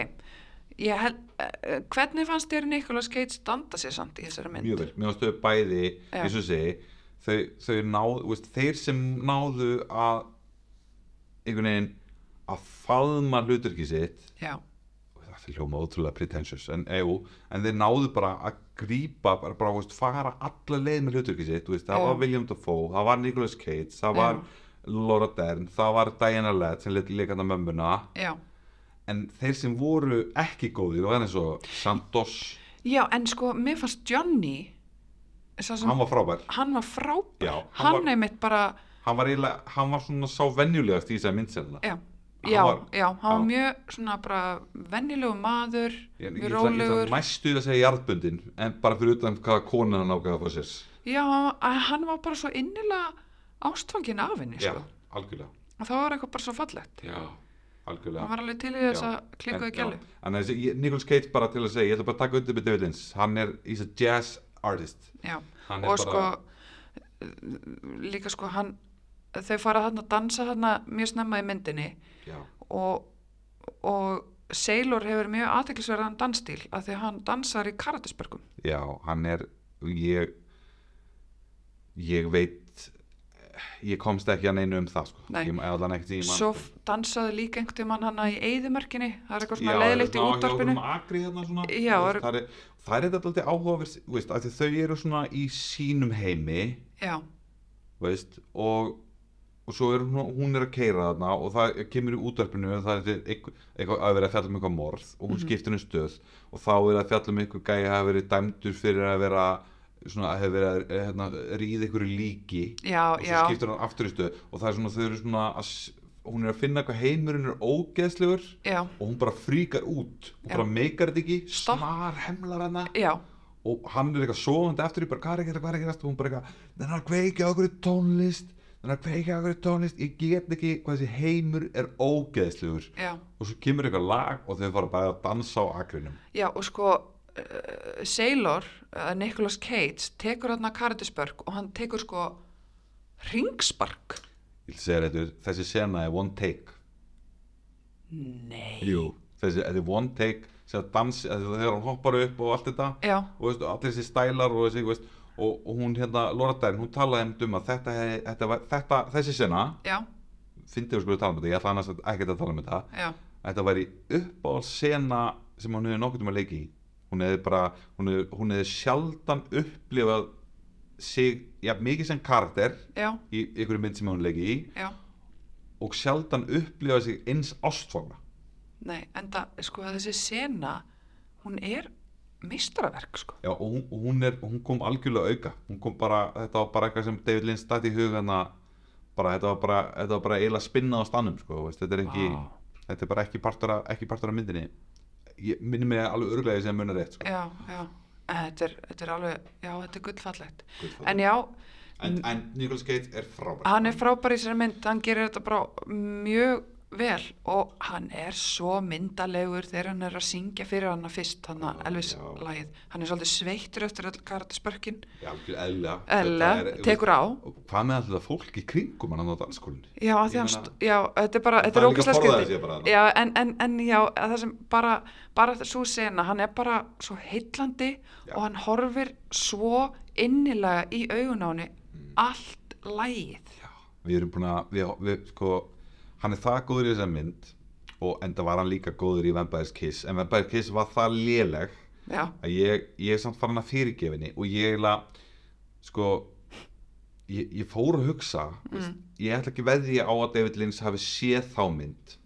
S2: ég hel, uh, hvernig fannst þér Nicolas Cage standa sér samt í þessari mynd
S1: mjög vel, mjög stöðu bæði,
S2: Já.
S1: eins og ég segi, þau, þau náðu, veist, þeir sem náðu að, einhvern veginn, að faðma hluturki sitt,
S2: já,
S1: það er hljóma ótrúlega pretentious, en, jú, en þeir náðu bara að grípa, bara, bara veist, fara alla leið með hluturki sitt, veist, það
S2: Já.
S1: var William Dafoe, það var Nicolas Cage, það
S2: Já.
S1: var Laura Dern, það var Diana Ladd sem leitt leikanda mömmuna,
S2: já
S1: en þeir sem voru ekki góðir, það var eins og Santos,
S2: já, en sko, mér fannst Johnny sá sem,
S1: hann var frábær,
S2: hann var frábær
S1: Já, hann
S2: hann,
S1: var-
S2: einmitt bara
S1: hann var, eiginlega- hann var svona sá venjulegast í þess að myndselna.
S2: já,
S1: Hann
S2: já,
S1: var-
S2: já, hann var
S1: já.
S2: mjög svona bara vennilegu maður
S1: Ég, ég,
S2: mjög
S1: ætla- ég, ég
S2: rólegur
S1: næstu að segja jarðbundin, en bara fyrir utan hvaða konan hann ákveða fyrir sér.
S2: já, hann- hann var bara svo innilega ástfangin af henni
S1: Já,
S2: sko.
S1: algjörlega.
S2: og það var eitthvað bara svo fallegt
S1: Já, algjörlega.
S2: hann var alveg til í þess
S1: Já,
S2: að klikkuðu
S1: en-
S2: gælu
S1: já, en þessi- ég- Nicolas Cage bara til að segja, ég ætla bara að taka undir með David Lynch hann er, he's a jazz artist
S2: Já,
S1: Hann er
S2: og sko
S1: bara-
S2: líka sko hann þau fara þarna að dansa þarna mjög snemma í myndinni
S1: já,
S2: og, og Sailor hefur mjög aðteklisverðan dansstíl af því að hann dansar í karatisbergum
S1: já, hann er ég ég veit ég komst ekki að neinu um það sko.
S2: Nei.
S1: ég ég sko. allan ekkert í
S2: svo f- dansaði líka einhvern tímann hana í eyðumörkinni það er eitthvað svona
S1: Já,
S2: leiðilegt í
S1: svona á- hjá
S2: útdarpinu
S1: einhverjum akri hérna svona
S2: Já,
S1: þú veist,
S2: eru-
S1: það er, það er þetta alltaf áhugaverð þú veist, af því þau eru svona í sínum heimi
S2: já,
S1: veist, og, og svo er hún, hún er að keira þarna og það kemur í útvarpinu og það er eitthvað, eitthvað að vera að fjalla um eitthvað morð og hún
S2: Mhm.
S1: skiptir um stöð og þá er að fjalla um eitthvað gæja að hafa verið dæmdur fyrir að vera svona að hafa verið að eh, hérna, ríða einhverju líki
S2: já,
S1: og
S2: já
S1: svo skiptir hann aftur í stöð og það er svona þau eru svona að s- hún er að finna hvað heimurinn er ógeðslegur
S2: já,
S1: og hún bara fríkar út og
S2: Já.
S1: bara meikar þetta ekki,
S2: Stopp.
S1: snar hemlar hana
S2: já,
S1: og hann er eitthvað sofandi eftir í bara hvað er að gera, hvað er að gera og hún bara eitthvað, þannig að kveikja okkur í tónlist þannig að kveikja okkur í tónlist ég get ekki hvað þessi heimur er ógeðslugur
S2: já
S1: og svo kemur eitthvað lag og þau fara bara að dansa á akrinum
S2: Já, og sko uh, Sailor, uh, Nicolas Cage tekur þarna karatisberg og hann tekur sko ringspark
S1: ég vil segja þetta, þessi sena er one take
S2: Nei
S1: Jú. þessi, þetta er one take sem að dansi, að þegar hún hoppar upp og allt þetta
S2: Já,
S1: og veist, og allir þessi stælar og, þessi, veist, og, og hún hérna, Laura Dern, hún talaði einmitt um að þetta, hefði- þetta, var- þetta þessi sena
S2: já,
S1: fyndi og skulle tala um þetta, ég ætla annars ekkert að tala um þetta
S2: já,
S1: þetta væri uppáhaldsena sem hún hefði nokkuð um að leiki í hún hefði bara, hún hefði, hún hefði sjaldan upplifað sig, já, mikið sem karakter
S2: já,
S1: í einhverju mynd sem hún leiki í
S2: já
S1: og sjaldan upplifað sig eins ástfagna
S2: Nei, en það, sko, þessi sena hún er meistaraverk, sko
S1: já, og hún, og hún, er, hún kom algjörlega auka hún kom bara, þetta var bara eitthvað sem David Lynch dætti í hugana bara, þetta var bara, þetta var bara eiginlega spinna á stannum sko, veist, þetta er ekki,
S2: Vá.
S1: þetta er bara ekki partur af, ekki partur af myndinni ég minni mig alveg örglega sem munar rétt sko.
S2: Já, já, en þetta er, þetta er alveg, já, þetta er gullfallegt
S1: Gullfallegt.
S2: En já, Mm.
S1: en, en Nicolas Cage er frábær
S2: hann er frábær í sér mynd, hann gerir þetta bara mjög vel og hann er svo myndalegur þegar hann er að syngja fyrir hann fyrst, hann að
S1: Já,
S2: Elvis
S1: já.
S2: lagið hann er svolítið sveittur eftir öll karatisbörkin
S1: Já, algjör- eðlilega.
S2: eða
S1: Þetta er-
S2: tekur á
S1: Og Hvað með alltaf fólk í kringum hann á danskólinu?
S2: já, af því
S1: Ég
S2: hann,
S1: meina-
S2: st- já, þetta er bara þetta
S1: Það
S2: er
S1: er líka
S2: ógæslega
S1: forðaði
S2: skriti
S1: sér bara þarna.
S2: já, en, en, en já, að það sem bara bara þetta svo sena, hann er bara svo heillandi
S1: Já.
S2: og hann horfir svo innilega í augun á henni allt lægið
S1: Mm. Við erum búin að, við, við, sko, hann er það góður í þessa mynd og enda var hann líka góður í Vampire's Kiss en Vampire's Kiss var það léleg
S2: já,
S1: að ég, ég er samt farin að fyrirgefinni og ég eiginlega, sko, ég, ég fór að hugsa,
S2: Mm.
S1: veist, ég ætla ekki veðja á að David Lynch hafi séð þá mynd.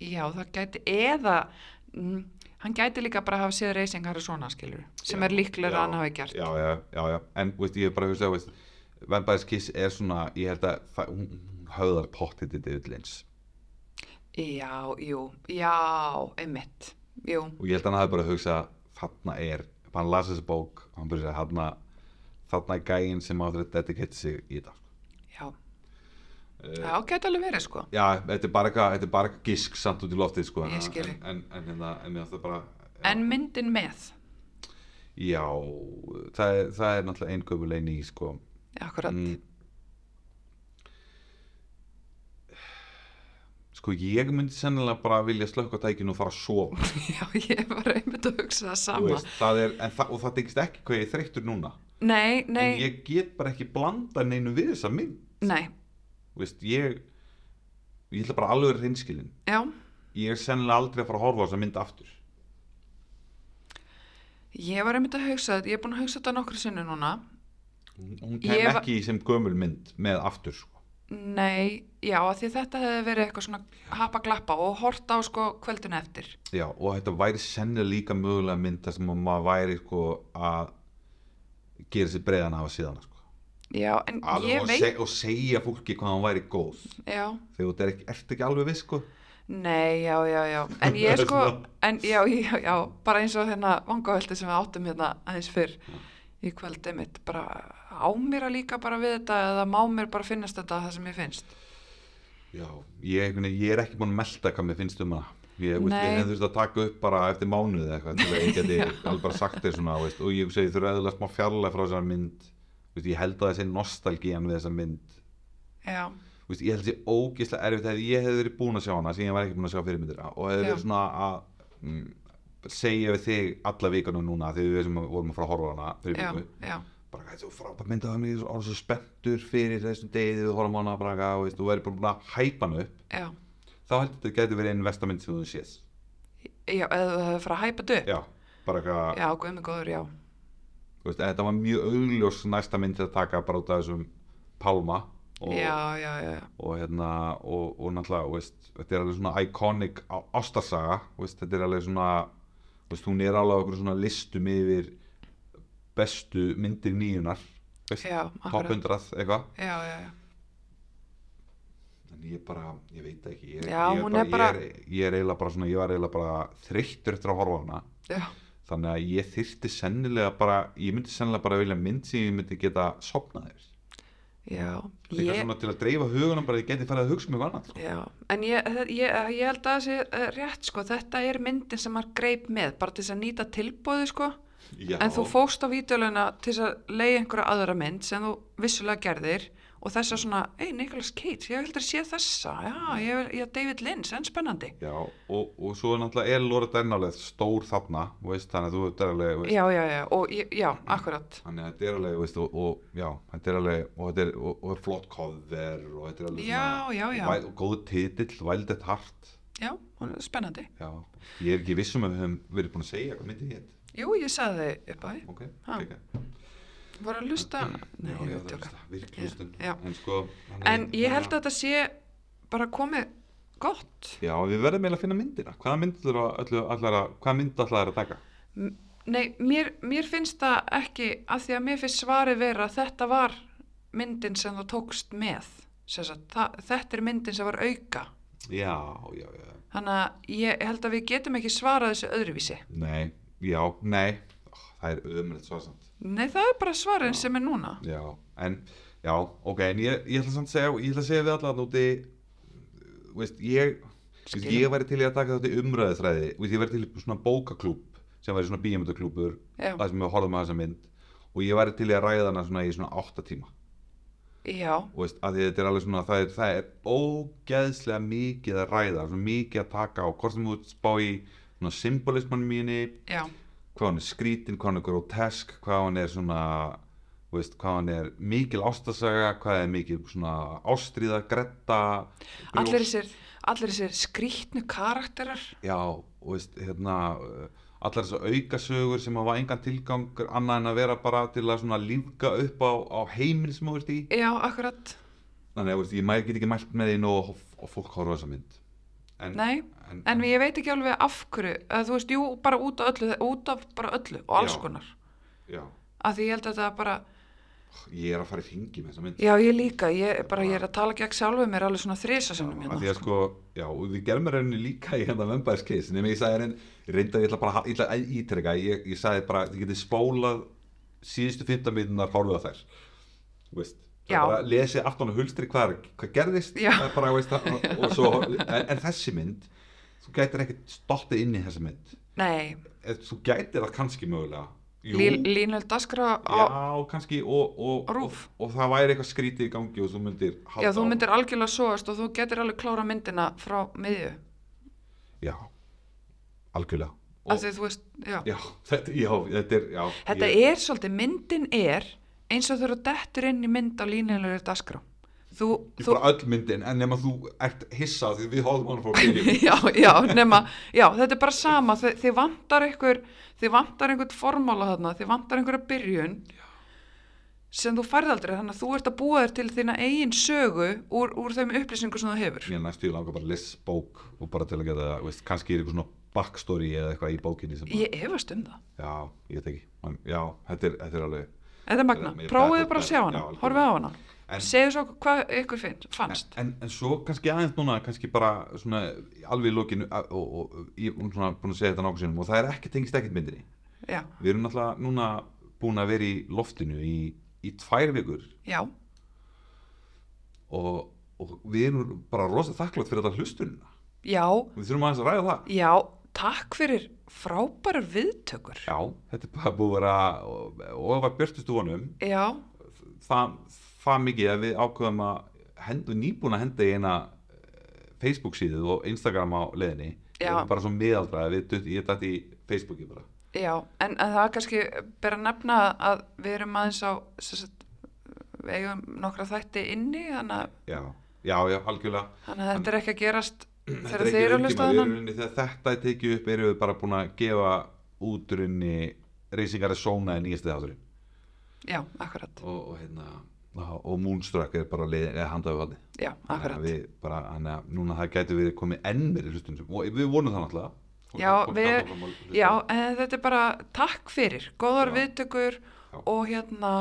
S2: já, það gæti eða mm, hann gæti líka bara að hafa séð reysingar og svona skilur, sem
S1: Já,
S2: er líklega
S1: já,
S2: að hann hafi gert
S1: já, já, já, já, en veist, ég er bara að hugsa veist, Vampire's Kiss er svona ég held að það, hún hún höfðar pottið til David Lynch
S2: Já, jú, já, einmitt, jú,
S1: og ég held að hann hafi bara að hugsa þarna er, hann las þessi bók og hann byrja að þarna þarna er gæinn sem áður að dedicate sig í þetta
S2: já.
S1: Eh,
S2: Já, gæti alveg verið, sko.
S1: já, þetta er bara eitthvað, þetta er bara eitthvað gisk samt út í loftið sko,
S2: Ég skil.
S1: en, en, en, hérna, en mér átti bara
S2: En myndin með,
S1: já, það er, það er náttúrulega ein gömulegni í sko
S2: akkurat,
S1: Mm. sko ég myndi sennilega bara vilja slökka tækinu og fara að sofa
S2: já, ég var einmitt að hugsa það
S1: Þú
S2: sama.
S1: veist, það er, en það, og það tengist ekki hvað ég er þreyttur núna
S2: Nei, nei,
S1: en ég get bara ekki blanda neinu við þessa mynd
S2: nei,
S1: Þú veist, ég ég ætla bara alveg reynskilin
S2: já,
S1: ég er sennilega aldrei að fara að horfa á þessa mynd aftur
S2: ég var einmitt að hugsa þetta, ég er búin að hugsa þetta nokkru sinni núna.
S1: hún hún
S2: Ég
S1: kem
S2: var-
S1: ekki sem gömul mynd með aftur sko.
S2: Nei, já, af því þetta hefði verið eitthvað svona hapa glappa og horta á, sko, kvöldun eftir.
S1: já, og þetta væri sennilega líka mögulega mynd þar sem að maður væri sko, að gera sér breiðan af að síðan sko.
S2: Já, en
S1: Alveg
S2: ég
S1: og,
S2: veit,
S1: seg, og segja fólki hvað hann væri góð
S2: já,
S1: þegar þú ert ekki, ert ekki alveg viss sko.
S2: nei, já, já, já, en
S1: Það
S2: ég
S1: er
S2: sko,
S1: svona-
S2: en já, já, já, bara eins og hérna vangavelti sem við áttum hérna aðeins fyrr í kvöldi mitt, bara á mér að líka bara við þetta eða má mér bara finnast þetta það sem ég finnst.
S1: Já, ég, einhvern veginn- ég er ekki búin að melda hvað mér finnst um hana. Ég, veist,
S2: Nei.
S1: ég hefði þurft að taka upp bara eftir mánuð eða eitthvað til að ég geti alveg bara sagt þér svona veist, og ég segi þú eru eðla smá fjarlæg frá þessar mynd veist, ég held að þessi nostalgían við þessar mynd
S2: Já,
S1: veist, ég held þessi ógislega erfitt ef ég hefði verið búin að sjá hana sem ég var ekki búin að sjá fyrirmyndir og hefði
S2: Já.
S1: verið svona að mm, segja við þig alla vikanum núna þegar við sem vorum að fara að horfa á hana fyrir
S2: já,
S1: viku
S2: já,
S1: bara þetta er frábært myndað af mig og er svo spenntur fyrir þessum degi þegar við horfum á hana bara, veist, og verið búin að hæpa hana upp
S2: já,
S1: þá heldur þetta gæti verið einn vestamind sem þú séð
S2: já, eða þú hefur farið að hæpa þetta upp.
S1: já, bara eitthvað
S2: Já, guðmi góður, já,
S1: þú veist, þetta var mjög augljós næsta mynd að taka bara út af þessum Palma og,
S2: já, já, já, já,
S1: og hérna og, og náttúrulega, þú veist, þetta er alveg svona iconic á- ástarsaga þú veist, þetta er alveg svona þú veist, hún er alveg okkur svona listum yfir bestu myndir nýjunar þú veist,
S2: Já,
S1: top
S2: akkurat.
S1: 100 eitthvað
S2: já, já, já.
S1: en ég bara, ég veit ekki ég,
S2: Já,
S1: ég,
S2: hún
S1: bara,
S2: er bara-
S1: ég, er, ég er eiginlega bara svona, ég var eiginlega bara þreyttur eftir að horfa á hana
S2: Já,
S1: þannig að ég þyrfti sennilega bara ég myndi sennilega bara vilja mynd sem ég myndi geta sopnað þér
S2: já,
S1: líka svona til að dreifa hugunum bara að ég geti farið að hugsa um eitthvað annað sko.
S2: Já, en ég, það- ég, ég held að það sé eh, rétt sko, þetta er myndin sem maður greip með, bara til þess að nýta tilbúði sko,
S1: Já,
S2: en þú fókst á vídeoluna til þess að leiða einhverja aðra mynd sem þú vissulega gerðir og þess að svona, ei, Nicolas Cage, ég heldur að sé þessa, já, ég, ég David Lynch, en spennandi.
S1: já og, og svo er náttúrulega er Lóra Dernalið stór þarna þú veist, þannig að þú ert alveg þú veist,
S2: Já, já, já, og ég, já, akkurat,
S1: þannig að þetta er alveg þú veist, og, og já, þetta er alveg og þetta er, og, og er flott cover og þetta er alveg
S2: Já, já, já.
S1: væl- og góð titill, Wild at Heart
S2: já, hún er spennandi.
S1: já, ég er ekki vissum að við höfum verið búin að segja hvað myndið hétt
S2: Jú, ég sagði þið upp á því,
S1: ok,
S2: Ha.
S1: ok,
S2: voru að lusta, nei,
S1: já, já,
S2: ég veit
S1: það
S2: ekki.
S1: er virklustun
S2: Já, já.
S1: en sko þannig
S2: En ég held
S1: bara-
S2: að þetta sé bara komið gott.
S1: Já, við verðum eiginlega að finna myndina. Hvaða mynd ætlar að, öllu, ætlar að, hvaða mynd ætlar að taka?
S2: M- Nei, mér, mér finnst það ekki að því að mér finnst svarið vera að þetta var myndin sem þú tókst með sem sagt, það, þetta er myndin sem var auka
S1: Já, já, já.
S2: þannig að ég held að við getum ekki svarað þessu öðruvísi
S1: Nei, já, nei. Ó, það er ömulegt svarsamt.
S2: Nei, það er bara svarin sem er núna
S1: Já, en, já, ok, en ég, ég ætla samt að segja, ég ætla að segja við allar núti, veist, ég, þú veist,
S2: Skil.
S1: ég væri til í að taka þetta umræðu þræði veist, ég væri til í svona bókaklúb sem væri svona bíjamöndaklúbur
S2: Já.
S1: það sem við horfum að þessa mynd og ég væri til í að ræða hana svona í svona átta tíma
S2: já,
S1: og veist, að því þetta er alveg svona það er, það er ógeðslega mikið að ræða svona mikið að taka á hvort sem þú ert spá í svona symbolisman mínu
S2: já,
S1: hvað hann er skrítin, hvað hann er grotesk hvað hann er svona þú veist, hvað hann er mikil ástasaga hvað er mikil svona ástríða gretta brjóst-
S2: allir þessir, allir þessir skrýtnu karakterar,
S1: já, og veist, hérna uh, allar þessar aukasögur sem hafa engan tilgang annað en að vera bara til að svona lífga upp á, á heiminn sem þú ert í
S2: já, akkurat,
S1: þannig að þú veist, ég mæ- get ekki mælt með því nóg og, og fólk horfa á þessa mynd en,
S2: nei,
S1: en,
S2: en ég veit ekki alveg af hverju, að, þú veist, jú, bara út af öllu, út af bara öllu og alls
S1: Já.
S2: konar,
S1: já,
S2: að því ég held að þetta bara,
S1: ég er að fara í hringi með þessa mynd
S2: já, ég líka, ég, er bara, ég er að tala gegn sjálfuð mér alveg svona þrisa sinnum
S1: að því að
S2: hérna,
S1: sko, já, og við gerum með rauninni líka í hérna Vampires Kiss nema ég sagði reyn, reynda ég ætla bara að- ég ætla að ítreka ég, ég sagði bara, þið getið spólað síðustu 15 minnar horfið á þær Þú veist, það
S2: Já.
S1: er bara lesið aftan á hulstri hvað, er- hvað gerðist
S2: Já.
S1: það er bara, veist, það, og, og svo, en, en þessi mynd þú gætir ekkert stottið inn í þessa mynd
S2: nei,
S1: Eh, þú gætir það kannski mögulega Jú,
S2: Lín- Línöld Daskra á,
S1: já, kannski og, og,
S2: Á
S1: og,
S2: RÚV.
S1: og það væri eitthvað skrítið í gangi og þú myndir halda
S2: já, þú
S1: áfram.
S2: myndir algjörlega svoast og þú getur alveg klára myndina frá miðju,
S1: já, algjörlega Og-
S2: að því þú veist, já.
S1: Já, þetta, já, þetta er, já.
S2: Þetta
S1: ég,
S2: er svolítið, myndin er eins og þú eru dettur inn í mynd á línilegri dagskrá. Þú,
S1: Ég
S2: þú,
S1: bara öll myndin, en nema þú ert hissa því við hóðum hann frá byrjum.
S2: já, já, nema, já, þetta er bara sama, þið, þið vantar einhver, þið vantar einhvern formála þarna, þið vantar einhverja byrjun sem þú færð aldrei, þannig að þú ert að búa þér til þína eigin sögu úr, úr þeim upplýsingu sem þú hefur.
S1: Mér næstu ég langar bara að lesa bók og bara til að geta, veist, kannski er eitthvað svona backstory eða eitthvað í bókinni sem,
S2: Ég efast um það.
S1: já, ég veit ekki. En, já, þetta er, þetta er alveg,
S2: Þetta er magna,
S1: Ég- ég-
S2: prófiðu
S1: ég-
S2: bara að sjá hana,
S1: já, algjörlega.
S2: horfið á hana,
S1: En-
S2: segðu svo hvað ykkur finn, fannst.
S1: en, en svo kannski aðeins núna, kannski bara svona alveg í lokinu að- og, og, og ég er svona búin að segja þetta nokkuð sinum og það er ekki tengist ekkert myndinni.
S2: Já,
S1: Við erum náttúrulega núna búin að vera í loftinu í, í tvær vikur
S2: já,
S1: og, og við erum bara rosa þakklátt fyrir þetta hlustunina.
S2: já,
S1: Við þurfum aðeins að ræða það.
S2: Já, takk fyrir frábærar viðtökur.
S1: Já, þetta er bara búið að vera- og og það var björtust vonum
S2: Já,
S1: það, það mikið að við ákveðum að hendu nýbúin að henda í eina eh, Facebook síðu og Instagram á leiðinni
S2: Já.
S1: Ég er bara svo miðaldra að við dutt, ég dætt í Facebooki bara
S2: já, en, en það er kannski ber að nefna að við erum aðeins á, sem sagt, við eigum nokkra þætti inni, þannig að,
S1: Já, já, já, algjörlega
S2: þannig að þetta er ekki að gerast
S1: Þetta er
S2: þegar
S1: ekki
S2: þeir eru að
S1: rauntíma,
S2: hlusta
S1: við
S2: þannig.
S1: erum inni- Þegar þetta er tekið upp erum við bara búin að gefa útrunni reysingar að sóna í nýjastu þátturinn
S2: Já, akkurat,
S1: og, og hérna og og Moonstruck er bara leiðin, eða handaðu valdi
S2: já,
S1: Þannig að
S2: akkurat.
S1: við bara, þannig að núna það gæti verið komið enn meiri hlustunum og við vonum það náttúrulega Fólk
S2: Já,
S1: komið
S2: við,
S1: áfram að hlusta.
S2: já, en þetta er bara takk fyrir, góðar
S1: Já.
S2: viðtökur
S1: Já.
S2: og hérna,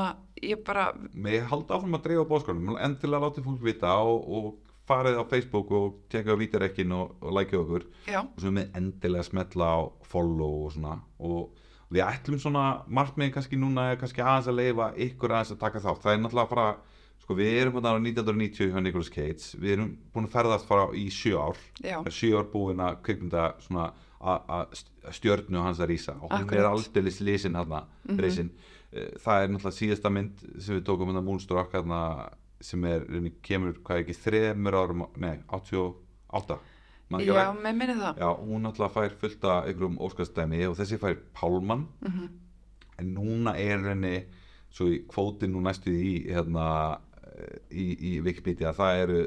S2: ég bara,
S1: Með halda áfram að dreifa bóðskanum endilega látið fólk vita og, og farið á Facebook og tekja á vítarekkin og, og lækja okkur og
S2: já,
S1: svo með endilega smetla á follow og svona og við ætlum svona markmiðin kannski núna er kannski aðeins að leifa ykkur aðeins að taka þátt það er náttúrulega bara, sko við erum hérna á 1990 hjá Nicolas Cage, við erum búin að ferðast fara í sjö ár
S2: já,
S1: er sjö ár búin að kvikmynda svona a- a- st- stjörnu hans að rísa og hún
S2: Akkurat.
S1: er aldeilis lisin hérna mm
S2: Mhm.
S1: það er náttúrulega síðasta mynd sem við tókum hérna Moonstruck hérna sem er, rauninni, kemur hvað ekki þremur árum, nei, 88 man ekki
S2: já,
S1: alveg.
S2: með minni það.
S1: já, hún náttúrulega fær fullta ykkur um óskastæmi og þessi fær Pálmann
S2: Mm
S1: en núna er henni svo í kvótin nú næstu í hérna eh, í, í Wikipedia það eru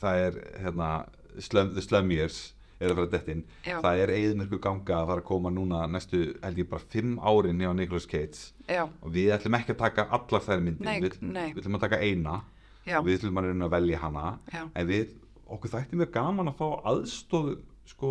S1: það er hérna slum, The Slum Years er að fara dettin
S2: Já.
S1: það er eigðmörku ganga að fara að koma núna næstu held ég bara fimm árin hjá Nicolas Cage
S2: Já,
S1: og við ætlum ekki að taka allar þær myndir
S2: Nei,
S1: við,
S2: nei.
S1: við ætlum að taka eina
S2: já,
S1: við ætlum að reyna að velja hana
S2: já,
S1: en við, okkur þætti mjög gaman að fá aðstóð sko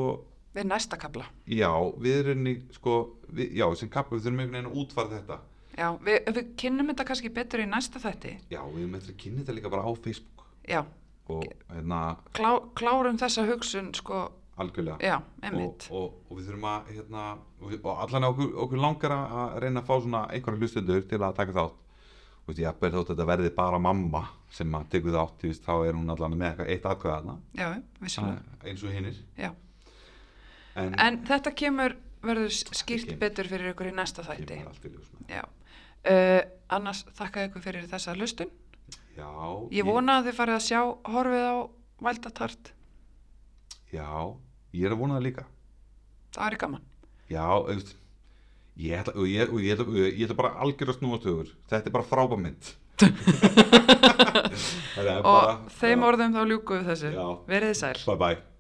S2: við næsta kapla.
S1: já, við erum í sko, við, já, sem kappa við þurfum einhvern veginn að útfara þetta
S2: Já, við, við kynnum þetta kannski betur í næsta þætti.
S1: Já, við erum eftir að kynna þetta líka bara á Facebook
S2: Já,
S1: og hérna
S2: klá, klárum þessa hugsun, sko,
S1: algjörlega
S2: já,
S1: og,
S2: einmitt.
S1: og, og við þurfum að hérna, og, og allan okkur, okkur langar að að reyna að fá svona einhverja hlustendur til að taka þátt þú veist, jafnvel þótt þetta verði bara mamma sem að tekur þátt, þú veist, þá er hún allan með eitthvað eitt atkvæða þarna,
S2: já, vissulega
S1: þannig eins og hinnir.
S2: já.
S1: En,
S2: en þetta kemur verður skýrt
S1: kemur.
S2: betur fyrir ykkur í næsta þætti
S1: kemur allt í ljós með.
S2: já uh, annars þakka ykkur fyrir þessa lustun
S1: Já,
S2: ég vona að þið farið að sjá horfið á Valdatart,
S1: Já, ég er að vona það líka.
S2: það er gaman
S1: Já, auðvitað, ég ætla, og ég, og ég, ætla, og ég ætla bara algjörð að snúa stöður. Þetta er bara frábæð mynd.
S2: og þeim orðum þá ljúku við þessu
S1: Já.
S2: verið þið sæl
S1: Bye bye.